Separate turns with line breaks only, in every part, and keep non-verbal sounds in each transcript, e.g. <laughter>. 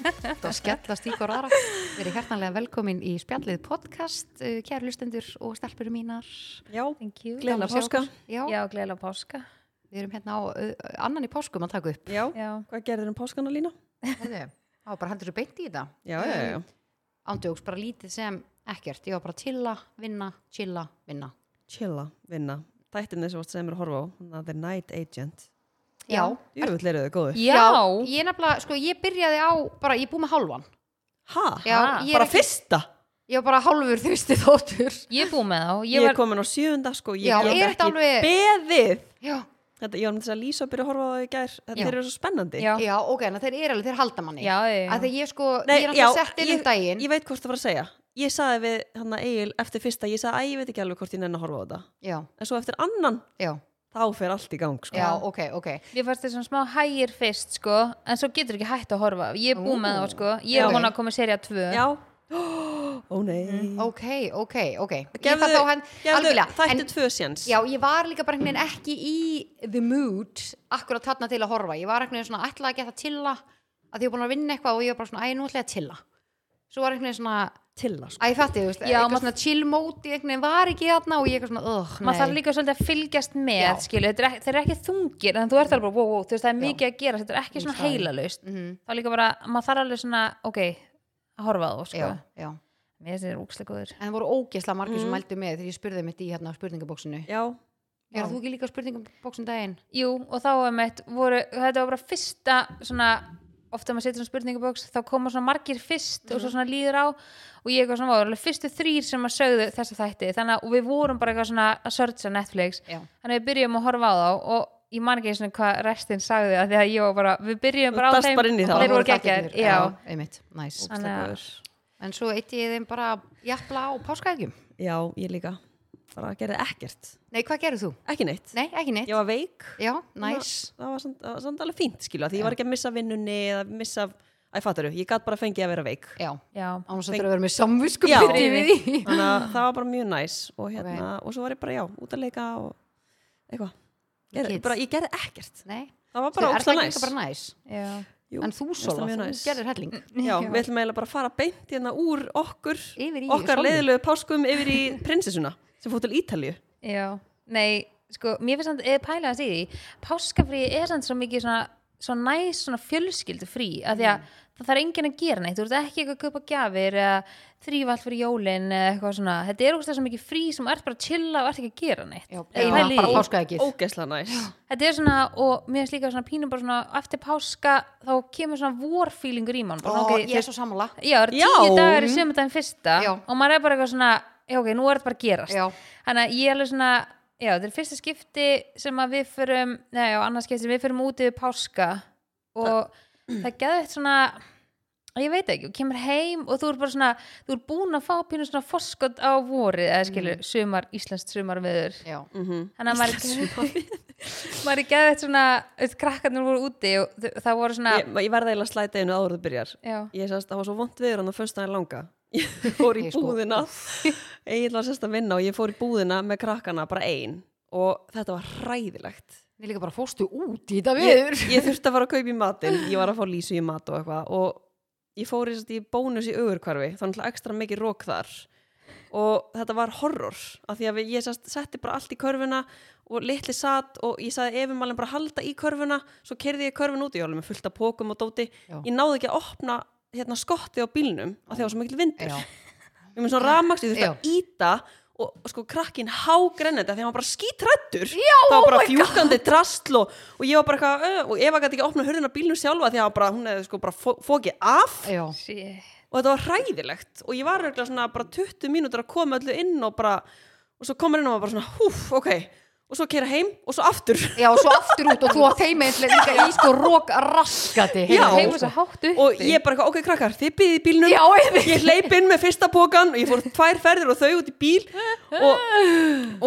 að skellast í hver aðra verið hjertanlega velkomin í spjallið podcast eh, kæru lustendur og stelpurum mínar
Já,
Thank you.
Gleðilega
Gaman að sjá
páska.
ykkur. Já,
Já, gleðilega páska.
við erum hérna á eh, annan í páskum að taka upp
já.
Já.
Hvað gerður um páskana lína?
<laughs> Heyrðu, það var bara heldur svo beint í þetta
Já, já, já.
ándjóks bara lítið sem ekkert ég var bara chilla, vinna, chilla, vinna
Chilla, vinna. Þættin þessi vart sem er að horfa á, hún að The Night Agent.
Já,
Jöfull eru þau góður.
Já.
ég nefnilega, sko ég byrjaði á bara, ég er búið með hálfan
Ha?
Já,
Ha?
ég er
Bara
ekki-
fyrsta?
Ég var bara hálfur þurfti þóttur
Ég er búið með þá.
Ég,
Ég
er
var,
komin á sjöunda, sko. Ég
Já,
get
er þetta alveg-
Beðið!
Já,
Þetta, ég var myndið að Lísa byrja að horfa á það í gær. Þetta
Já.
eru svo spennandi.
Já.
já ok, en þeir eru alveg, þeir halda manni
já, já, já.
að því ég sko,
Nei,
ég er
já,
alltaf sett inn um
ég-
daginn
Ég veit hvort það var að segja. Ég saði við hann að Egil eftir fyrsta, ég saði að ég veit ekki alveg hvort ég nenni að horfa á þetta.
já,
En svo eftir annan,
já,
þá fer allt í gang, sko.
já, ok, ok
Mér fannst þessum smá hægir fyrst, sko, en svo getur ekki hægt að horfa. Ég er
Ú.
búið með þá, sko. Ég er
Ok.
okay. að koma í serið 2.
Já. <gasps> Ó nei. Mm.
ok, ok, ok ég
Gefðu,
fatt á hann,
gefðu
algjörlega
þættu
en,
tvö séns.
já, ég var líka bara einhvern veginn ekki í the mood, akkurat þarna til að horfa ég var einhvern veginn svona, ætlaði að geta tilla að því ég var búin að vinna eitthvað og ég var bara svona, æ, nú ætla ég að tilla svo var einhvern veginn svona,
Tilla, sko.
æ, fatti, þú veist
Já,
eitthvað
maður-
svona chill móti, einhvern veginn var ekki þarna og ég eitthvað svona, ugh,
Maður þarf líka svolítið að fylgjast með,
Já.
skilu. Þeir eru ekki, þeir eru ekki þungir, en þú ert alveg bara, wow, wow, þú veist, það er mikið að gera. Þetta er ekki svona
það er-
heilalaust.
Mhm.
Þá líka bara, maður þarf alveg svona, ok, að horfa á þá, sko.
já, já
Mér finnst þeir úkslega góður.
En það voru ógeðslega margir
Mm.
sem mældu með þegar ég spurði mitt í hérna spurningabóksinu.
Já,
Er þú ekki líka á spurningabóksinu daginn?
Jú, og þá um eitt voru, þetta var bara fyrsta svona, ofta maður setur svona spurningabóks þá koma svona margir fyrst og svo
Mhm.
svona líður á og ég var svona, var alveg fyrstu þrýr sem að sögðu þessa þætti, þannig að og við vorum bara eitthvað svona að searcha Netflix
Já.
þannig að við byrjum að horfa á þá og ég man ekki svona hvað restinn sagði að því að ég var bara, við byrjum bara á
dast
þeim
bara inn í
og
þá.
þeir voru
þættirnir,
geggjær, já
Einmitt, næs.
Þannig að-
En svo eitt ég þeim bara jafla á páskaægjum.
Já, ég líka bara gerði ekkert,
Nei, hvað gerðu þú?
ekki neitt
Nei, ekki neitt.
ég var veik
Já, næs.
það var samt, það var samt alveg fínt skilu því ég var ekki að missa vinnunni eða missa, æ fattaru, ég gat bara fengið að vera veik
Já,
Já,
án og svo þurfa að vera með samvisku
Já.
bytti við því.
þannig að það var bara mjög næs og hérna, og svo var ég bara já, út að leika og eitthvað gerði,
Kids.
bara, ég gerði ekkert,
Nei,
það var
Svo
bara
er það
ógsta
ekki
næs
líka bara næs.
já,
Jú,
En þú,
mér finnst það
Sola,
mjög Mm,
þú
næs.
gerðir helling.
Já, við ætlum eiginlega bara að fara beint hérna úr okkur,
Yfir í
okkar
Solu.
leiðilegu páskum yfir í prinsessuna sem fór til Ítalju
já Nei, sko, mér finnst samt, eða pæla að því páskafríi er samt svo mikið svona svo næs svona fjölskyldu frí að því
Mm.
að það þarf enginn að gera neitt þú ert ekki eitthvað að kaupa gjafir eða þrýfa allt fyrir jólin eða eitthvað svona þetta er ógustlega svo mikið frí sem þú ert bara að chilla og ert ekki að gera neitt
Já,
Eða
bara,
pæli í
bara
því.
páskaægjið.
ógesla næs
þetta er svona og mér finnst líka svona pínum bara svona eftir páska þá kemur svona vorfílingur í mann bara
Ó,
svona, ok,
ég er svo sammála.
Já, það eru
Já.
tíu dagar í sömudaginn fyrsta
Já.
og maður er bara eitthvað svona, já ok, nú er þetta bara að gerast
Já.
þannig að ég er alveg svona já, þetta er fyrsta skipti sem að við förum nei, já, annars skipti sem við förum út yfir páska og það geði eitt svona ég veit ekki, og kemur heim og þú er bara svona, þú er búin að fá pínu svona foskot á vorið, eða skilur
Mm.
sumar, íslenskt sumar viður
Já,
þannig að maður er <laughs> maður er geði eitt svona, veist, krakkarnir voru úti og þau- það voru svona
ég, ég verða eiginlega að slæta einu áður þú byrjar
já,
ég sérst, það var svo vond viður hann að fyrst aðeins langa <laughs> ég fór í
Ég sko-
búðina ég var sérst að vinna og ég fór í búðina með krakkana bara ein og þetta var hræðilegt
ég líka bara fóstu út í þetta
ég,
viður.
ég þurfti að fara að kaupa í matinn ég var að fá lísu í mat og eitthvað og ég fór sérst í bónus í augurkvarfi þannig að ekstra mikið rók þar og þetta var horror af því að við- ég sérst, setti bara allt í körfuna og litli satt og ég sagði efumallin bara halda í körfuna svo kerði ég körfun út í hjálum með fullt af pókum og dóti
Já.
ég náði ekki að opna hérna, skotti á bílnum af því að það var svo mikil vindur
Já,
ég með svona ramaks, ég þurfti
Já.
að íta og og sko krakkin hágrenna þetta því að hann var bara skítrættur Já, það var bara oh fjúkandi drastl og, og ég var bara eitthvað, uh, og Eva gæti ekki opna hurðina á bílnum sjálfa því að hann bara, hún hefði sko bara fó- fokið af
já.
shit
og þetta var hræðilegt og ég var auðvitað svona bara 20 mínútur að koma öllu inn og bara, og svo komur inn og var bara svona, húf, ok, og svo kera heim og svo aftur
<laughs> Já, og svo aftur út og þú átt heima einslega líka í sko rók raskati.
Já.
heima svo hátt uppi
og ég bara, eitthvað, ok krakkar, þið byggði í bílnum
Já, einmitt.
ég hleyp inn með fyrsta pókan og ég fór tvær ferðir og þau út í bíl og,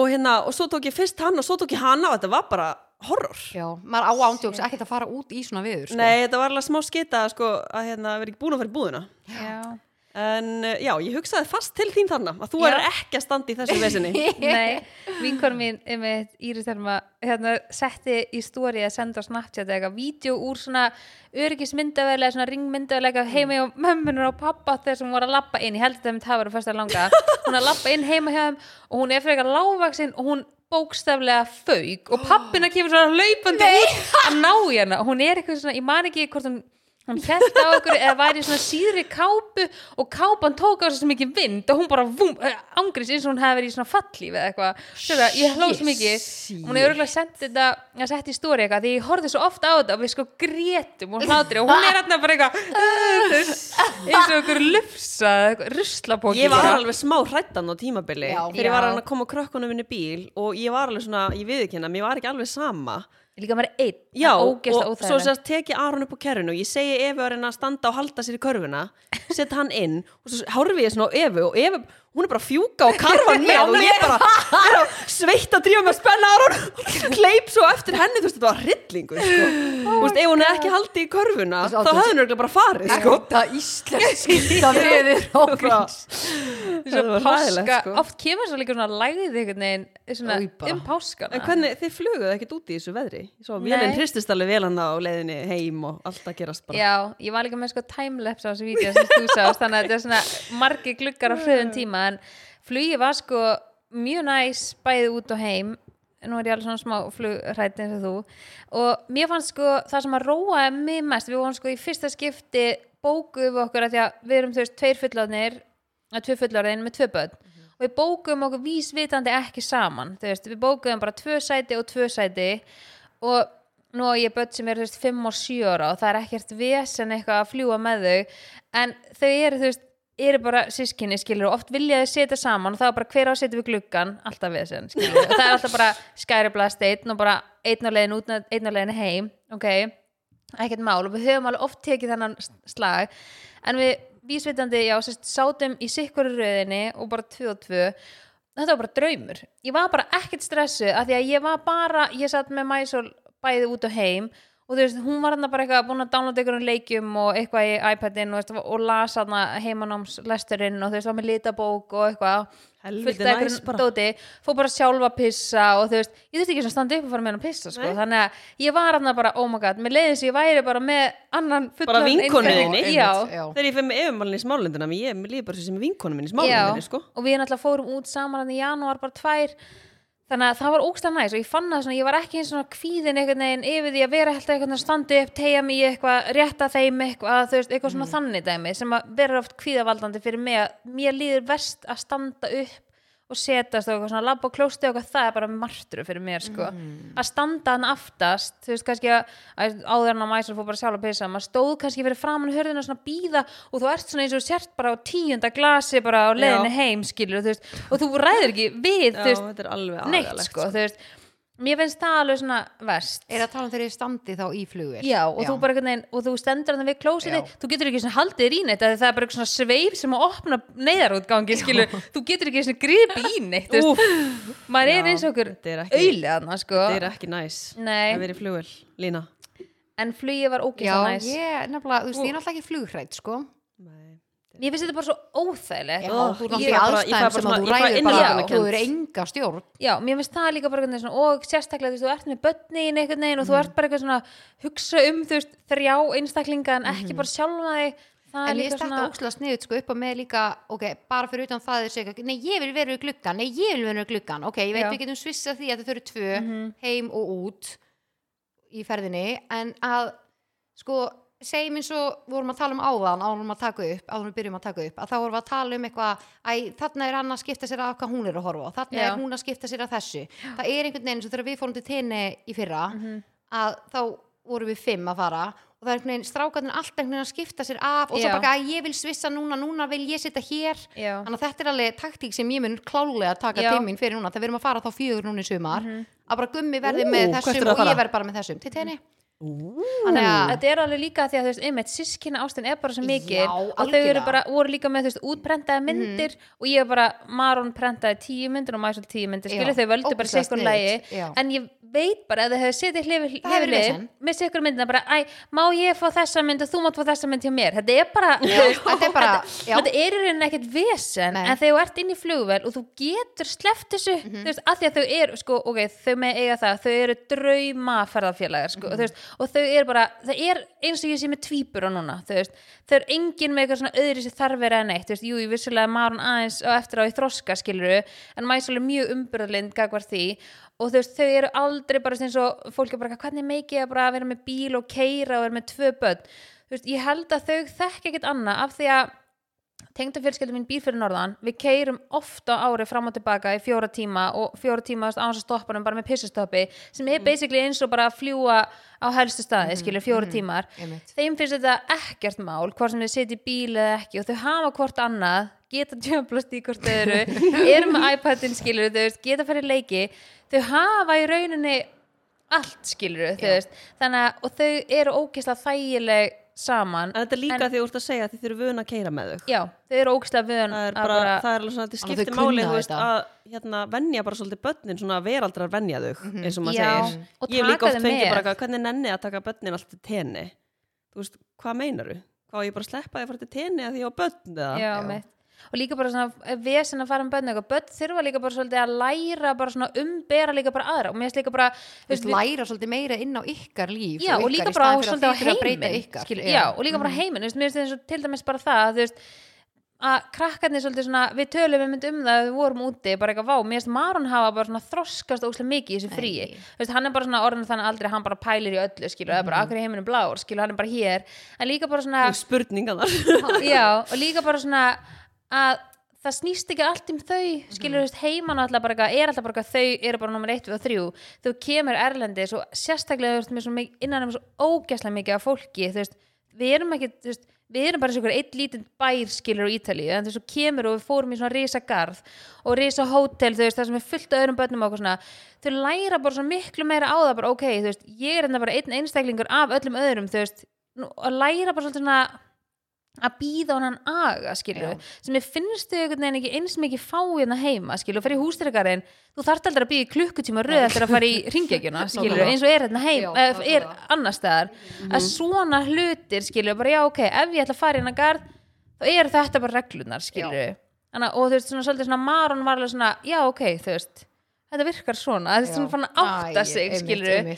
og hérna, og svo tók ég fyrst hann og svo tók ég hana og þetta var bara horror
Já, maður á ándjóks ekkert að fara út í svona viður sko.
nei, þetta var alveg smá skita sko, að hérna, vera ekki búin að fara í búðina
Já.
En eh, já, ég hugsaði fast til þín þarna að þú
Já.
er ekki að standa í
<laughs>
þessu vesinni.
Nei, vinkon mín einmitt, Íris Thelma hérna, setti í stóri að senda á Snapchat eða eitthvað vídeo úr svona öryggismyndavælega, svona ringmyndavælega heima hjá mömmunum og pappa þegar sem voru að lappa inn, ég held að þetta var að fyrsta langa hún er að lappa inn heima hjá þeim og hún er frekar lágvaksinn og hún bókstaflega fauk og pappina kemur svona laupandi út að ná í hana hún er eitthvað svona, ég man ekki hvort hún hún held á okkur eða væri í svona síðri kápu og kápan tók á sig svo mikið vind og hún bara vum, angriðs eins og hún hefði verið í svona fallífi eða eitthvað Sjöra, ég hló svo mikið hún hefur örgulega sendt þetta að sett í stóri eitthvað því ég horfði svo oft á þetta og við sko grétum og hlátri og hún er hérna bara eitthvað eins og okkur lufsa ruslapóki
Ég var alveg smá hrættan á tímabili
Já.
þegar ég var
Já.
hann að koma krökkunum minni bíl og ég var alveg svona, ég viðkynna, mér var ekki alveg sama.
líka maður einn
Já,
Það er
og
ógeðslega
svo
óþægilegt.
sérst teki Aron upp á kerrinu og ég segi Evu að reyna að standa og halda sér í
<laughs>
körfuna, setja hann inn og svo horfi ég svona á Evu og Evu, hún er bara að fjúka og
<laughs>
karfan með og ég bara er að sveitt að drífa með að spenna Aron og kleip svo eftir henni, þú veist, þetta var hryllingu, sko. Þú veist, ef hún er ekki haldið í körfuna,
Þessi
þá
átök-
hefði hún örugglega bara farið, sko.
Þetta íslensk
<laughs>
skýta viður ágríns
Þessi
Svo páska,
sko.
oft kemur svo líka svona læðið einhvern veginn svona,
Új, bara.
um páskana
En hvernig, þið flöguðu ekkert úti í þessu veðri? Svo
Nei.
vélinn hristist alveg vel hann á leiðinni heim og allt að gerast bara.
Já, ég var líka með sko timelapse á þessu vídeo sem þú sást, þannig að þetta er svona margi gluggar á hröðum tíma en flugi var sko mjög næs bæði út og heim nú er ég alveg svona smá flugrætt eins og þú og mér fannst sko það sem að róaði mig mest, við vorum sko í fyrsta skipti bókuðum við okkur að því að við erum þú veist tveir fullorðnir að tvö fullorðin með tvö börn og við bókuðum okkur vísvitandi ekki saman þú veist, við bókuðum bara tvö sæti og tvö sæti og nú á ég börn sem eru þú veist 5 og 7 ára og það er ekkert vesen eitthvað að fljúa með þau en þau eru þú veist eru bara sískinni skilur og oft vilja þau setja saman og það er bara hver á að setja við gluggan alltaf vesen skilur og það er alltaf bara skæriblast einn og bara einn á leiðin út einn á leiðin heim ok ekkert mál og við höfum alveg oft tekið þennan s- slag en við vísvitandi, já, sérst, sátum í sikkur röðinni og bara tvö og tvö þetta var bara draumur ég var bara ekkert stressu af því að ég var bara ég satt með Mæsól bæði út og heim og þú veist, hún var hann bara eitthvað búin að downloada einhverjum leikjum og eitthvað í iPadin og, veist, og las hann heimanámslesturinn og þú veist, var með litabók og eitthvað fullt
Helviti
af
næs
einhverjum
bara.
dóti fór bara sjálfa að pissa og þú veist, ég þurfti ekki að standa upp og fara með hann að pissa sko.
Nei.
þannig að ég var hann bara, oh my god mér leiði þess að ég væri bara með annan fullan
Bara vinkonu
einstakling.
þinni?
já,
Þegar ég fyrir með efumálinn í smálundina, ég er líka bara sem vinkonu minni í
já,
smálundinni, sko.
og við náttúrulega fórum út saman hann í janúar bara tvær þannig að það var ógstað næs og ég fann það svona, ég var ekki eins svona kvíðin einhvern veginn yfir því að vera alltaf einhvern veginn standi upp, tegja mig í eitthvað, rétta þeim eitthvað, þú veist, eitthvað svona þannig dæmi sem að vera oft kvíðavaldandi fyrir mig að mér líður verst að standa upp og setast og eitthvað svona labba og klósti og eitthvað það er bara martru fyrir mér sko að standa hann aftast þú veist kannski að, að áður hann að mæsar fór bara sjálf að pissa, maður stóð kannski fyrir framan hörðina svona býða og þú ert svona eins og þú sért bara á tíunda glasi bara á leiðinni
Já.
heim skilur þú veist og þú ræðir ekki við
Já,
þú veist,
þetta er alveg
neitt sko þú veist, mér finnst það alveg svona verst
Er að tala um þegar ég standi þá í flugir
Já, og þú bara einhvern veginn, og þú stendur þannig við klósiti,
Já.
þú getur ekki svona haldið þér í neitt, af því það er bara eitthvað svona sveif sem að opna neyðarútgangi, skilur, þú getur ekki svona gripi í neitt, þú veist,
Úf,
maður
Já,
er eins og okkur
þetta er ekki-
auðlega sko.
þetta er ekki næs.
Nei.
Það verið flugvel, Lína.
en flugið var
Já,
ógeðslega næs
ég, nefnilega, þú veist, ég er náttúrulega ekki flugrætt, sko
Nei.
mér finnst þetta bara svo óþægilegt
Já,
já.
þú er náttúrulega
ég fæ bara- ég fæ bara
aðstæðum sem
svona-
að
ég
þú
fæ
ræður bara
innanbúnakennd.
Þú er enga stjórn
mér finnst það líka bara einhvern veginn svona, og sérstaklega þú veist, þú ert með börnin einhvern veginn og
Mm.
þú ert bara eitthvað svona hugsa um þú veist, þrjá einstaklinga en ekki bara sjálfa þig það er
Mm. En ég
líka
stætti svona...
svona
ókslega sniðut sko upp á með líka ok, bara fyrir utan það þeir segja nei, ég vil vera við gluggan, nei, ég vil vera við gluggan ok, ég veit
Já. Mhm.
við getum svissa því að þau eru tvö heim og út í ferðinni, en að sko, segjum eins og vorum að tala um áðan, áðan að taka upp áðan við byrjum að taka upp, að þá vorum við að tala um eitthvað æ, þarna er hann að skipta sér af hvað hún er að horfa á þarna
Já.
er hún að skipta sér af þessu það er einhvern veginn, svo þegar við fórum til tenni í fyrra
Mhm.
að þá vorum við fimm að fara og það er einhvern veginn strákarnir alltaf einhvern veginn að skipta sér af og
Já.
svo bara að ég vil svissa núna, núna vil ég sitta hér
Já.
þannig að þetta er alveg taktík sem ég mun klálega að taka
Já. Mhm.
til mín fyrir núna þegar við erum að fara þá fjögur núna í sumar að bara gummi verði
Ú,
með
hvert
þessum
eru að
og ég
fara?
verð bara með þessum til tenni
Ú,
þannig að
þetta er alveg líka því að þú veist, einmitt, sískina ástin er bara svo mikil
Já,
og þau eru
algjörlega. Mhm.
bara, voru líka með þú veist, útprentaði myndir og ég var bara, Maron prentaði tíu myndir og Mæsul tíu myndir, skilur
Já,
þau völdu bara
ógeðslega
sikkur
sniðugt,
lægi
já.
en ég veit bara ef þið hefur setið hlifi
Það hefur verið
hlifi
vesen.
missið ykkur myndina bara, æ, má ég fá þessa mynd og þú mátt fá þessa mynd hjá mér þetta er bara,
þetta er bara- já.
þetta er í rauninni ekkert vesen
Nei.
en þegar þú ert inn í flugvel og þú getur sleppt þessu, þú veist, að því að þau eru sko, ok, þau með eiga það, þau eru draumaferðarfélagar, sko, mm veist, og þau eru bara, það er eins og ég sé með tvíbura núna, þú veist, þau eru engin með eitthvað svona öðri sér þarfir eða neitt, þú veist, jú, ég vissulega marun aðeins og eftir á í þroska skiluru, en mæsul er mjög umburðlind gagvar því og þú veist, þau eru aldrei bara eins og fólk er bara, hvernig meikið ég að bara vera með bíl og keira og vera með tvö börn þú veist, ég held að þau þekk ekkert annað af því að tengdafjölskeldum mín býr fyrir norðan við keirum ofta ári fram og tilbaka í fjóra tíma og fjóra tíma þú veist, án að stoppa hann bara með pissustoppi sem
Mm.
er basically eins og bara að fljúa á helstu staði,
Mm-hmm.
skilur, fjóra tímar
einmitt.
þeim finnst þetta ekkert mál hvort sem þau sitja í bíl eða ekki og þau hafa hvort annað geta djöflast í hvort öðru
<laughs>
eru með iPadin skilur þau veist, geta farið í leiki þau hafa í rauninni allt skilur þau
Já.
veist þannig að og þau eru ógeðslega þægileg saman
en þetta er líka en, því þú ert að segja að þið þurfum vun að keira með þau
já, þau eru ógeðslega vön
það er
að
bara, það er alveg svona, þetta
Þannig að þau
skiptir máli
kunna
þú veist
þetta.
að hérna, venja bara svolítið börnin svona veraldrar venja þau eins og maður
Mhm. Já,
segir
og
ég hef líka
taka
oft
þau
fengið
með.
bara eitthvað, hvernig nenni ég að taka börnin alltaf til tenni þú veist, hvað meinaru? hvað á ég bara að sleppa því að fara til tenni að því ég á börn eða?
já, mitt og líka bara svona vesen að fara um bönn eitthvað bönn þurfa líka bara svolítið að læra bara svona umbera líka bara aðra og mér finnst líka bara þú
Þú veist, læra svolítið meira inn á ykkar líf
já,
ykkar
og líka
í
bara á,
staðinn fyrir að
svolítið á
þið þurfið að breyta
heiminn
ykkar, Mm.
skilur, já, og líka bara heiminn, þú veist, mér finnst eins og til dæmis bara það að, þú veist, að krakkarnir svolítið svona, við tölum einmitt um það að við vorum úti, bara eitthvað vá, mér finnst Maron hafa bara svona þroskast óslega mikið í þessu fríi,
Æi.
þú veist, hann er bara svona orðin þannig aldrei, hann bara pælir í öllu, skilur, það er bara
Mhm.
akkur í heiminu blár, skilur, hann er bara hér en líka bara svona,
Og spurningarnar
<laughs> já, og líka bara svona að það snýst ekki allt um þau skilur þú veist heiman alltaf bara eitthvað- er alltaf bara eitthvað, þau eru bara nummer 1 og 3 þú kemur erlendis og sérstaklega þú veist, með svo mikið, innan um svo ógæslega mikið af fólki, þú veist, við erum ekki þú veist, við erum bara eins og einhver eitt lítinn bær skilur á Ítalíu, en þú veist, þú kemur og við fórum í svona risa garð og risa hótel þú veist, það sem er fullt af öðrum börnum og okkur svona þau læra bara svona miklu meira á það bara ok, þú veist, ég er enda bara einn einstaklingur af öllum öðrum, þú veist, nú, að læra bara svolítið svona að býða hann aga skilju, sem ég finnst þau einhvern veginn ekki eins mikið fá hérna heima skilju, og fyrir hústyrkarinn, þú þarft aldrei að býða í klukkutíma röð eftir að fara í
<laughs>
ringjækjuna skilju,
Nákvæmlega.
eins og er hérna heim
Já,
eh, er
nákvæmlega. Mhm.
annars staðar, að svona hlutir skilju, bara já ok, ef ég ætla að fara hérna garð, þá eru þetta bara reglunar skilju, Þannig, að- og þú veist svona svolítið svona marun var alveg svona, já ok þú veist, þetta virkar svona þetta er svona fann að átta sig skilju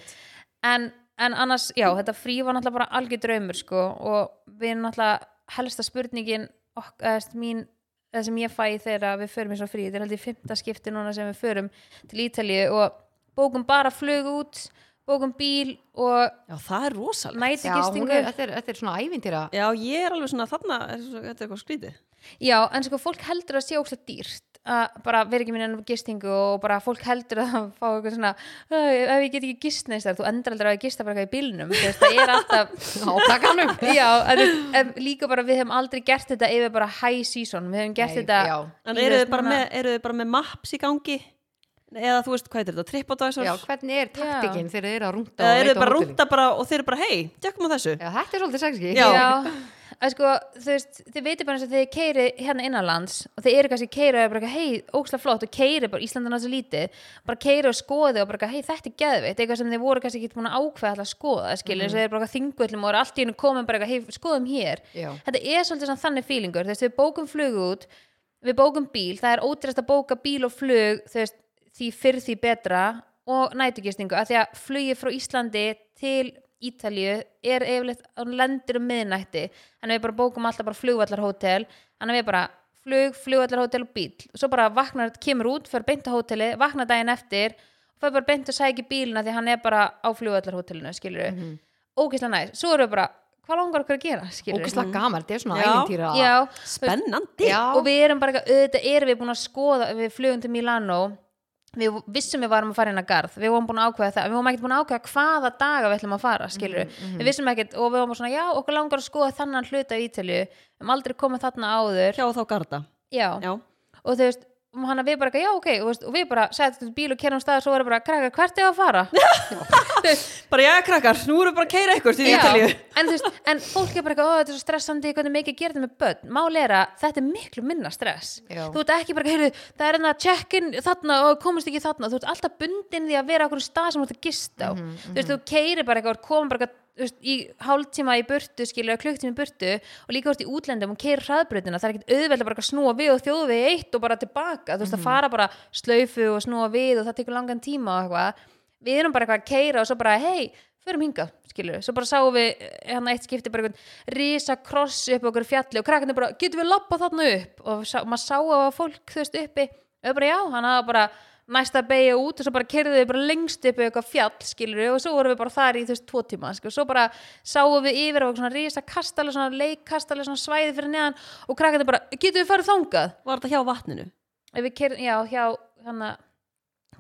en, en annars, já, þetta frí var náttúrulega bara algjör draumur sko og við náttúrulega helsta spurningin ok, eðst, mín, eða sem ég fæ þegar við förum í svo frí, þetta er held í fymta skipti núna sem við förum til Ítalíu og bókum bara flug út bókum bíl og
já, það er rosalega
já, hún
nætigistingu
er, þetta, er, þetta er svona ævintýra
já, ég er alveg svona, þarna er, svo- þetta er eitthvað skrítið
Já, en sko fólk heldur að sé ókslega dýrt að bara vera ekki minna ennum gistingu og bara fólk heldur að það fá eitthvað svona "Æ, ef ég get ekki gist neist þar, þú endur aldrei að gista bara eitthvað í bílnum, þú veist, það er alltaf <laughs>
átakanum
já, en, en líka bara við hefum aldrei gert þetta yfir bara high season, við hefum gert
Nei,
þetta
já.
en
Ég
eru
veist
þið bara,
núna-
með- eru þið bara með maps í gangi eða þú veist, hvað er þetta, tripadvisor
já, hvernig er taktikinn þegar þið eru að rúnta og
eða eru
leita
þið
á
bara
hótelin?
rúnta bara og þið eru bara, hei, tjekkum á þessu
já, þetta er svolítið sexy
Já.
já að sko, þú veist, þið veitir bara eins og þið keiri hérna innanlands og þið eru kannski keira og er bara, eitthvað, hei, ókslega flott og keiri bara Íslandin á þessu lítið, bara keiri og skoði og bara, eitthvað, hei, þetta er geðveitt, eitthvað sem þið voru kannski ekki búin að ákveða alltaf að skoða,
Mhm.
skilur, mm. þið eru bara þingullum og eru allt í hennu komin bara, eitthvað, hei, skoðum hér
Já.
þetta er svolítið svona þannig fílingur, þú veist, við bókum flug út við bókum bíl, það er ótrist að bóka bíl og flug, þú veist, því fyrr því betra og nætugistingu af því að flugið frá Íslandi til Ítalíu er yfirleitt að hún lendir um miðnætti, þannig að við bara bókum alltaf bara flugvallarhótel, þannig að við bara flug, flugvallarhótel og bíl og svo bara vaknar, kemur út, fer beint á hóteli vaknar daginn eftir, fer bara beint að sækja bílina því að hann er bara á flugvallarhótelinu skilur við, ógislega næst svo erum við bara, hvað langar okkur að gera skilur
ógislega gaman, þetta er svona
Já.
ævintýra
já,
Mm.
spennandi
Já.
og við erum bara eitthvað, auðvitað erum við búin að skoða við flugum til Milano við vissum við varum að fara inn að garð við vorum búin að ákveða það, við vorum ekkert búin að ákveða hvaða daga við ætlum að fara, skilur við vissum ekkert og við vorum bara svona, já, okkur langar að skoða þannan hluta í Ítalju, við erum aldrei komið þarna áður
hjá þá garda
já,
já,
og þú veist og hann að við bara, eitthvað, já ok, og, veist, og við bara setjum bíl og kerjum stað og svo var bara, krakkar, hvert er að fara?
bara já krakkar, nú erum við bara að keira ykkur til Ítalíu
en, þú veist, en fólk er bara, eitthvað, ó, þetta er svo stressandi, hvernig mikið gerði með börn. Mál er að þetta er miklu minna stress.
Já.
Þú ert ekki bara, heyrðu, það er enn að check-in þarna og komist ekki þarna. Þú ert alltaf bundin því að vera okkur stað sem þú ert að gista á. Þú veist, þú keiri bara eitthvað, komum bara eitthvað, þú veist, í hálftíma í burtu, skilur, klukktíma í burtu og líka úr í útlendum og keiri hraðbrautina. Það er ekkit auðveld að bara eitthvað snúa við og þjóðvegi eitt og bara tilbaka. Þú veist, að fara bara slaufu og snúa við og það tekur langan tíma og eitthvað við erum bara eitthvað að keira og svo bara hei, förum hingað, skilur svo bara sáum við eh, hérna eitt skipti bara einhvern risa kross upp á okkur fjalli og krakkarnir bara, getum við lappa þarna upp og sá, maður sá að fólk þú veist uppi og við bara já, hann hafa bara næsta beigja út og svo bara kerðu við bara lengst upp í eitthvað fjall, skilur og svo vorum við bara þar í þú veist tvo tíma, skilur svo bara sáum við yfir á okkur svona risa kastali svona leikkastali, svona svæði fyrir neðan og krakkarnir bara, getum við farið þangað
var þetta hjá vatninu
Ef við kerðum, já, hjá hann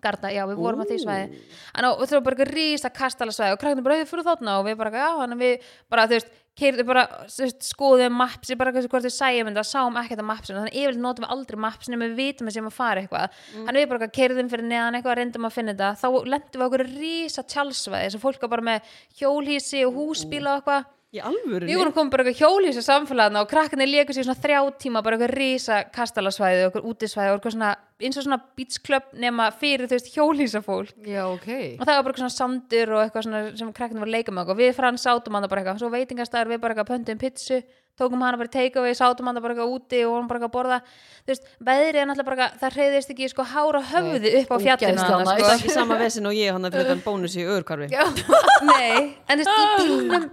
Garda, já, við vorum á því
Ú.
svæði en á, við þurfum bara eitthvað rísa kastalasvæði og krakkarnir bara, "Hey, við fyrir þarna og við bara, já, hann við bara, þú veist, keyrðum bara þú veist, skoðum mapsi, bara hversu hvort við sæjum en það sáum ekkert að mapsinu, þannig að yfirleitt notum við aldrei mapsinu, við vitum að sem að fara eitthvað mm. hann við bara keyrðum fyrir neðan eitthvað, reyndum að finna þetta þá lendum við okkur rísa tjálsvæði sem fólk var bara með hjólhísi og húsbíla og eitthvað
í alvöru
Við vorum komin bara eitthvað hjólísa samfélagna og krakkarnir léku sér svona þrjá tíma bara eitthvað risa kastalasvæði og eitthvað útisvæði og eitthvað svona eins og svona beachclub nema fyrir þú veist hjólísa fólk
já, ok
og það var bara eitthvað svona sandur og eitthvað svona sem krakkarnir var að leika með og við frann sátum hann bara eitthvað svo veitingastæður við bara eitthvað pöntum pitsu tókum hana bara í takeaway, sátum hann bara eitthvað úti og hann bara eitthvað að borða þú veist, veðrið er náttúrulega bara eitthvað, það hreyðist ekki sko hára höfði upp á fjallinu
ógeðslega
þarna,
næs.
sko.
það er ekki sama vesin og ég hann að fyrir
<laughs>
þann bónus í öðurkarfi
Nei, en þú veist, í bílnum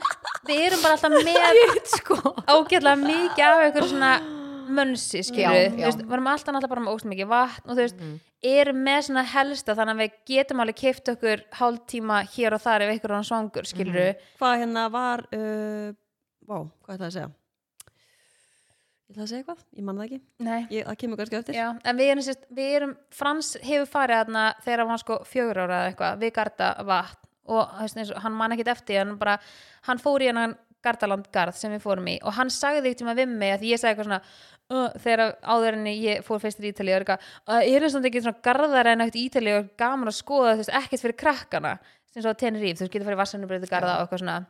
við erum bara alltaf með sko. ágætlega mikið af einhver svona mönsi,
Já,
skilur við,
já.
þú veist, við erum alltaf alltaf bara með óst mikið vatn og þú veist, erum með svona helsta þannig að við getum alveg keift okkur hálftíma hér og þar ef einhver er orðinn svangur, skilur við
hvað hérna var uh, vá, hvað ætlaði að segja ég ætlaði að segja eitthvað, ég manna það ekki
Nei,
ég, það kemur kannski eftir
já, en við erum, sérst, við erum Frans hefur farið þarna þegar hann var sko fjögur ára eða eitthvað, við garda vatn og þú veist, eins og hann man ekkit eftir en bara, hann fór í hennan gardalandgarð sem við fórum í og hann sagði ekkert tíma við mig að ég sagði eitthvað svona uh, þegar áður en ég fór fyrst til Ítalíu og eitthvað, uh, ég er eins og ekki svona garðar en ekkert Ítalíu og gaman að skoða þú veist, ekkert fyrir krakkana sem svo að tenni ríf, þú veist, getur farið vassanubrið garða og eitthvað svona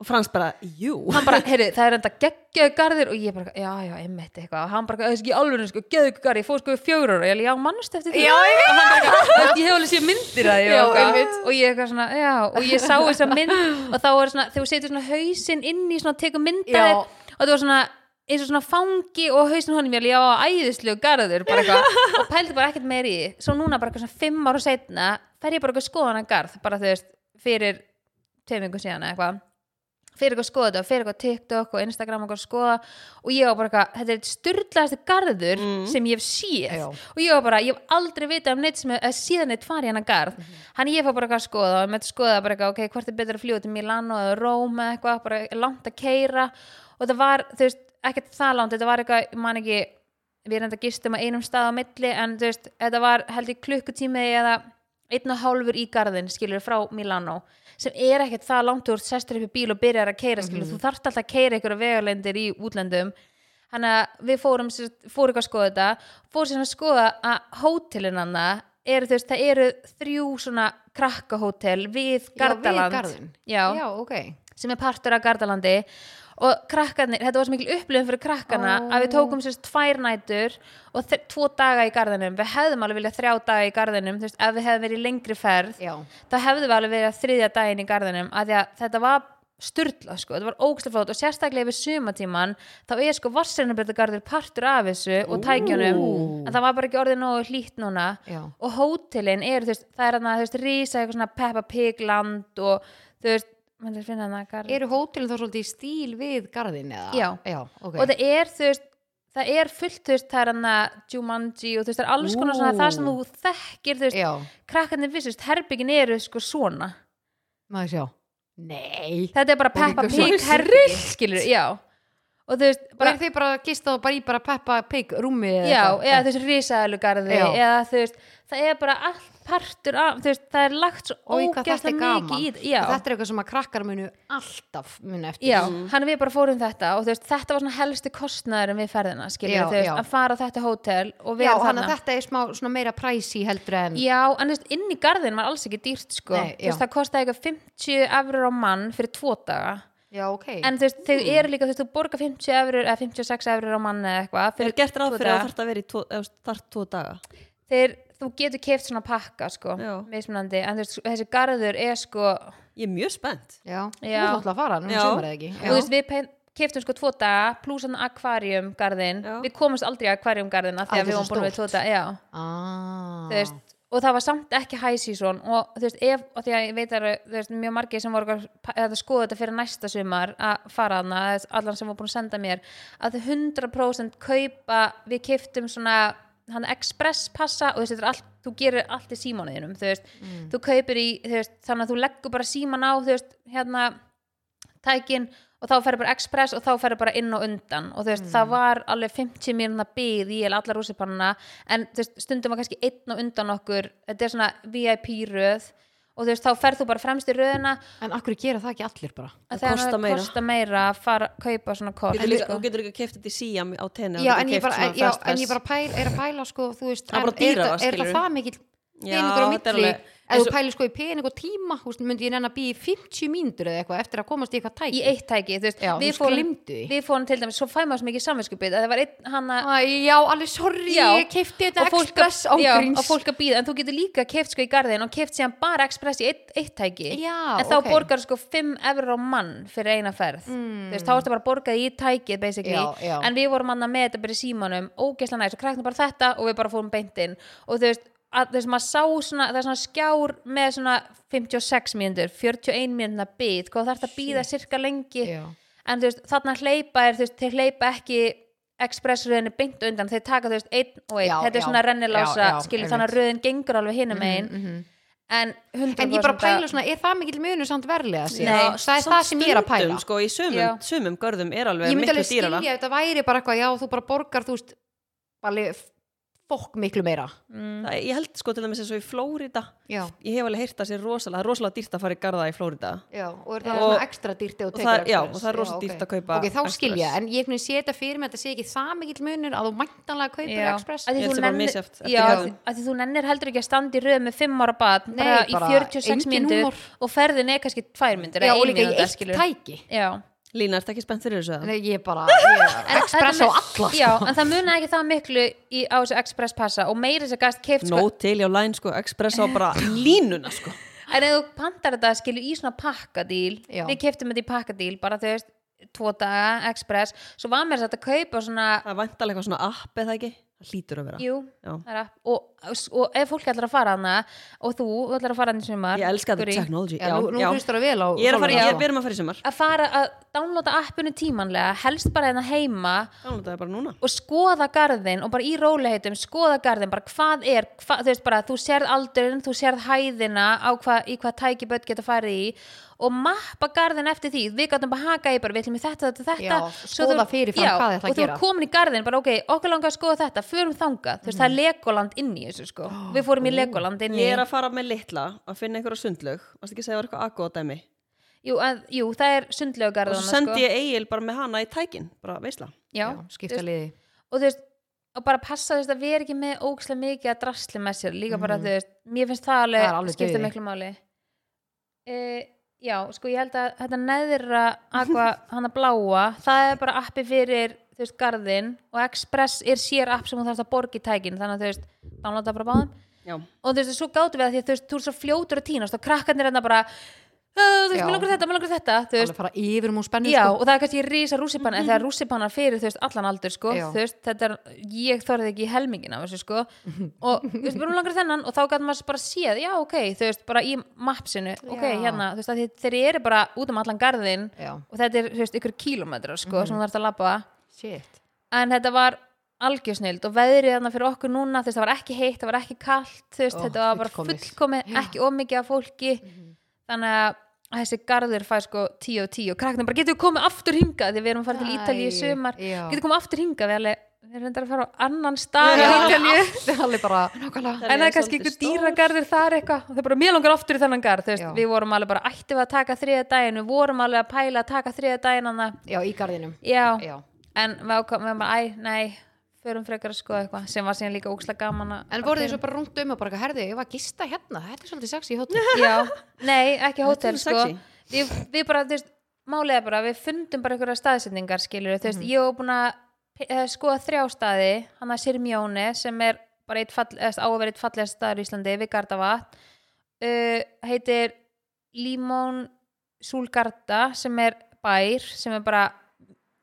og Frans bara, jú
hann bara, heyrðu, það er enda geggjöðu garðir og ég bara, já, já, einmitt eitthvað og hann bara, það er ekki alveg, sko, geggjöðu garði ég fór sko fjóru ára, ég alveg, já, mannst eftir því já, já. og hann bara, "Þú veist, ég hef alveg séð myndir að ég
Já,
og eitthvað."
einmitt.
og ég eitthvað svona, já, og ég sá þess að mynd og þá er svona, þegar þú setur svona hausinn inn í svona, tekur mynda
Já.
þér og það var svona eins og svona fangi og hausinn honum ég alveg, já, æðislegu garður bara eitthvað, og pældi bara ekkert meir í því. svo núna bara eitthvað svona fimm ára setna fer ég bara eitthvað skoðan að garð, bara þú veist fyrir tveimingum síðan eða eitthvað fyrir eitthvað að skoða þetta, og fyrir eitthvað á TikTok og Instagram og eitthvað að skoða og ég var bara eitthvað, þetta er eitt styrlaðasti garður sem ég hef séð
Já.
og ég var bara, ég hef aldrei vitað um neitt sem er síðan eitt farið hennar garð mm hann ég fór bara eitthvað að skoða og ég með skoða bara eitthvað, ok, hvort er betra að fljúa til Milano eða Róma eða eitthvað, bara er langt að keira og það var, þú veist, ekkert það langt þetta var eitthvað, ég man ekki við erum þetta gistum að einum stað á milli en þú veist, þetta var held ég klukkutími eða einn og hálfur í garðin skilur frá Milano sem er ekkert það langt úr sestur upp í bíl og byrjar að keira skilur, þú þarft alltaf að keira ykkur vegalendir í útlendum þannig að við fórum sem sagt- fórum eitthvað að skoða þetta fórum sér að skoða að hótelinanna eru þú veist, það eru þrjú svona krakkahótel við Gardaland
garðinn.
Já
já, ok
sem er partur af Gardalandi og krakkarnir, þetta var svo mikil upplifun fyrir krakkana
Ó.
að við tókum sérst tvær nætur og þr- tvo daga í garðinum við hefðum alveg viljað þrjá daga í garðinum þú veist, ef við hefðum verið í lengri ferð
já,
þá hefðum við alveg verið að þriðja daginn í garðinum af því að þetta var styrla sko, þetta var ógæslega flott og sérstaklega yfir sumatíman þá er sko vassirnabritagarður partur af þessu og tækjanum
Ú.
en það var bara ekki orðið nógu hlýtt núna
já
og hótelin eru þú veist, það er þarna, þú veist, rísa eitthvað svona Peppa Pig land og þú veist, mann er að finna þarna garð
eru hótelin þá svolítið í stíl við garðin eða?
Já.
já, ok
og það er þú veist það er fullt þú veist, það er hann að Jumanji og þú veist, það er alls konar svona
Ú.
það sem þú þekkir, þú veist,
já,
krakkarnir vissist herbyggin eru sko svona
maður sjá nei
þetta er bara
Og
Peppa
líka
Pig
svona
herbyggin, skilur, já og þú veist,
bara,
bara,
er þið bara að gista og bara í bara peppa pig rúmi
já, eða þú veist, risaðalugarði
Já.
eða þú veist, það er bara allt partur af, þú veist, það er lagt svo
Oj, hvað þetta er
ógæslega
gaman.
mikið í já,
og þetta er eitthvað sem að krakkar munu alltaf munu eftir Mm.
já, hann við bara fórum þetta og þú veist, þetta var svona helsti kostnaður við ferðina, skiljum
Já,
við, þú veist,
já.
að fara á þetta hótel og
já
vera
og hann
þarna
að þetta er smá svona meira præsi heldur en
Já, en þú veist, inn í garðin var alls ekki dýrt sko,
Nei,
þú veist,
já.
það kostaði eitthvað 50 efrur á mann fyrir tvo daga
já ok
en þú veist, þau
Mm.
eru líka, þú veist, þú borgar 50 efrur eða 56 efrur á mann eða eitthvað
er
fyrir
gert ráð
tvo
fyrir að
daga.
þarf að vera í tvo, eða þarf tvo daga
þeir, þú getur keift svona pakka sko,
Já.
mismunandi, en þú veist, þessi garður er sko, og
ég er mjög spennt
já, þú
Já.
er náttúrulega að fara nú
Já.
semur það ekki
þú
já.
veist, við pein- keyptum sko tvo daga, pluss hann akvarium garðin,
Já.
við komumst aldrei að akvarium garðina
Æ,
þegar
þetta
við
er
vorum
svo
búin við tvo
stórt.
daga, já
Ah.
þú veist, og það var samt ekki high season og þú veist, ef, og því að ég veit að það eru, þú veist, mjög margir sem voru að pa- að skoða þetta fyrir næsta sumar að fara hana, allan sem voru búin að senda mér að þau 100% kaupa við keiftum svona hann express passa og þú veist, þetta er allt þú gerir allt í símanuðinum, þú veist þú kaupir í, þú veist, þannig að þú leggur bara síman á, þú veist, hérna tækin og þá ferði bara express og þá ferði bara inn og undan og þú veist,
Mm.
það var alveg 50 mínúna byð í eða allar rússipannuna en þú veist, stundum var kannski einn og undan okkur þetta er svona VIP röð og þú veist, þá ferð þú bara fremst í röðina
en akkur gera það ekki allir bara
að
Það kostar meira.
kosta meira að fara, kaupa svona kort
Getur líka-
sko.
þú getur líka keft þetta í síam á tenni
já, en ég bara, já, en ég bara pæl, er að pæla sko, þú veist,
Það er
en
bara dýrara,
þetta- er það
skilurðu.
það mikill
Já,
peningur á
þetta er
milli
alveg-
ef
eins
þú
og-
pælir sko í pening og tíma þú veist, myndi ég nenn að býja í 50 mínútur eða eitthvað eftir að komast í eitthvað tæk
í eitt tæki, þú veist,
Já,
við,
þú
fórum,
gleymdu því.
við fórum til dæmis svo fæ maður svo mikið samvinskupið að það var einn hann að
já, alveg sorry,
Já.
ég kefti þetta
og fólk,
express
að, já,
ángríns
og fólk að býða en þú getur líka keft sko í garðin og keft síðan bara express í eitt, eitt tæki
Já,
en þá
ok.
borgar sko 5 eurur á mann fyrir eina ferð mm. veist, þá ertu bara borgað í tækið basically
Já, já.
en við vorum annað með þetta bara í símanum ógeðslega næst og kræknum bara þetta og við bara fórum beint inn og þú veist að, þú veist, maður sá svona, það er svona skjár með svona 56 mínútur 41 mínútur bit, hvað þarf þetta að býða sirka lengi
Já.
en þú veist, þarna hleypa er, þú veist, þeir hleypa ekki expressröðinu beint undan, þeir taka þú veist einn og einn,
Já,
þetta er
já,
svona rennilása
já, já,
skilur
einmitt. Mm-hmm.
þannig að röðin gengur alveg hinum einn en 100%
Mhm, en ég bara pæla
að-
svona, er það mikill munur samt verðlega sér?
Nei,
það er það sem ég er að pæla
sko, í
Já.
sumum, sumum görðum er alveg
ég myndi
miklu
alveg skilja
dýrara
ef þetta væri bara eitthvað, já, þú bara borgar þú veist, alveg fokk miklu meira
Mm,
Það- ég held sko til dæmis eins og í Flórida
já,
ég hef alveg heyrt að það sé rosalega, það er rosalega dýrt að fara í garða í Flórida
já, og er það
Og-
svona ekstra dýrt ef
og
þú
það
tekur
er- já,
Express?
og það er rosa
ok.
dýrt að kaupa
ok, þá
Express.
skilja, en ég ekki setja fyrir mig að þetta sé ekki það mikill munur að þú mæntanlega kaupir
Já,
Express
að því
Ég
þú
held sem bara
nennir-
misjafnt eftir
já,
garðum.
að því þú nennir heldur ekki að standa í röð með 5 ára bad
Nei,
bara í
bara
46
engin
mínútur
húmor.
og ferðin er kannski 2 mínútur
já,
eða
og
ein
líka í
mínúta,
eitt
skilur.
tæki
já
Lína, ertu ekki spennt fyrir þessu? eða?
Nei, ég bara,
En
ég, Express á
þetta mun-
alla sko.
já, en það muna ekki það miklu í, á þessu express passa og meira þess að gæst keift sko,
Nót til hjá Line sko, Express á bara línuna sko
En ef þú pantar þetta skilur í svona pakkadíl
Já.
Við keftum þetta í pakkadíl bara þau veist tvo daga, express Svo var mér þetta að kaupa svona
Það er vantalega eitthvað svona app eða ekki? Það hlýtur að vera
Jú,
Já.
það er app. og, og ef fólk ætlar að fara hana og þú þú ætlar að fara hana í sumar
Ég elska þetta
Gurrí,
technology
Já, nú, nú hlustar það vel á
Ég er að fara,
Sólveig,
ég,
sko.
við erum að fara í sumar
Að fara að downloada appinu tímanlega helst bara hérna heima
Dánlótaði bara núna
og skoða garðin og bara í róliheitum skoða garðin, bara hvað er hvað, þú veist bara, þú sérð aldurinn, þú sérð hæðina á hvað, í hvað tæki börn geta farið í og mappa garðin eftir því, við gáttum bara haka í bara við ætlum í þetta, þetta, þetta
Já, skoða fyrirfram
já,
hvað þið ætla að
og þú
gera.
er komin í garðin, bara ok, okkur langar að skoða þetta förum þangað, þú veist,
Mm.
það er Legoland inn í þessu
<gasps>
sko, við fórum í Legoland inn í
Ég er að fara með litla að finna einhverja sundlög Varst ekki að segja að það var eitthvað aðgóða dæmi
jú, að, jú, það sko? er
Og
sundlaugarðana
svo sendi ég Egil bara með hana í tækin Bara veisla
já,
Já, skipta um liði
og þú veist og bara passa þú veist að við erum ekki með ógislega mikið að drasli með sér, líka bara þú veist mér finnst það alveg,
Mhm. Það er alveg
skipta
dauði.
miklu máli uh, já, sko ég held að þetta neðra aqua,
<laughs>
hana bláa, það er bara appi fyrir þú veist, garðin og Express er sér app sem þú þarfst að borga í tækin þannig að þú veist, dánláta bara báðum
Já
og þú veist, svo gátum við að því að þú veist, þú er svo fljótur að týnast og krakkarnir er bara "Ah, þú veist,
Já.
mér langar þetta, mér langar þetta þú veist,
Alveg fara yfir um og spennu sko.
Já,
Mhm.
og það er kannski rísa rússipanna en það er rússipanna fyrir, þú veist, allan aldur sko,
Já.
þú veist, þetta er, ég þorði ekki í helmingin af þessu,
<laughs>
sko og, þú veist, bara langar þennan og þá gæti maður bara séð já, ok, þú veist, bara í mappsinu ok,
Já.
hérna, þú veist, að þið, þeir eru bara út um allan garðin
Já, Mhm.
og þetta er, þú veist, ykkur kílómetrar, sko, sem þú þarfst að labba
shit
en þetta var algjörsnild og veðrið þarna fyrir okkur núna, þú veist, það var ekki heitt, það var ekki kalt, þú veist,
Ó,
þetta var bara
fullkomið.
fullkomið,
Já. Mhm.
ekki ómikið af fólki þannig að þessi garður fæ sko 10 og 10 og krakknum bara getur við komið aftur hingað því við erum að fara til Ítalíu í
Æ,
sumar
já.
getur við komið aftur hingað við alveg við reyndar að fara á annan
Já.
stað í Ítalíu
það er alveg bara nákvæmlega
Þannig
en það
að
er kannski
svolítið
ykkur dýragarðir þar eitthvað og það er bara mjög langar aftur í þennan garð þú veist,
Já.
við vorum alveg bara, ættum við að taka þriða daginn við vorum alveg að pæla að taka þriða daginn annað.
já, í garðinum
já,
já.
en við ákvæmum við bara, æ, nei förum frekar að skoða eitthvað sem var síðan líka óksla gaman að-
en voruð þið svo bara rungt um og bara herði, ég var að gista hérna þetta er svolítið sexy í hóttum
já, nei, ekki hótel
er
sko.
sexy.
við, við bara, þú veist málið er bara, við fundum bara einhverja staðsetningar skilur, þú
Mhm.
veist, ég var búin að eh, skoða þrjá staði, hann að Sirmjóni sem er bara eitt fall, eða, á að vera eitt fallegast staður í Íslandi við Gardavat uh, heitir Limón Súlgarda sem er bær sem er bara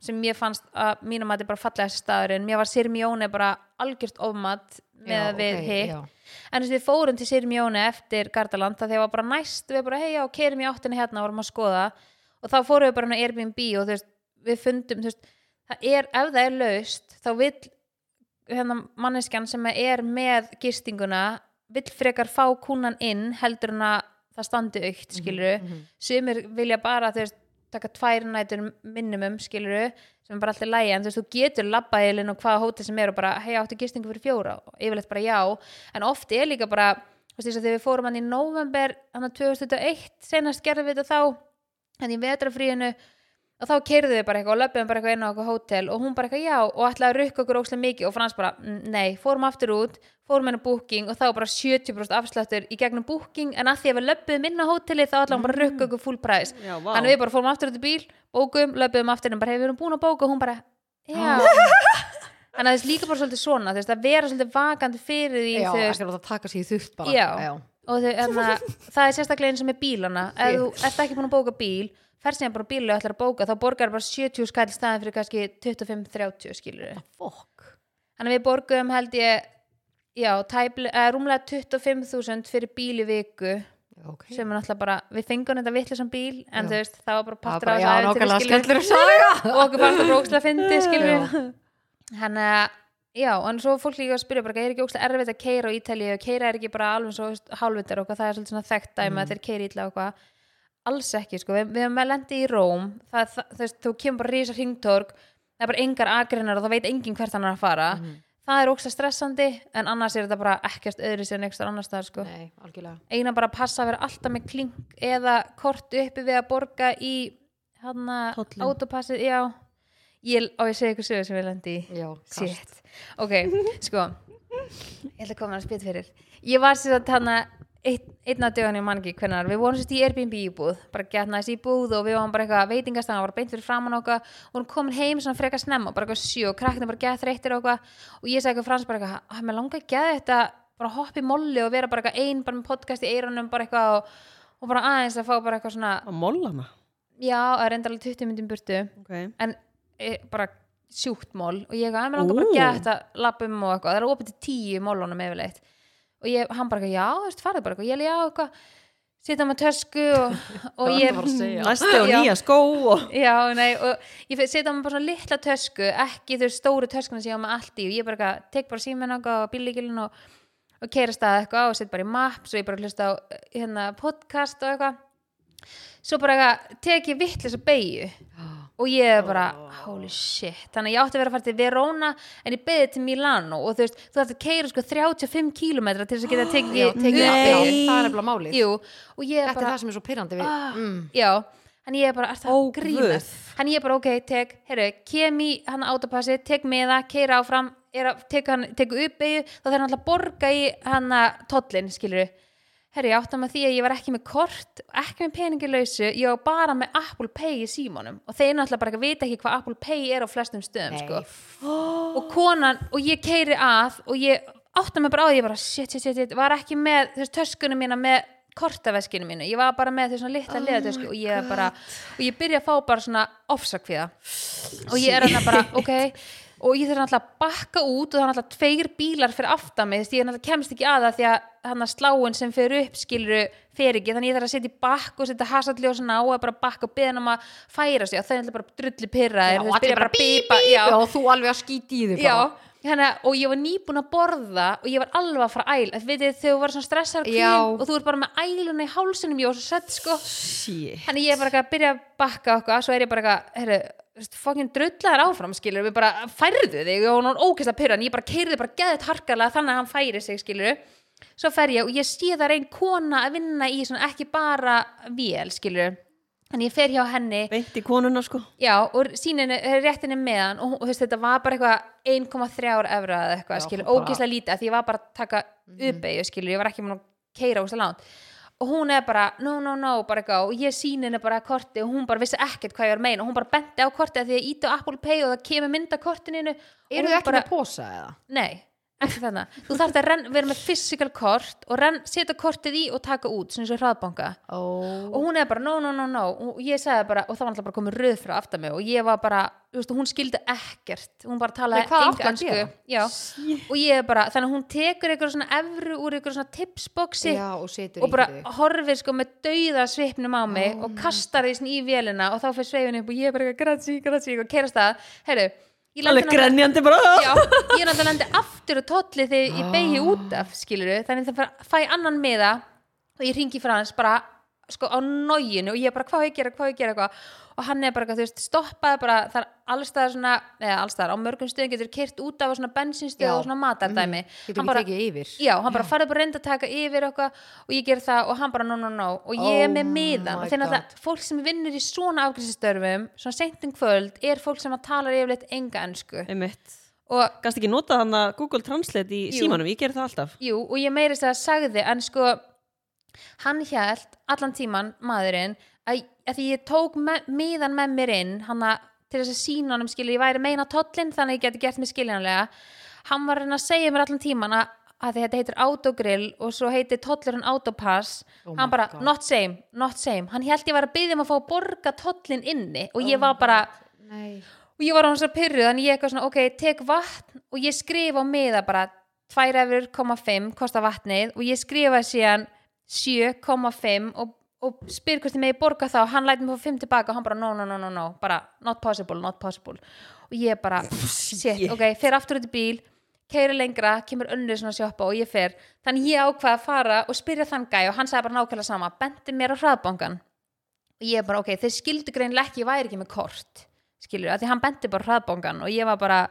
sem ég fannst að mínum að þetta er bara fallegast staðurinn mér var Sirmjóni bara algjört ofmat <laughs> með
Já,
við
ok,
hitt
já.
en þess að við fórum til Sirmjónu eftir Gardaland það þegar var bara næst, við bara heia og kerum í áttinni hérna og vorum að skoða og þá fórum við bara inn á Airbnb og þú veist, við fundum þú veist, það er, ef það er laust þá vill hérna, manneskjan sem er með gistinguna vill frekar fá kúnan inn heldur en að það standi aukt skiluru, mm
mhm.
sumir vilja bara þú veist, taka tvær nætur minimum skiluru, sem er bara alltaf lægi en þú veist, þú getur labbaðilinn og hvaða hóti sem er og bara, hei, áttu gistingu fyrir fjóra og yfirleitt bara já, en oft er líka bara þú veist, þess að þegar við fórum hann í november hann að 2001, senast gerðum við þetta þá hann í vetrafríinu og þá keyrðum við bara eitthvað og löpum bara eitthvað inn á eitthvað hótel og hún bara eitthvað já og ætlaði að rukka okkur ókslega mikið og frans bara "Mm, nei, fórum aftur út, fórum henni booking og þá bara 70% afsláttur í gegnum booking en að því að við löpum inn á hóteli þá ætlaði hún bara að rukka okkur full price
Já, vá.
þannig við bara fórum aftur út í bíl, bókum, löpum aftur en bara hefur hún búin að bóka og hún bara já
Ah.
þannig að þess líka bara svolítið svona þess að vera svolítið vakandi fyrir því
já,
þú veist,
ekki láta taka sér í þurft bara
Já.
já.
og þau, enna, það er sérstaklega eins og með bílana ef þú ert ekki búin að bóka bíl ferð sem bara á bílu og ætlar að bóka þá borgar bara 70 skall staðin fyrir kannski 25-30 skilur
fokk
þannig að við borguðum held ég já, tæpli, eh, rúmlega 25.000 fyrir bíl í viku
okay.
sem er náttúrulega bara, við fengum þetta vitlisam bíl en
Já.
þú veist, það var bara
Það
partur
bara,
af
já,
þessu ævintýri,
nákvæmlega
skilurðu
skellur saga
<laughs> og okkur fannst það brókslega fyndi skilur hann að já, en svo fólk líka að spyrja bara er ekki ókslega erfitt að keira á Ítalíu og keira er ekki bara alveg svo hálfutar og hvað það er svolítið svona þekkt
Mm.
dæmi að þeir keira ítla og hvað alls ekki, sko, við, við hefum að lendi í Róm það, það, þú veist, þú kemur bara rísa hringtorg það er bara engar agreinar og það veit enginn hvert hann er að fara
Mm.
það er ókslega stressandi en annars er þetta bara ekkert öðru sér en ekstra annars staðar, sko
nei, algjörlega
eina bara að passa að vera alltaf með klink eða kort uppi við að borga í hann að
Tollinn.
autopassið, já ég, á ég að segja ykkur sögur sem ég lendi í
já, kast.
shit, ok, sko ég ætla að koma að spyt fyrir ég var sér að hann að einn, einn af dögunni mangi hvernar, við vorum sérst í Airbnb íbúð bara gett næst íbúð og við varum bara eitthvað veitingastæðan, var beint fyrir framann okkar og hún komin heim svona frekar snemma, bara eitthvað sjö og krakknir bara gett þreyttir og okkar og ég sagði eitthvað frans bara eitthvað, að mér langar að geða þetta bara hoppa í molli og vera bara eitthvað ein bara með podcast í eyrunum, bara eitthvað og, og bara aðeins að fá bara eitthvað svona
Að molla hana.
já, að reynda alveg 20 myndum burtu
Okay.
en e, bara sjúkt mól og ég að mér langar bara að geta þetta lappum og eitthvað, það er opið til tíu í mólunum yfirleitt og ég, hann bara, eitthvað, já, þú veist, farðu bara eitthvað, ég líka á eitthvað sitja með tösku
<laughs>
og, og
Hvað ertu
ég
að fara að segja?
Næstu
<laughs>
og nýja skó og...
já, nei, og ég sitja með bara svona litla tösku ekki þau stóru töskuna sem ég á með allt í og ég bara eitthvað, tek bara síminn okkar og bíllíkilin og, og keira stað eitthvað og set bara í maps og ég bara hlusta á eh, hérna, podcast og eitthvað svo bara eitthvað, tek ég vittlis og beigju
Já.
og ég er bara, holy shit þannig að ég átti að vera að fara til Verona en ég beðið til Milano og þú veist, þú þarf að keira sko 35 km til þess að geta
<gasps>
tekið
Já, tekið
tekið
að byrja.
Nei.
beygju.
það er nefnilega málið
Jú, og ég er
þetta er
bara
það sem er svo pyrrandi við
Ah.
mm.
já, hann ég er bara, er það
Ó,
að grínast
guð.
hann ég er bara, ok, tek, herru, kem í hann autopassi, tek með það, keira áfram er að tek, hann, tek upp eigu þá þarf hann alltaf að borga í hann að tollin skilur herru, ég átti með því að ég var ekki með kort, ekki með peningilausu ég var bara með Apple Pay í símanum og þeir náttúrulega bara vita ekki hvað Apple Pay er á flestum stöðum,
Nei,
sko og konan, og ég keiri að og ég átta mig bara á því, ég bara shit, shit, shit, shit, var ekki með þess töskunum mína með kortaveskinu mínu, ég var bara með þess svona litla oh og ég bara, og ég byrja að fá bara svona ofsak við það og ég er hann bara, ok og ég þarf náttúrulega að bakka út og það er náttúrulega tveir bílar fyrir aftan mig, því ég náttúrulega kemst ekki að það því að hann að sláin sem fer upp skiluru fer ekki, þannig ég þarf að setja í bakk og setja hasalljósin á og bara bakka og beða hann um að færa sig og það er náttúrulega bara drullu pyrra
Já, og allir bara bíp, bíp
já,
og þú alveg að skíti í þig bara.
Já, hérna, og ég var nýbúin að borða og ég var alveg að fara æl Þið veitir þegar þú var svona stressar
Já.
og þú er bara með æluna í hálsunum ég var svo sett sko
Oh, Shit.
Þannig ég er bara eitthvað að byrja að bakka okkur svo er ég bara eitthvað, herru, þú veist, fokkin drullar áfram skilur við bara færðu þig og hún var ókvæslega pyrran ég bara keirði bara geðið harkalega þannig að hann færi sig skilur svo fer ég og ég sé það reyn kona að vinna í svona ekki bara vél skilur en ég fer hjá henni
beint í konuna sko
já og síninu réttinni meðan og, hún- og þú veist, þetta var bara eitthvað 1,3 evra eða eitthvað
Já,
skilur
bara-
ókvæslega lítið af því ég var bara að taka mm
Mhm.
-hmm. skilur ég var ekki múin að keira úr langt og hún er bara no no no bara eitthvað og ég sín henni bara korti og hún bara vissi ekkert hvað ég var að meina og hún bara benti á korti að því ég íti á Apple Pay og það kemur mynda kortininu
Eru þau ekki bara... með pósa eða?
Nei, ekki þarna. Þú þarf að renn, vera með physical kort og renn, setja kortið í og taka út, svona svo hraðbanka.
Oh.
Og hún er bara, no, no, no, no, og ég sagði bara, og það var alltaf bara komið röð frá aftar mig og ég var bara, þú veist, hún skildi ekkert, hún bara
Nei,
talaði
hvað átti
enga
að gera?
Já, og ég er bara, þannig að hún tekur eitthvað svona evru úr eitthvað svona tipsboksi
Já, og situr
og bara
í þig.
horfir sko með dauða svipnum á mig og kastar því svona í vélina og þá fyrir sveifin upp og ég er bara, grætsi, grætsi, og kerast það, herru, ég lendi
alveg
náttúrulega-
grenjandi bara
Já, ég er náttúrulega lendi aftur og tólli þegar ég beigi
Ah.
út af, skilur þannig að það fæ annan miða og ég ringi frá hans bara sko á nóginu og ég er bara hvað á ég að gera, hvað á ég að gera eitthvað og hann er bara, eitthvað, þú veist, stoppaði bara það er allstaðar svona, eða allstaðar á mörgum stöðum getur kyrt út af á svona bensinstöð
Já. Mm,
og svona matardæmi
Getur
Hann
ekki
bara-
tekið yfir.
Já, hann bara farið bara að reynda að taka yfir okkar og ég ger það og hann bara no, no, no og ég er
Oh
með miðan
my
og þannig að
God.
það, fólk sem vinnur í svona afgriðsistörfum svona seintum kvöld er fólk sem að talar yfirleitt enga ensku
einmitt
og
gast ekki nota hann að Google Translate í
Jú.
símanum, ég ger það alltaf
Jú, og ég meiri þess að sagði en sko, hann hjælt allan tíman, maðurinn að, að því ég tók me, miðan með mér inn hann að til þess að sína honum skilur ég væri að meina tóllinn þannig að ég geti gert mér skiljanlega hann var að reyna að segja mér allan tíman að, að því þetta heitir autogrill og svo heitir tollurinn autopass
Oh my
hann bara,
God.
not same, not same hann hjælt ég var að byggja um að fá að borga tollinn inni og ég
Oh
var bara,
Nei.
og ég var á hans að pyrru þannig ég eitthvað svona, ok, tek vatn og ég skrifa á miða bara 2,5 kostar vatnið og ég skrifa síðan 7,5 og, og spyr hvort ég megi borga þá hann læt mér fá 5 tilbaka og hann bara no, no, no, no, no bara not possible, not possible og ég bara, shit,
shit.
ok, fer aftur út í bíl keiri lengra, kemur önnur svona sjoppa og ég fer, þannig ég ákvað að fara og spyrja þann gæ og hann sagði bara nákvæmlega sama bendi mér á hraðbankan og ég bara ok, þeir skildu greinlega ekki ég væri ekki með kort skilur, af því hann benti bara á hraðbankan og ég var bara,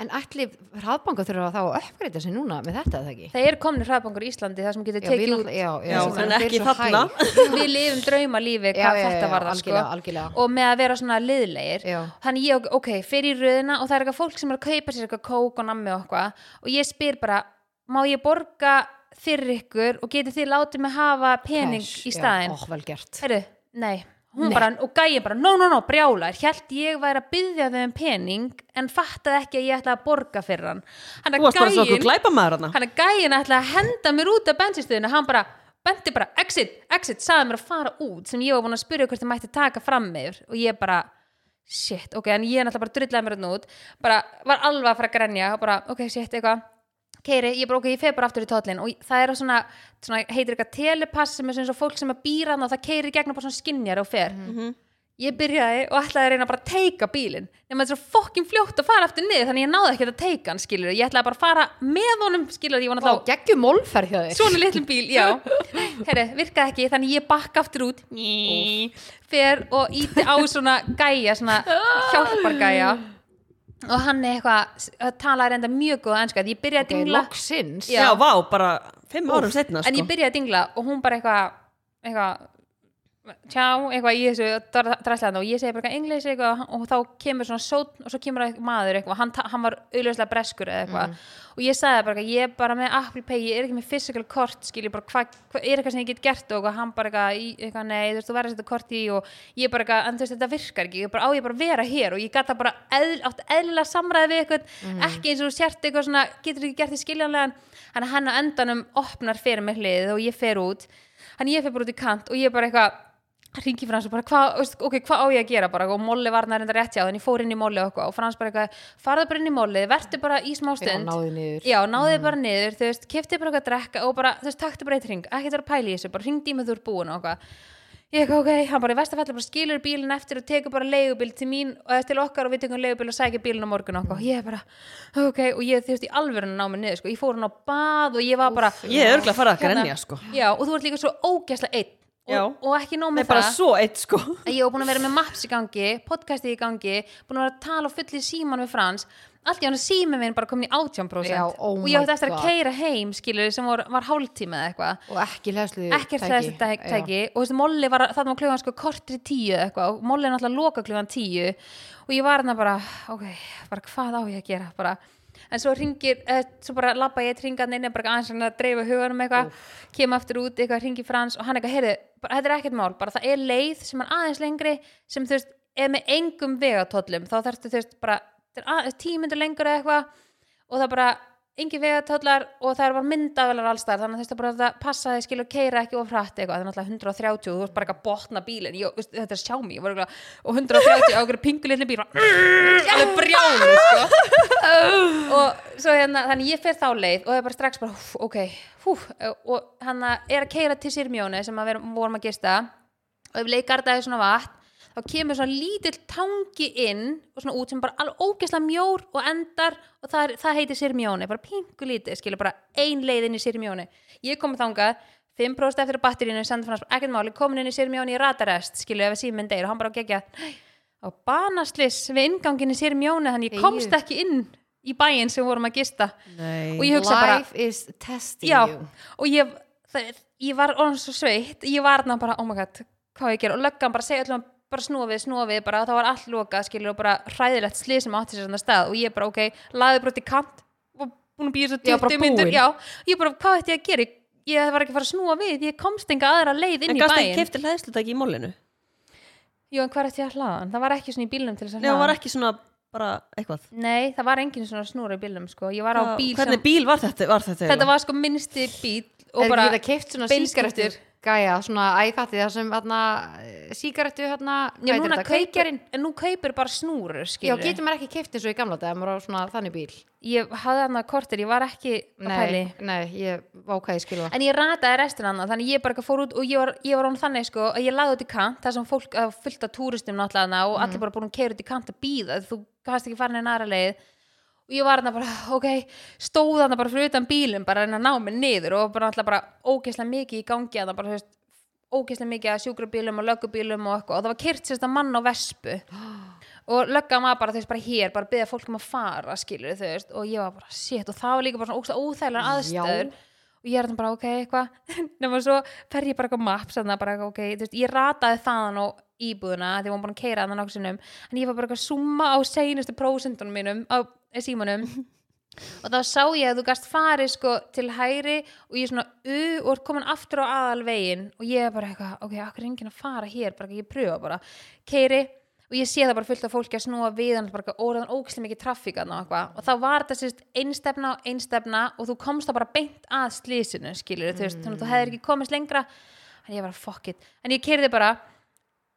En allir hraðbanka þurfa þá að uppgreita sig núna með þetta, eða ekki?
það eru komnir hraðbankar í Íslandi þar sem getur
Já, við
tekið
náttúrulega- já, já,
Já,
sem
en
eru
ekki
svo
þarna.
hæg.
út við lifum draumalífi
Já,
hvað
já, já,
þetta var það sko
algjörlega, algjörlega.
og með að vera svona liðlegir
Já.
þannig ég, ok, fer í röðina og það er eitthvað fólk sem er að kaupa sér eitthvað kók og nammi og eitthvað og ég spyr bara, má ég borga fyrir ykkur og getið þið látið mig hafa pening
Cash,
í
já,
staðinn
oh. ó, vel gert
Heru, nei, hún bara, og gæja bara, no, no, no, brjálar, hjælt ég væri að byggja þau um pening, en fattaði ekki að ég ætlaði að borga fyrir hann. Hann
þú
að
varst bara svo okkur
gæjin,
glæpa maður hann
hann að gæjin ætlaði að henda mér út af bensinstöðinu, hann bara, benti bara, exit, exit, sagði mér að fara út, sem ég var búin að spyrja hvort ég mætti taka fram mér, og ég bara, shit, ok, en ég náttúrulega bara drullaði mér hann út, bara, var alveg að fara að grenja, og bara, ok, shit, eitthvað, Keiri, ég bara ok, ég fer bara aftur í tóllin og það er á svona, svona heitir eitthvað telepass sem er svona eins og fólk sem er býran og það keiri gegnum bara svona skinjar og fer
Mhm.
ég byrjaði og ætlaði að reyna bara að teika bílinn nema þetta er svo fokkin fljótt að fara aftur niður þannig ég náði ekki að teika hann skilur ég ætlaði bara að fara með honum skilur ég
Vá,
var náttúrulega
geggjum mólferð hjá þér
svona litlum bíl,
<laughs>
já Herri, virkaði ekki, þannig ég bakka aftur út fer og íti á svona gæja,
<laughs>
svona hjálpargæja og hann er eitthvað talaði reynda mjög góða ennska ég byrjaði að
Ok,
dingla
loksins
já, vá, bara fimm árum setna
en
sko.
ég byrjaði að dingla og hún bara eitthvað eitthvað tjá, eitthvað í þessu dræslega og ég segi bara eitthvað englis eitthvað og þá kemur svona sótn og svo kemur eitthvað maður eitthvað hann, ta- hann var auðvitað breskur eða eitthvað og ég sagði bara eitthvað, ég er bara með Apple Pay ég er ekki með physical kort, skilji bara hvað hva, er eitthvað sem ég get gert og eitthvað, hann bara eitthvað, í- eitthvað nei, þú veist, þú verður að setja kort í og ég bara eitthvað, en þú veist, þetta virkar ekki ég bara, á ég bara að vera hér og ég gata bara eðl, átt eðlilega samræði við eitthvað ekki eins og þú sért eitthvað svona, getur ekki gert því skiljanlegan hann að hann á endanum opnar fyrir mig hlið og ég fer út hann ég fer bara út í kant og ég bara eitthvað ringi Frans og bara hvað veist, ok, hvað á ég að gera bara og Molli var nærinda rétt hjá þannig ég fór inn í Molli og, eitthvað og Frans bara eitthvað farða bara inn í Molli, vertu bara í smá
Já,
stund
náðu niður
Já, náðið bara niður, þú veist, kiftið bara eitthvað að drekka og bara, þú veist, taktu bara eitt ring, ekkert vera að pæla í þessu, bara ringdi í mig þú ert búin og eitthvað. Ég ekki, ok, hann bara í vestafalli bara skilur bílinn eftir og tekur bara leigubíl til mín og eða til okkar og við tekum leigubíl og sækja bílinn á morgun og eitthvað. Ég bara, ok, og ég þú veist, í alvörun ná mig niður, sko, ég fór hann á bað og ég var bara, Hérna.
ég er örgulega að fara að grenja sko.
já, og þú ert líka svo ógæslega einn og
Já.
og, og ekki nóg
Nei,
með
bara
það
svo eitt sko
að ég var búin að vera með maps í gangi podcasti í gangi, búin að vera að tala og fulli síman við Frans, allt í hann símið minn bara komin í 18%
Já, oh
og ég
my
átti eftir
God.
að keira heim skilur sem var, var hálftíma eða eitthvað
og ekki hlæðslu
ekkert þessi tæki, tæki og þessi Molli var, þarna var klugan sko kortri tíu eða eitthvað og Molli er náttúrulega loka klugan tíu og ég var hérna bara, ok, bara hvað á ég að gera bara, en svo ringir eh, svo bara labba ég eitt ringan inn og bara aðeins svona að dreifa huganum eitthvað, kem aftur út eitthvað, ringi Frans og hann eitthvað, heyrðu bara, þetta er ekkert mál, bara það er leið sem er aðeins lengri sem þú veist, er með engum vegatóllum, þá þarftu þú veist bara tímyndur lengur eða eitthvað og það bara engin vegatöldar og það er bara myndavelar allstar þannig að þetta bara að passa þig skilur keira ekki of hratt eitthvað, það er náttúrulega 130 og þú ert bara ekki að botna bílinn, ég, veist, þetta er sjá mig ég var örugglega- og 130 á einhverju pingulitni bíl bara, alveg brjál sko. og svo hérna þannig ég fer þá leið og það er bara strax bara húf, ok, húf og hann er að keira til Sirmjóni sem að við erum- vorum að gista og ef leikgardaði svona vatn þá kemur svona lítill tangi inn og svona út sem bara alveg ógeðslega mjór og endar og það, er, það heitir sirmjóni bara pingu lítið, skilur bara ein leið inn í sirmjóni ég kom þangað 5% eftir að batterínu, sendi fannst ekkert máli komin inn í sirmjóni í ratarest, skilur ef að síminn deyr og hann bara gegja á banaslis við inngangin í sirmjóni þannig ég komst
Eyju.
ekki inn í bæinn sem við vorum að gista
Nei
og ég hugsa bara
life is testing
já,
you
og ég, það, ég var orðin svo sveitt, ég var þarna bara, oh my god hvað á ég að gera, og löggan bara segja öllum bara snúfið, snúfið, bara það var allt lokað skilur og bara hræðilegt slið sem átti sér þannig stað og ég bara, ok, laðið brot í kant og búin að býja svo
Já, bara
20 myndur
búin.
já, ég bara, hvað ætti ég að gera Ég- ég var ekki að fara að snúa við, ég komst enga aðra leið inn
En
í
gasta ekki
bæinn
kefti hlæðslutæki í mólinu
Jú, en hvað ætti ég að hlaða hann? Það var ekki svona í bílnum til þess að
Nei, það
hlaða
var
hann.
ekki svona bara eitthvað
Nei, það var engin svona snúra í bílnum sko. Ég var á
Hvað-
bíl
Hvernig
sem,
bíl var þetta? Var þetta
þetta var sko minnsti bíl og
er
bara,
ekki það keift svona
beinskeyttur.
sígarettur gæja, svona æfatti það sem þarna, sígarettu hérna,
já, núna kaupir,
kveikjarinn
en nú kaupir bara snúrur
já,
skilurðu.
getur maður ekki keift eins og í gamla dag maður á svona þannig bíl
ég hafði hann að kortir, ég var ekki að pæli
nei, nei, ég vákaði skilja
en ég rataði restin hann þannig ég bara eitthvað fór út og ég var, ég var án þannig sko að ég lagði út í kant þar sem fólk að fylgta túristum náttúrulega þarna og allir bara búin að keira út í kant að býða þú kannast ekki farin en aðra leið og ég var hann bara, ok, stóð hann bara fyrir utan bílum, bara að reyna að ná mig niður og bara náttúrulega bara ógeðslega mikið í gangi hann bara, þú veist, ógeðslega mikið að sjúkrabílum og löggubílum og eitthvað og það var kyrt sérst að mann á vespu og löggan var bara, þú veist, bara hér bara byggði fólk um að fara, skilur þú veist og ég var bara, shit, og það var líka bara svona ógeðslega óþægilega
Já.
aðstöður og ég er þarna bara, ok, eitthvað <laughs> nema svo fer ég bara eitthvað maps þarna bara, ok, þú veist, ég rataði þaðan og íbúðuna, því hún búin að keira þarna nokkuð sinnum en ég var bara eitthvað að summa á seinustu prósentunum mínum, á eh, símanum og þá sá ég að þú gast farið sko til hæri og ég svona u og er komin aftur á aðalvegin og ég er bara eitthvað, ok, akkur er enginn að fara hér bara ekki, ég pröfa bara, keiri og ég sé það bara fullt af fólki að snúa við hann bara eitthvað, óraðan ógislega mikið traffíkarna og eitthvað og þá var þetta sérst einstefna og einstefna og þú komst þá bara beint að slísinu skilur þú veist, þannig að þú hefðir ekki komist lengra en ég var að fuck it, en ég keiriði bara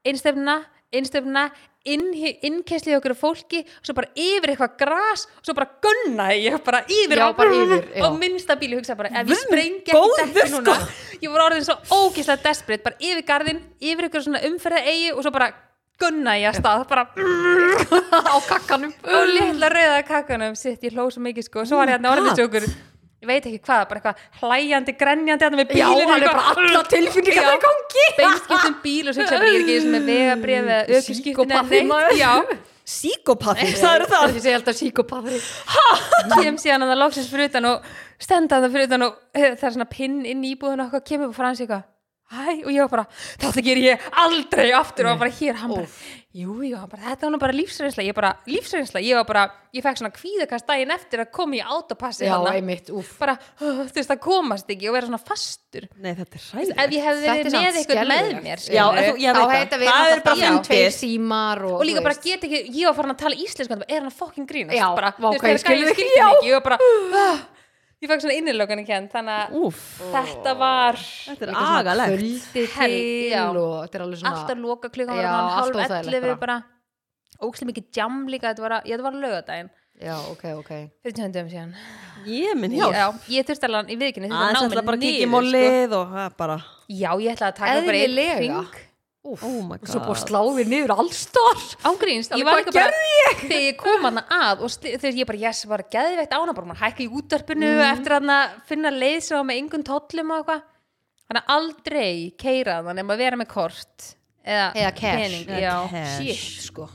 einstefna, einstefna inn, innkeslið okkur af fólki svo bara yfir eitthvað gras svo bara gunnaði ég bara yfir
Já,
á-
bara yfir, já.
og minnsta bíl, ég hugsa bara ef
Guð
ég
minn
sprengi
góður,
ekki dekki núna
sko.
ég voru orðin svo ógeðslega desperate bara yfir garðin, yfir eitthvað svona umferða eigi og svo bara gunnaði ég að stað bara
á kakkanum
og litla rauða kakkanum sitt, ég hló svo mikið sko, svo var ég hérna
God.
orðinsjókur ég veit ekki hvað, bara eitthvað hlæjandi, grenjandi hérna með
já,
bílinu
hann er
eitthvað.
bara alla tilfinningar
Já.
í gangi
<laughs> beinskiptum bíl og svo hugsa ég bara ég er ekki eins með vegabrið eða ökuskiptin eða
Psykopati,
neitt
maður.
já,
Síkopati, það eru það
ég segi alltaf síkopathri
kem síðan að það loksins fyrir utan og stenda það fyrir utan og eh, það er svona pinn inn í íbúðun og eitthvað, kemur bara frans eitthvað hæ, og ég var bara, þetta ger ég aldrei aftur og hann bara hér, hann bara jú, jú, hann bara, þetta var nú bara lífsreynsla ég bara, lífsreynsla, ég var bara, ég fekk svona kvíðakast daginn eftir að koma í autopassi
já,
þarna.
einmitt, úf
bara, "Ugh, þú veist, það komast ekki og vera svona fastur
Nei, þetta er
ef
ræðilegt
ég hefði
Þetta er
verið
samt
með eitthvað með
skelfilegt.
mér
Já,
skilurðu.
en þú, ég
á
veit
þetta
það
við
Það er bara
Já.
tveir
fundið
símar og,
og líka
þú
bara
veist.
get ekki, ég var farin að tala íslensku bara, er hann að fokkin grínast
Já,
bara,
vá, hvað ég
þegar
skil þig.
skildi hann ekki, ég var bara "Ah." ég fæk svona innilökunni kent þannig að
Úf,
þetta var
þetta er
Líka svona
agalegt
kvöldið
Hel-
til
já.
og þetta er alveg svona
alltaf loka klukkan
Já,
var hann
allt
hálf
óþægilegt
11 bara ógstum mikið jam líka þetta var, að- ég, þetta var lögadaginn
já, ok, ok
fyrir tjöndum síðan
Ég minn hjá
já, ég þurfti alveg í viðkynni
Aðeins ætla bara að kikið mólið og það er bara
sko. já, ég ætlaði að taka bara einn
Eðlilega.
ring
Úf,
Oh my
og svo búið að
god.
slá þér niður allstar
ángríns, ég var
Alveg,
líka
hvað
bara þegar ég kom hana að og sli- þegar ég bara, yes, var
Mm.
geðveitt ána bara, maður hækka í útvarpinu eftir að finna leið sem var með engum tóllum og eitthvað Þannig að aldrei keira það nema að vera með kort eða,
Eða cash.
pening,
Eða
já.
shit sko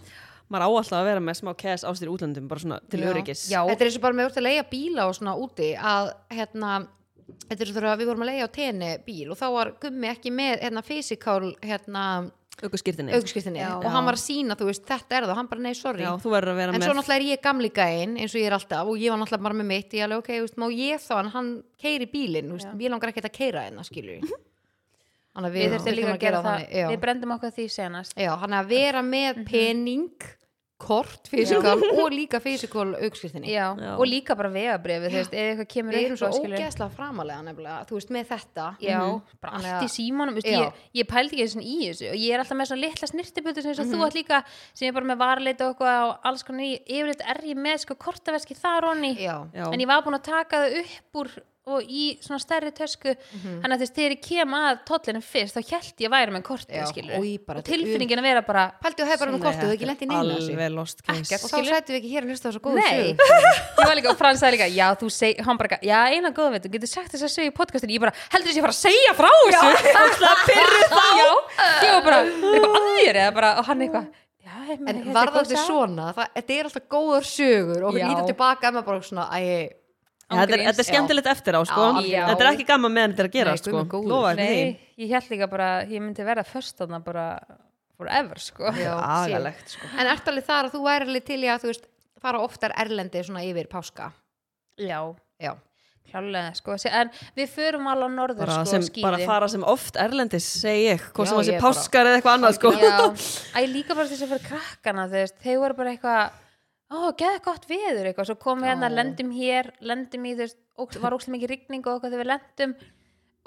maður á alltaf að vera með smá cash á sér í útlöndum bara svona til
Já.
öryggis
Já.
Þetta er eins og bara með úr til að leiga bíla og svona úti að hérna Þetta er þurfa að við vorum að leiga á tenni bíl og þá var gummi ekki með hérna fysikál hérna
aukuskýrtinni
augskvistinni
Já.
og hann var að sína þú veist þetta er það og hann bara nei sorry
Já, þú verður að vera
en svo
með
náttúrulega er ég gamli gæinn eins og ég er alltaf og ég var náttúrulega bara með mitt ég alveg ok, þú veist, má ég þá en hann keiri bílinn, þú veist, ég langar ekki að keira hennar skilur þannig að við,
Mhm. Við þurfum líka að gera það,
þannig, já.
við Mhm. brendum okkur því senast
Já, hann er að vera með pening kort, fysikál og líka fysikál augskristinni
já.
Já.
og líka bara vegabrefið, þú veist, eða eitthvað kemur
við
upp
erum svo
og skilur-
ógeðslega framalega nefnilega, þú veist, með þetta
já, bara
Mhm. Þannig
allt í
að-
símanum veist,
Já.
ég, ég pældi ekki einu sinni í þessu og ég er alltaf með svona litla snirtibutu sem mm
Mhm.
þú átt líka, sem ég er bara með varleita og eitthvað og alls konar í, yfirleitt er ég með sko kortaverski þar onni
Já.
Já.
en ég var búin að taka það upp úr og í svona stærri tösku
Mhm.
þannig að þú veist, þegar ég kem að tollinu fyrst þá held ég að væri með kortið,
Já,
skilur
oj, bara
og tilfinningin að vera bara
Pældu að hefur bara um kortu, þau ekki lent í neina þessu
alveg lost case
Ekkert.
og þá
skilur.
sætum við ekki hér að hlusta á svo góðu
Nei,
sögu
ég var líka og Frans sagði líka Já, þú seg, hann bara, eitthvað, já, eina góða veit Þú getur sagt þess að segja í podcastinu Ég bara, heldur þess að ég fara að segja frá þessu Það pyrru þá Já, ég var bara, er eitthvað að þér Eða bara, og hann eitthvað Já, ég meina,
En
þetta er
varðandi
góð saga.
svona, það, þetta er alltaf góðar sögur og
Já.
lítið tilbaka emma bara svona, æ,
Ja, þetta, er,
Ángríns.
þetta er skemmtilegt eftir á sko.
Já.
þetta er ekki gaman meðan þetta er að gera
Nei, guð
sko.
minn góður.
Lofa þér því.
Nei, ég held líka bara, ég myndi verða Först þarna bara, forever, sko
já,
agalegt,
shit. En ert alveg þar að þú væri alveg til í að þú veist, fara oftar erlendi svona yfir páska
Já,
Já,
klálega, sko En við förum alveg á norður,
bara,
sko,
sem,
skíði
bara fara sem oft erlendis segi ég, hvort
Já,
sem það sé
ég bara-
páskar eða eitthvað annað sko.
Já, að ég líka bara þess að fyrir krakkana þú veist, þeir voru bara eitthvað ó, geða gott veður eitthvað, svo komum við hérna
Já.
lendum hér, lendum í þú veist óx- var ókslega mikið rigning og eitthvað þegar við lendum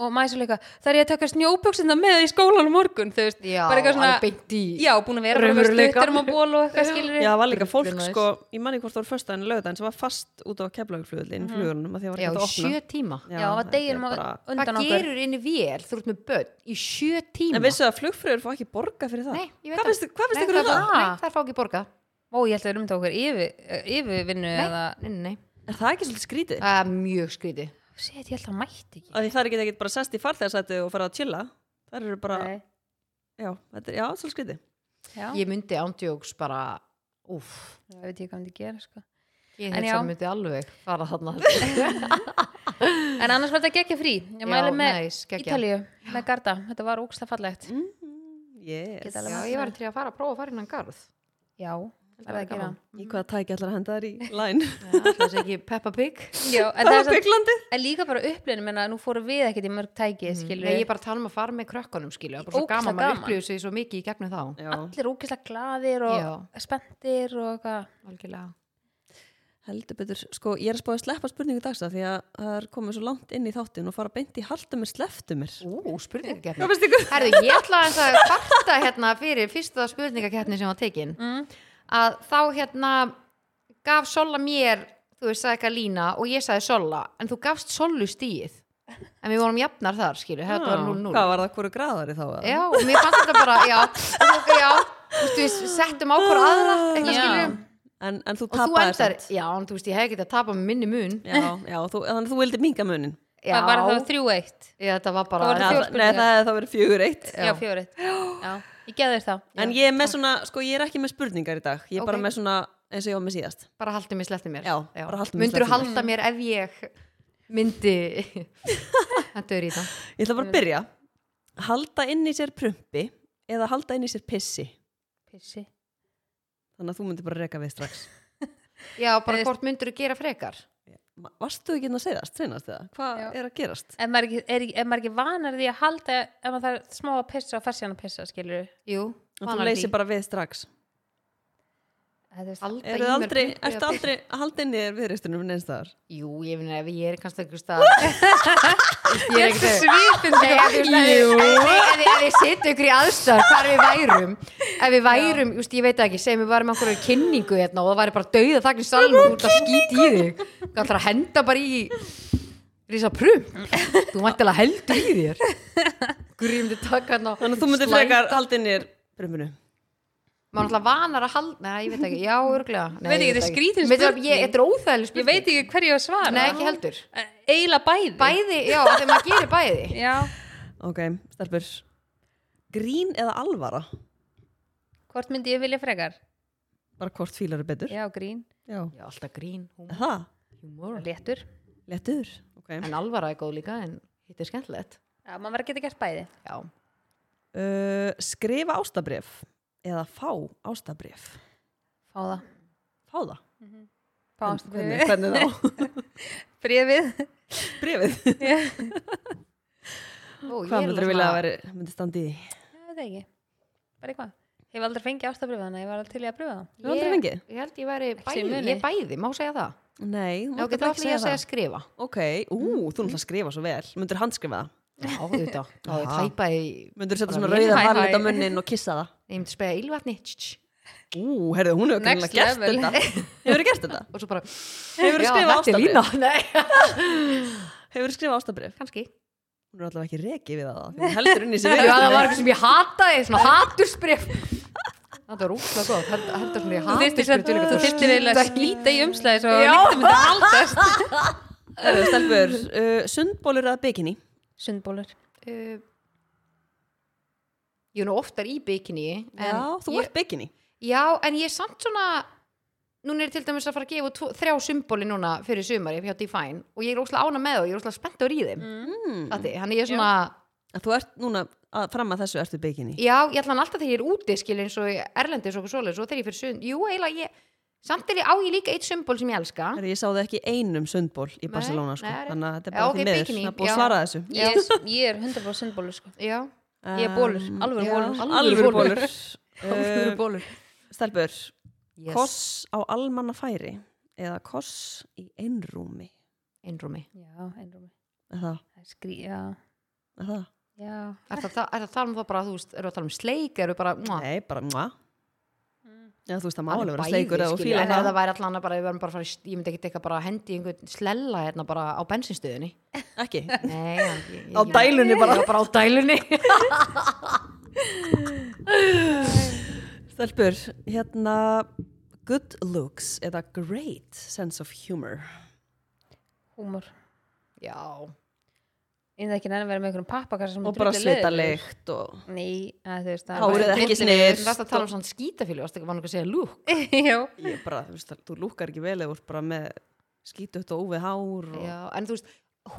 og maður svo líka, það er ég að taka snjóbuxina með í skólanum morgun, þú veist
já
bara eitthvað svona,
alveg beint í
já, búin að vera bara með
Raunveruleikann.
stutturum og ból um og eitthvað
<laughs>
skilur
Já, það var líka fólk
Drullunæs.
sko, ég manni hvort það voru föstudaginn lögð en sem var fast út á keflagurflugulli inn í flugurunum að því að var
Já,
ekki
í
hægt að opna
sjö tíma
já,
þetta
var
er
deginum
bara...
á-
Hvað
undan okkur
gerur inn í vél, þú ert með börn í sjö tíma
En vissu að flugfröður fá ekki borga fyrir það?
Nei, ég veit
Hvað
það.
finnst hvað finnst
Nei,
ykkur um
það-
það?
Nei, það er fá ekki borga
ó, ég held að við erum tókur yfir, yfirvinnu
Nei,
eða
nei, nei, nei.
Er það ekki svolítið skrítið?
það er mjög skrítið
sétt, ég held að hann mætti ekki
Af því það er ekki ekkert bara sest í farþegarsæti og fara að chilla Það eru bara,
Nei.
já, þetta er, já, svolítið skrítið
já,
Ég myndi ándjóks bara, úff
ég veit ekki hvað hann myndi gera sko
Ég
En
held
já.
sem myndi alveg fara þarna
En annars var þetta geggja frí Ég mæli með
nice, Mm. geggjað.
Ítalíu, með Garda Þetta var ógsta fallegt
Yes,
Geta alveg-
Já, ég var til að fara að prófa að fara innan garð
Já, það
væri
var gaman
gaman.
í hvaða tæki allar að henda þær í læn
Það er ekki Peppa Pig
Já,
<laughs>
Það
en, það
var
er samt,
bygglandi
en líka bara upplifinu menna, nú fórum við ekkert í mörg tæki skilur
Nei, ég
við,
er bara að tala um að fara með krökkunum skilu, það er bara svo
Ógeðslega
gaman, maður
gaman.
upplýðu sig svo mikið í gegnum þá.
Já,
allir ókislega glaðir og spenntir og eitthvað
Algjörlega.
heldur betur Sko, ég er að spáði að sleppa spurningu dags af því að það er komið svo langt inn í þáttin og fara beint í halda mér, slepptu mér
Ú, spurningakeppni.
Hvað finnst ykkur?
Herðu, ég ætla aðeins að kvarta hérna fyrir fyrsta spurningakeppni sem var tekin.
Mm.
Að þá hérna gaf Sola mér, þú veist, sagði eitthvað lína og ég sagði Sola, en þú gafst Solu stíið. En við vorum jafnar þar, skilu, þetta var 0-0.
Hvað var það hverju gráðari þá? eða?
Já, og mér fannst þetta bara, já, þú, já, þú veist, við settum á hver aðra, eitthvað
Já.
skilu.
En, en þú
Og þú
tapaði
endar, já, en þú veist, ég hef ekki að tapa með minni mun.
Já, já, þú, þannig að þú vildi minga munin
Já,
Það var það þrjú eitt
Já, þetta var
Það
bara
var
Nei,
fjórar
það nei, það hefði þá verið fjögur eitt
Já, já fjóri
<gasps>
eitt Já, ég geði þér það
En ég er með svona, sko ég er ekki með spurningar í dag Ég er bara
Ok.
með svona, eins og ég var með síðast
bara haldið mér slepptið mér
Já, bara haltu mig,
myndur þú halda
slepptu mér.
mér ef ég myndi <laughs> þetta er í það
Ég ætla bara að byrja Halda inn í sér prumpi eða halda inn í sér pissi
Pissi
Þannig að þú myndir bara reka við strax
já, bara
Eða-
hvort myndur þú gera frekar
Ma- Varstu ekki að segja það, treinast eða? Hvað
Já.
er að gerast?
Ef maður ekki, er, ekki- ef maður ekki vanar því að halda ef maður það er smá að pissa og fersjan að pissa skilur
jú,
En þú leysir bara við strax
við
Halda
Eru
í mér
aldrei,
pumpu
ertu
eða
aldrei að halda inn í þér viðreistunum neins þar?
pissi? Jú, ég finn ef ég er kannski einhver stað <laughs> Ég er ekki svipin
sko.
Nei, ef þú veist, ef
Jú.
við- nei, ef við- ef við sittum ykkur í aðstöð hvar við værum Ef við værum, just, ég veit það ekki segjum við varum með einhverju kynningu hérna og það væri bara dauða þakni salm og þú ert að skýti í þig Þú ætlar að henda bara í Rísa prum Þú mættilega heldur í þér Gríum þið taka hérna
Þannig að þú myndir frekar halda inn í þér prumpinu
Má náttúrulega vanar að halda Nei, ég veit ekki, já, örglega
Veit ekki, þetta er skrítin spurning.
Þetta er óþægileg
Ég
spurning
veit ekki hverju ég á að svara
Nei, ekki heldur
Eila bæði
Bæði, já, þegar maður gerir bæði
Já,
ok, stelpur grín eða alvara
Hvort myndi ég vilja frekar?
bara hvort fílar er betur
Já, grín,
Já.
Já, alltaf grín, húmor,
það,
húmor.
léttur
letur okay.
En alvara er góð líka, en hitt er skemmtilegt.
Já, maður verður að geta gert bæði
Já.
uh, skrifa ástabref eða fá ástabref
Fá það
fá það,
Fá
hvernig,
<laughs>
hvernig þá
<laughs>
Brífið
brefið,
Ó,
hvað myndir vilja að vera myndi standi í,
Ég veit það ekki, bara eitthvað Ég hef aldrei fengið ástabrifað þannig, að ég var aldrei til í að pröfa það
Þú hefur aldrei
Ég-
fengið?
Ég held ég væri
Ekki sem
bæði,
muni.
ég er bæði, má segja það.
nei,
Já,
þú
getur allir ég að segja skrifa.
ok, ú, þú náttúrulega skrifa svo vel myndir handskrifa það,
Já, auðvitað. Já, ég
Já.
tæpa í,
myndir setja
Bara
svona
mín
rauða
hæ, hæ.
varlit á munnin og kissa það
ég myndi spega ylvatni, tss, tss,
ú, herðu, hún hefur greinilega
Next
gert
level.
þetta <laughs> hefur gert þetta,
og svo bara,
hefur
já,
skrifað
þetta er lína.
ástabref
Nei,
hefur skrifað ástabref,
kannski.
hún er allavega ekki rekið við það því hún heldur inn í sig
Já,
við
það var eitthvað sem ég hataði, svona hatursbrif. Þetta var úrslega gott, held- heldur svona ég
Þú þyrftir
hatursbrif
samt-
til
þú
eitthvað.
þyrftir eiginlega að skýta í umslæði svo
Já.
líkt myndi haldast
Herðu, stelpur, uh, sundbólur eða bikini
Sundbólur
Uh, Ég er nú oftar í bikini en
já, þú
ég,
ert bikini
Já, en ég er samt svona Núna er ég til dæmis að fara að gefa út tvo, þrjá symbóli núna fyrir sumari hjá Define og ég er óslega ána með þau, ég er óslega spenntur í þeim
mm.
Þatti, Þannig ég er svona,
að þú ert núna að, fram að þessu ertu bikini
já, ég ætlan alltaf þegar ég er úti skil eins og í erlendis og svoleiðis og þegar ég fyrir sund, jú, eiginlega ég samt er ég á ég líka eitt symbol sem ég elska
Herri, ég sá það ekki í einum sundból í
Nei,
Barcelona sko.
nei, það er-
þannig að þetta er
Já,
bara
ok,
því miður
bikini,
það er búið
já.
að svara þessu
Ég ég er 100% sundbólur sko
Já,
Ég er bólur,
Um,
alvöru
já,
bólur.
alvöru
Alvöru
<laughs> bólur
alvöru
Uh,
bólur
stelpur,
yes.
koss á almannafæri eða koss í einrúmi
Einrúmi
Já, einrúmi
er það,
Það er skrí, já,
er það?
já
Er það það er það að tala um það bara, þú veist, eru að tala um sleik, eru bara, mwah,
nei, bara mjá já, þú veist það
Mm.
má
Hann er
alveg vera
bæði,
sleikur eða þú
skilur,
fílar
en ef það væri allan að bara, við verðum bara að fara, í- ég myndi ekki eitthvað bara að hendi í einhvern slella hérna bara á bensinstöðinni
<laughs> ekki
Nei, já, ég, ég,
Á dælunni bara.
Já, bara á dælunni
Stelpur, hérna good looks eða great sense of humor
Húmor
Já,
Ég er ekki nefnir að vera með einhverjum pappakassa sem
og bara
drullu leiðilegur.
svitalykt og
Nei, að þú veist það
Hárið
er
ekki
Þú
snyrst
varst að tala um svona skítafílu, varst ekki var nokkuð að segja lúk
ekki <laughs> Já,
ég er bara, þú veist, þú lúkar ekki vel eða þú ert bara með skítutt og óvið hár og
Já, en þú veist,